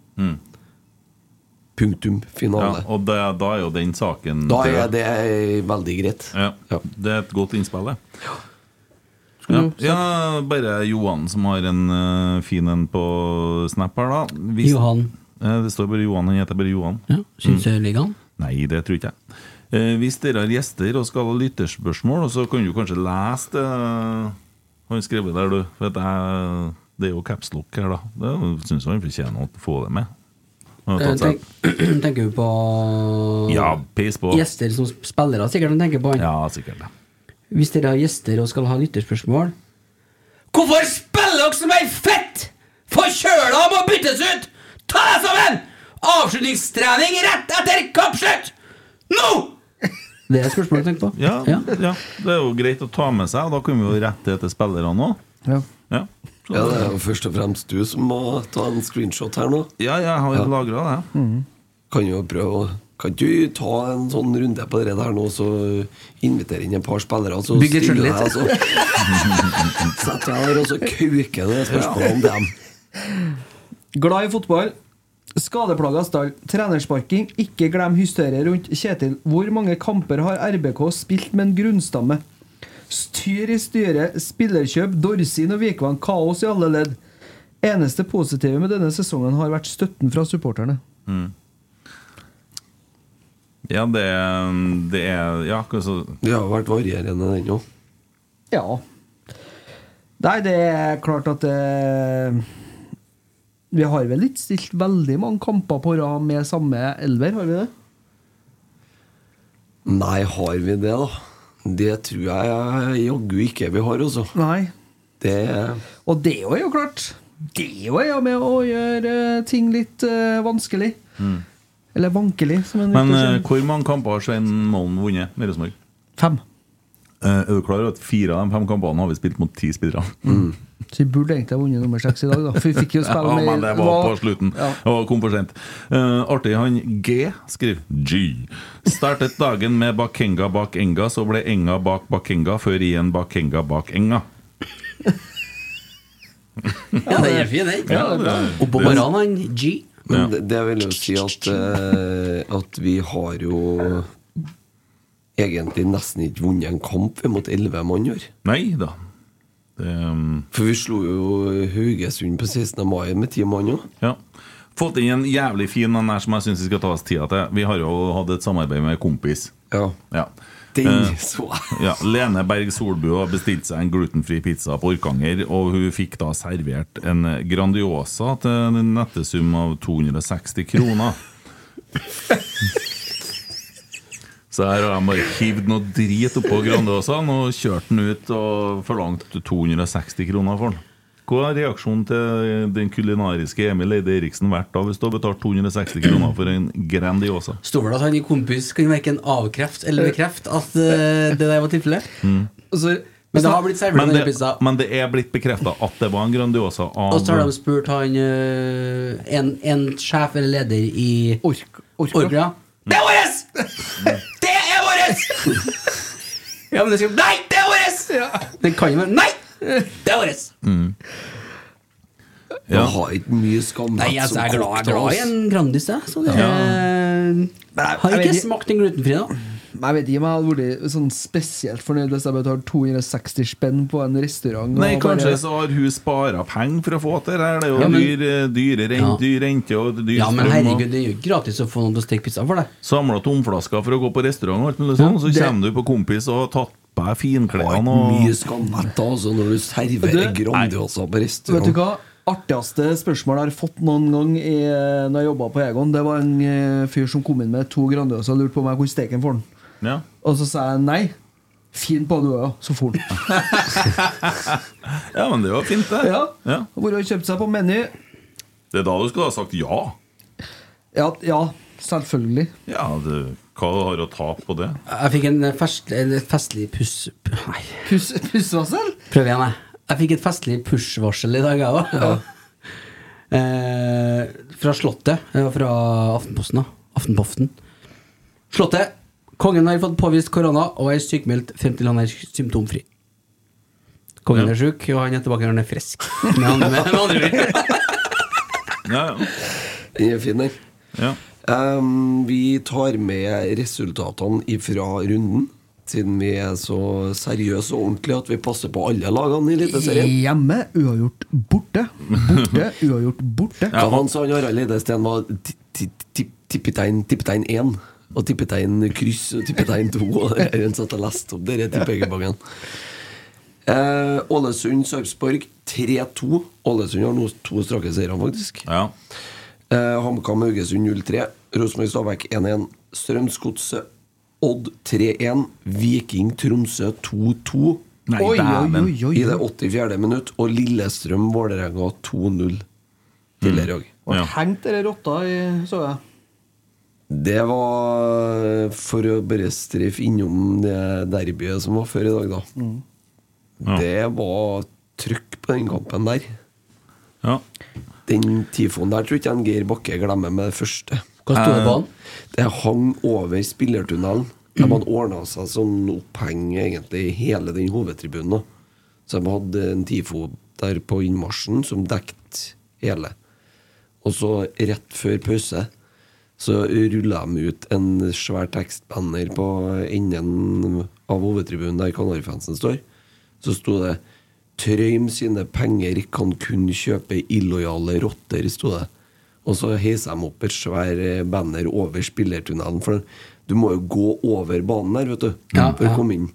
Punktum
Mm. Ja,
finale.
og det, da er jo den saken
da er det veldig greit.
ja,
Ja.
Det er et godt innspill, det. Ja. ja, bare Johan som har en eh, fin en på Snap her, da. Hvis-
Johan.
Eh, det står bare Johan. Han heter bare Johan.
Ja, Synsøyligaen.
Nei, det tror ikke jeg. Eh, hvis dere har gjester og skal ha lytterspørsmål, så kan du kanskje lese det eh, han skrev der, du. For at jeg, det er jo capslock her, da. Det syns jeg han fortjener å få det med. Han har
Eh,
tatt seg-
Tenk, tenker du på
Ja, peis på.
gjester som spillere, sikkert? Han tenker på han.
Ja, sikkert. det.
Hvis dere har gjester og skal ha lytterspørsmål Hvorfor spiller dere som ei fett? Forkjøla må byttes ut! Ta deg sammen! Avslutningstrening rett etter kappslutt! Nå! Det er spørsmålet jeg tenker på.
Ja, ja. det er jo greit å ta med seg, og da kan vi jo rette det til spillerne òg.
Ja.
Ja. Så-
Ja, det er jo først og fremst du som må ta en screenshot her nå.
Mm.
ja, jeg har lagra det.
Kan jo prøve å Kan ikke du ta en sånn runde på det der nå, så invitere inn et par spillere? Så
Bygg litt
stiller jeg
selvtillit.
deg, så setter jeg der, og så kauker det spørsmålet om dem.
Glad i fotball. Skadeplaga stall. Trenersparking. Ikke glem hysteriet rundt Kjetil. Hvor mange kamper har RBK spilt med en grunnstamme? Styr i styret, spillerkjøp, Dorsin og Vikvang. Kaos i alle ledd. Eneste positive med denne sesongen har vært støtten fra supporterne.
Ja, det, det er Ja, altså
Det har jo vært varierende, den òg.
Ja. Nei, det er klart at eh, Vi har vel ikke stilt veldig mange kamper på rad med samme elver, har vi det?
Nei, har vi det, da? Det tror jeg jaggu ikke vi har, altså.
Nei.
Det
Og det er jo klart Det er jo med å gjøre eh, ting litt eh, vanskelig. Eller vankelig, som en
Mm. Men eh,
liker å si.
hvor mange kamper har Svein Målen vunnet med Rosenborg?
Fem.
Eh, er du klar over at fire av de fem kampene har vi spilt mot ti spillere?
Så vi burde egentlig ha vunnet nummer seks i dag, da. For Mm. vi fikk jo
Ja,
spille med
men det var på slutten.
Ja.
Og kom for sent. Eh, artig. Han G skriver G. Startet dagen med Bakenga bak Enga, så ble Enga bak Bakenga, før igjen Bakenga bak Enga.
Ja, den er fin, den.
Ja, det-
Oppå morgenen, han G.
Men det, det vil jo si at, eh, at vi har jo egentlig nesten ikke vunnet en kamp vi mot elleve mann i år.
Nei da. Det, um,
For vi slo jo Haugesund på 16. mai med ti mann òg.
ja. Fått inn en jævlig fin en her som jeg syns vi skal ta oss tida til. Vi har jo hatt et samarbeid med Kompis.
Ja.
Ja.
Den
Eh,
så jeg.
Ja, Lene Berg Solbu har bestilt seg en glutenfri pizza på Orkanger, og hun fikk da servert en Grandiosa til en nettesum av 260 kroner. Så her har de bare hivd noe drit oppå Grandiosaen og kjørt den ut og forlangt 260 kroner for den. Hva har reaksjonen til den kulinariske Emil Eide Eriksen vært da hvis du har betalt 260 kroner for en Grandiosa?
Står vel at han i kompis kan verken avkreft eller bekreft at eh, det der var tilfellet? Altså, men det har blitt
Mm.
servert
Men
en
det,
pizza.
men det er blitt bekrefta at det var en Grandiosa av
Og så har de spurt han eh, en, en sjef eller leder i
Ork, orka.
Orgra. Det er våres! Det er våres! ja, men det skal Nei, det er våres! Det kan jo være Nei! Det er våres!
Jeg har ikke mye skamvett
Nei, altså, jeg er glad, jeg er
kokte
glad i
oss.
en Grandis, jeg. Så det er Har
jeg
ikke
vet-
smakt den glutenfrie, da.
Jeg vet ikke om jeg hadde vært sånn spesielt fornøyd hvis jeg betalte 260 spenn på en restaurant. og
Nei,
bare-
kanskje så har hun spara penger for å få til det her. Det er jo
Ja, men-
dyr, eh, dyre rent,
Ja.
dyr rente og dyr
Ja,
strøm
men
og-
herregud, det er jo ikke gratis å få noen til å steke pizza for deg.
Samla tomflasker for å gå på restaurant og alt mulig sånn, så
det-
kommer du på kompis og har tatt på deg finklærne
Mye
og
skamvett da, altså, når du serverer
Du-
Grandiosa på
Vet du
restaurant.
hva? Artigste spørsmål jeg har fått noen gang i, når jeg jobba på Egon, det var en eh, fyr som kom inn med to Grandiosa og lurte på om jeg kunne steke den for han.
ja.
Og så sa jeg nei. Fin på du òg, så for han.
ja, men det var fint, det.
Ja.
Ja.
Hvor har kjøpt seg på Meny?
Det er da du skulle ha sagt ja.
Ja, ja, selvfølgelig.
Ja, det, Hva har du å tape på det?
Jeg fikk en fest, en festlig puss... Nei,
Puss- Pussvassel?
prøv igjen, jeg. Jeg fikk et festlig push-varsel i dag, jeg òg. Eh, fra Slottet. eh, Fra Aftenposten, da. Aftenpoften. Slottet. Kongen har fått påvist korona og er sykmeldt frem til han er symptomfri. Kongen
Ja.
er sjuk, og han er tilbake når han er frisk. Med andre, med andre ord.
Ja, ja.
Den er fin, den.
ja.
Ehm, vi tar med resultatene ifra runden, siden vi er så seriøse og ordentlige at vi passer på alle lagene i Eliteserien.
Hjemme, uavgjort borte. Borte, uavgjort borte.
Ja. Han sa han Harald Eidesteen var ti- ti- ti- tippetegn tippetegn 1 og tippetegn kryss og tippetegn 2. Og det er en satt og leste opp dere tippegebakken. Eh, Ålesund-Sarpsborg 3-2. Ålesund har nå to strake seire, faktisk.
ja.
Eh, HamKam Haugesund 0-3. Rosenborg-Stabæk 1-1. Strømsgodset Odd 3-1. Viking Tromsø 2-2
Nei,
Oi, oi,
dæven.
oi, oi.
i det 84. minutt. Og Lillestrøm Vålerenga 2-0 tidligere òg.
Ble
Ja.
hengt eller rotta i, så jeg.
Det var for å bare streife innom det derbyet som var før i dag, da. Det var trykk på den kampen der.
Ja.
Den tifoen der tror ikke jeg en Geir Bakke glemmer med det første.
Hva sto det på han?
Det hang over spillertunnelen. De hadde ordna seg som oppheng egentlig i hele den hovedtribunen. da. Så de hadde en TIFO der på innmarsjen som dekket hele. Og så rett før pause så rulla de ut en svær tekstbanner på enden av hovedtribunen der Kanarifansen står. Så sto det 'Trøym sine penger kan kun kjøpe illojale rotter', sto det. Og så heiser de opp et svær eh, banner over spillertunnelen. For du må jo gå over banen der, vet du.
Ja,
for å
ja.
komme inn.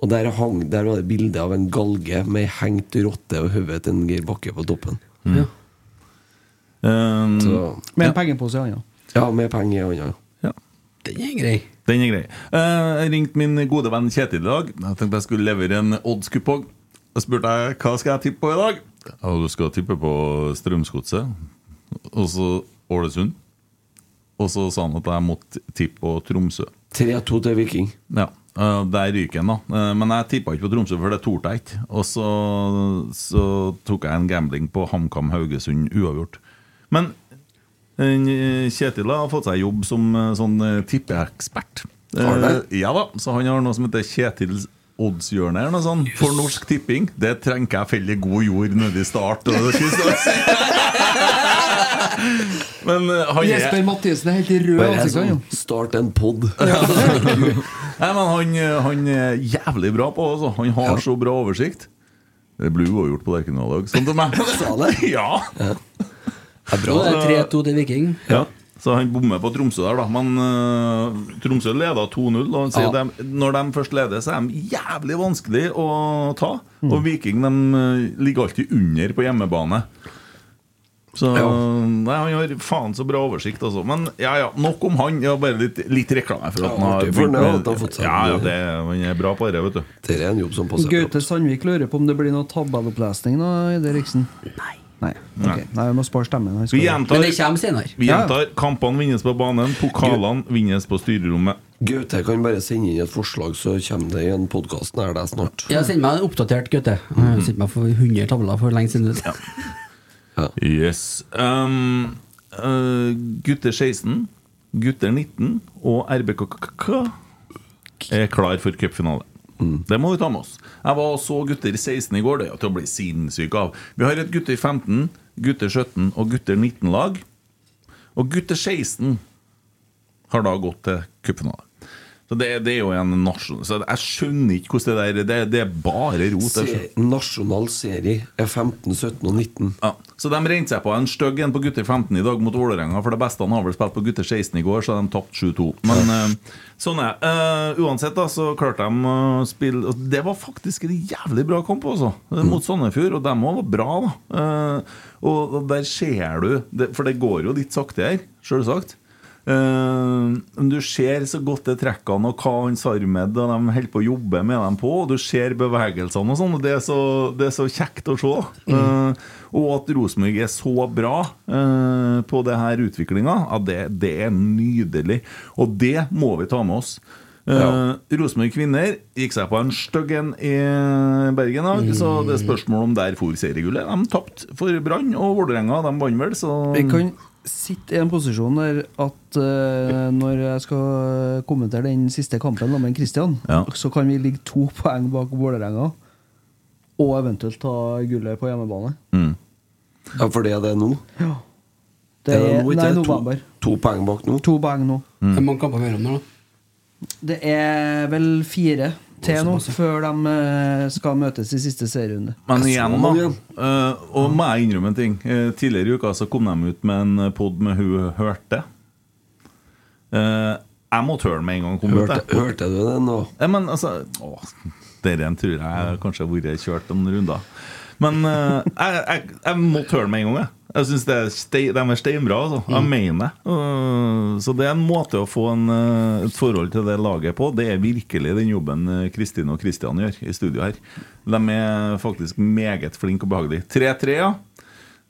Og der, hang, der var det bilde av en galge med ei hengt rotte og hodet til en Geir Bakke på toppen.
Ja.
Um,
Så,
Med en pengepose i hånda.
ja, med penger i hånda.
ja.
Den er grei.
Den er grei. Eh, jeg ringte min gode venn Kjetil i dag. Jeg tenkte jeg skulle levere en odds-kupong. Da spurte jeg hva skal jeg tippe på i dag. Ja, du skal tippe på Strømsgodset. Og så Ålesund. Og så sa han at jeg måtte tippe på Tromsø.
3-2 til Viking.
Ja, eh, Der ryker han, da. Eh, Men jeg tippa ikke på Tromsø, for det torde jeg ikke. Og så, så tok jeg en gambling på HamKam Haugesund uavgjort. Men eh, Kjetil har fått seg jobb som eh, sånn eh, tippeekspert. Eh,
Har han det?
Ja da, så han har noe som heter Kjetils Oddshjørne eller noe sånt for Norsk Tipping. Det trenger jeg felle god jord nedi start. og Kristiansand. Men eh, han er
Jesper Mathisen er helt rød i
Bare
ansiktet. han,
sånn,
jo.
start en pod.
Nei, men han, han er jævlig bra på altså. Han har så bra oversikt. Det ble uavgjort på Lerkendal i dag. Sånn til meg.
Sa det?
Ja.
Bra, det er 3-2 til Viking.
ja. Så han bommer på Tromsø der, da. Men øh, Tromsø leder 2-0. Og han sier
Ja.
dem- når de først leder, så er de jævlig vanskelig å ta.
Mm.
Og Viking de, øh, ligger alltid under på hjemmebane. Så nei, Han har faen så bra oversikt, altså. Men ja, ja, nok om han. Ja, bare litt, litt reklame for at
Ja,
han har
artig for
begynt
han, ja,
med-
at han har fått seg-
Ja, ja, det, han er bra på det, vet du.
Dette er en jobb som passer.
Gaute Sandvik lurer på om det blir noe tabellopplesning nå, Ide Riksen? Nei. Nei, ok. Nei, vi må spare stemmen. Han skal-
Vi gjentar,
Men det kommer senere.
vi gjentar kampene vinnes på banen, pokalene vinnes på styrerommet.
Gaute kan bare sende inn et forslag, så kommer det i en podkast nær deg snart.
Ja, Send meg en oppdatert Gaute. Han har sendt meg for 100 tavler for lenge siden.
Yes. Um, eh, gutter 16, gutter 19 og RBKK er klar for cupfinale. Det må vi ta med oss. Jeg var og så gutter 16 i går. Det er jo til å bli sinnssyk av. Vi har et gutter 15, gutter 17 og gutter 19-lag. Og gutter 16 har da gått til cupfinale. Så det, det er jo en nasjonal Så jeg skjønner ikke hvordan det der Det, det er bare rot. jeg skjønner.
Se, nasjonal serie er 15, 17 og 19.
Ja, Så de rente seg på en stygg en på gutter 15 i dag mot Vålerenga. For det beste han har vel spilt på gutter 16 i går, så de tapte 7-2. Men eh, sånn er det. Eh, uansett, da, så klarte de å spille og Det var faktisk en jævlig bra kamp, altså. eh, Mot Sandefjord. Og dem òg var bra, da. Eh, og og der ser du det, For det går jo litt sakte her, sjølsagt. Eh, men du ser så godt det trekkene og hva han Sarmed og de holder på å jobbe med dem på. Og du ser bevegelsene og sånn, og det er så, det er så kjekt å se.
Mm.
Eh, og at Rosenborg er så bra eh, på det her utviklinga, ja, det, det er nydelig. Og det må vi ta med oss. Eh, Rosenborg kvinner gikk seg på en stygg en i Bergen, da, så det er spørsmål om der for seriegullet. De tapte for Brann, og Vålerenga de vant vel, så
Vi kan sitte i en posisjon der at eh, når jeg skal kommentere den siste kampen sammen med Christian,
Ja.
så kan vi ligge to poeng bak Vålerenga. Og eventuelt ta gullet på hjemmebane.
Mm.
Ja, for det er det nå.
Det er,
nå, ikke?
nei,
To-
november.
To poeng bak nå.
To poeng nå.
Det er mange kamper mellom nå, da.
Det er vel fire til nå før de eh, skal møtes i siste serierunde.
Men
Jeg så
igjen, da.
mange.
eh, og må jeg innrømme en ting. Eh, tidligere i uka så kom de ut med en pod med hun hørte. Eh, jeg måtte høre den med en gang. hun Kom ut,
Hørte,
jeg.
hørte du det nå?
Eh, men altså å, Dere tror jeg kanskje har vært kjørt om runder. Men eh, jeg, jeg, jeg måtte høre den med en gang. Jeg, jeg syns de er steinbra. Altså. Jeg mener det. Eh, så det er en måte å få en, eh, et forhold til det laget på. Det er virkelig den jobben eh, Kristin og Kristian gjør i studio her. De er faktisk meget flinke og behagelige. 3-3, ja.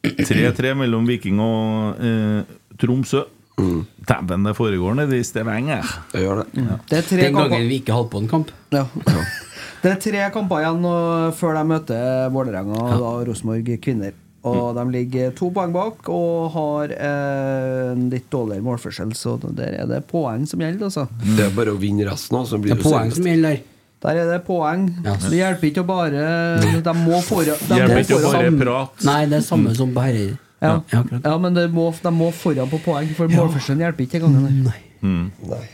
3-3 mellom Viking og eh, Tromsø. Dæven, det foregår nede i Stavanger.
Jeg gjør det.
Det er tre
Den
kamper
gangen vi ikke holdt på en kamp.
ja. Det er tre kamper igjen nå før de møter Vålerenga og da Rosenborg kvinner.
Mm.
Og de ligger to poeng bak og har eh, en litt dårligere målforskjell, så der er det poeng som gjelder, altså.
Det er bare å vinne resten, og så
Det
blir
er
du
poeng
seriøst.
som gjelder der.
Der er det poeng.
Ja.
Det hjelper ikke å bare De må foran. De
Hjelper
må
ikke å
foran.
bare prate.
Nei, det er samme som på herrer.
Ja.
Ja, akkurat.
ja, men det må, de må foran på poeng, for målforskjellen hjelper ikke engang. der.
Nei.
Nei.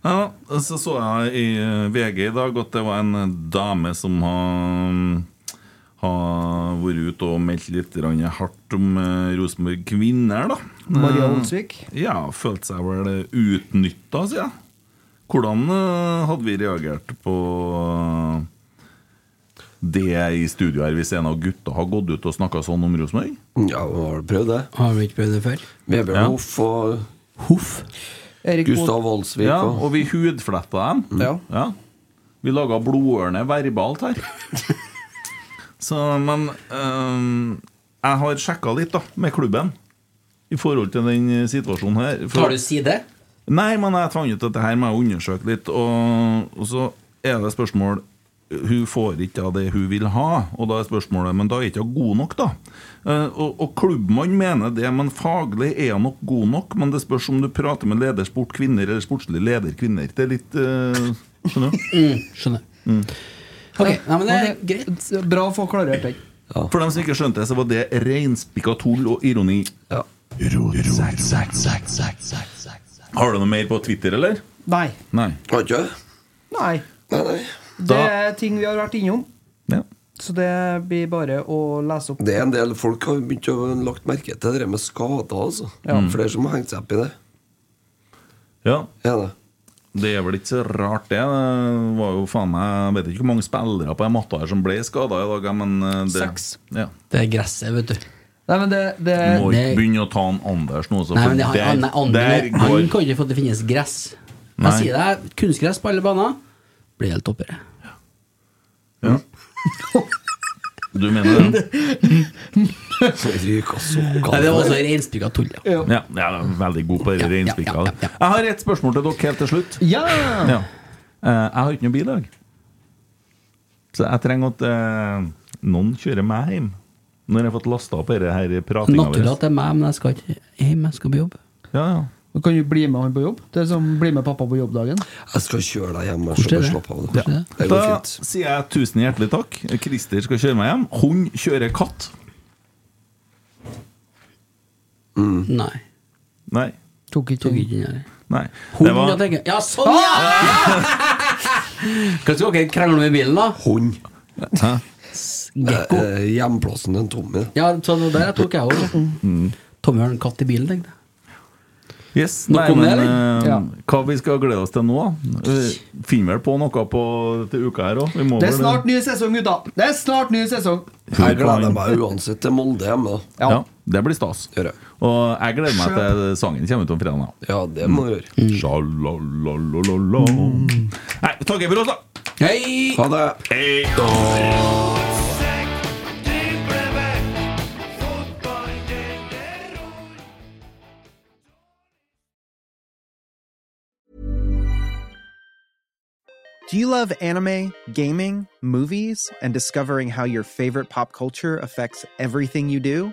Ja, så så jeg i eh, VG i dag at det var en eh, dame som har, mm, har vært ute og meldt litt grann hardt om eh, Rosenborg kvinner, da.
Maria
Eh,
Olsvik.
Ja, følte seg vel utnytta, sier jeg. Hvordan eh, hadde vi reagert på eh, det i studio her, hvis en av gutta har gått ut og snakka sånn om Rosenborg?
Ja, har du prøvd det?
Har du ikke prøvd det før?
Vebjørn Hoff og
Hoff.
Erik
Gustav Woldsvik
Ja,
og
og vi hudfletta dem.
Ja.
Vi laga blodørene verbalt her. Så, men øhm, jeg har sjekka litt da, med klubben i forhold til den eh, situasjonen her. For-
Tar du side?
Nei, men jeg tvang ut at det her må jeg undersøke litt. Og, og så er det spørsmål Hun får ikke av det hun vil ha, og da er spørsmålet Men da er ikke hun god nok, da. Eh, Og, og klubbmann mener det, men faglig er hun nok god nok. Men det spørs om du prater med ledersport kvinner eller sportslig leder kvinner. Det er litt eh, Skjønner du?
Skjønner.
Mm.
Ok, nei, men det er greit.
Bra å få klarert den.
For dem som ikke skjønte det, så var det reinspikka tull og ironi.
Ja.
Har du noe mer på Twitter, eller?
Nei.
Nei.
Har ikke?
Nei.
Nei, nei.
Det
Da-
er ting vi har vært innom,
Ja.
så det blir bare å lese opp.
Det er en del folk har begynt å lagt merke til det der med skader, altså. Flere som har hengt seg opp i det.
ja.
Er det?
Det er vel ikke så rart, det. Det var jo faen meg Jeg vet ikke hvor mange spillere på den matta her som ble skada i dag, men eh, det,
Seks.
Ja.
Det er gresset, vet du.
Nei, men det, det
Må ikke
Det-
begynne å ta en Anders nå, så
Eh, Nei,
for
men det, han, han, han,
der
han
går
kan ikke få at det finnes gress.
Nei.
Jeg sier det, kunstgress på alle baner blir helt toppere.
Du mener det?
Ryker sokkene.
Nei, det var også reinspikka tull, ja.
Ja, jeg er veldig god på
Ja,
det
ja,
innspikka.
ja, ja.
Jeg har et spørsmål til dere helt til slutt.
Ja!
Ja. Eh, Jeg har ikke noe bil i dag. Så jeg trenger at eh, noen kjører meg hjem. Når jeg har fått lasta opp dette her pratinga
Naturlig at det er meg, men jeg skal ikke hjem, jeg skal på jobb.
Ja, ja.
Du kan jo bli med han på jobb. Det er som bli med pappa på jobbdagen.
Jeg skal kjøre deg hjem. Jeg
Hvordan er
skal bare
det?
slappe av.
Hvordan
Det,
er det?
det går
Da
fint.
sier jeg tusen hjertelig takk. Christer skal kjøre meg hjem. Hund kjører katt. Mm.
Nei.
Nei.
Tok ikke
Tok ikke den der.
Nei.
Hund,
Det var- Ah!
ja, tenker jeg. Ja, sånn, ja! Hva skal dere krangle om i bilen,
Eh,
da?
Hund.
Gekko.
Eh, Hjemplassen til Tommy.
Ja, så det der tok jeg òg. Tommy har en katt i bilen, tenkte jeg.
Yes,
Nok
nei,
om det,
men eh,
Ja.
hva vi skal glede oss til nå? Eh, Finner vel på noe på, til uka her òg. Vi må
Det er
vel-
snart ny sesong, gutta! Det er snart ny sesong!
Jeg gleder meg uansett til Molde hjemme. da.
ja. Det blir stas.
Gjør det.
Og jeg gleder meg til sangen kommer ut om fredagen. da.
Ja, det må du gjøre.
Sjalalalalala. Nei, takker for oss, da!
Hei!
Ha det.
Do you love anime, gaming, movies, and discovering how your favorite pop culture affects everything you do?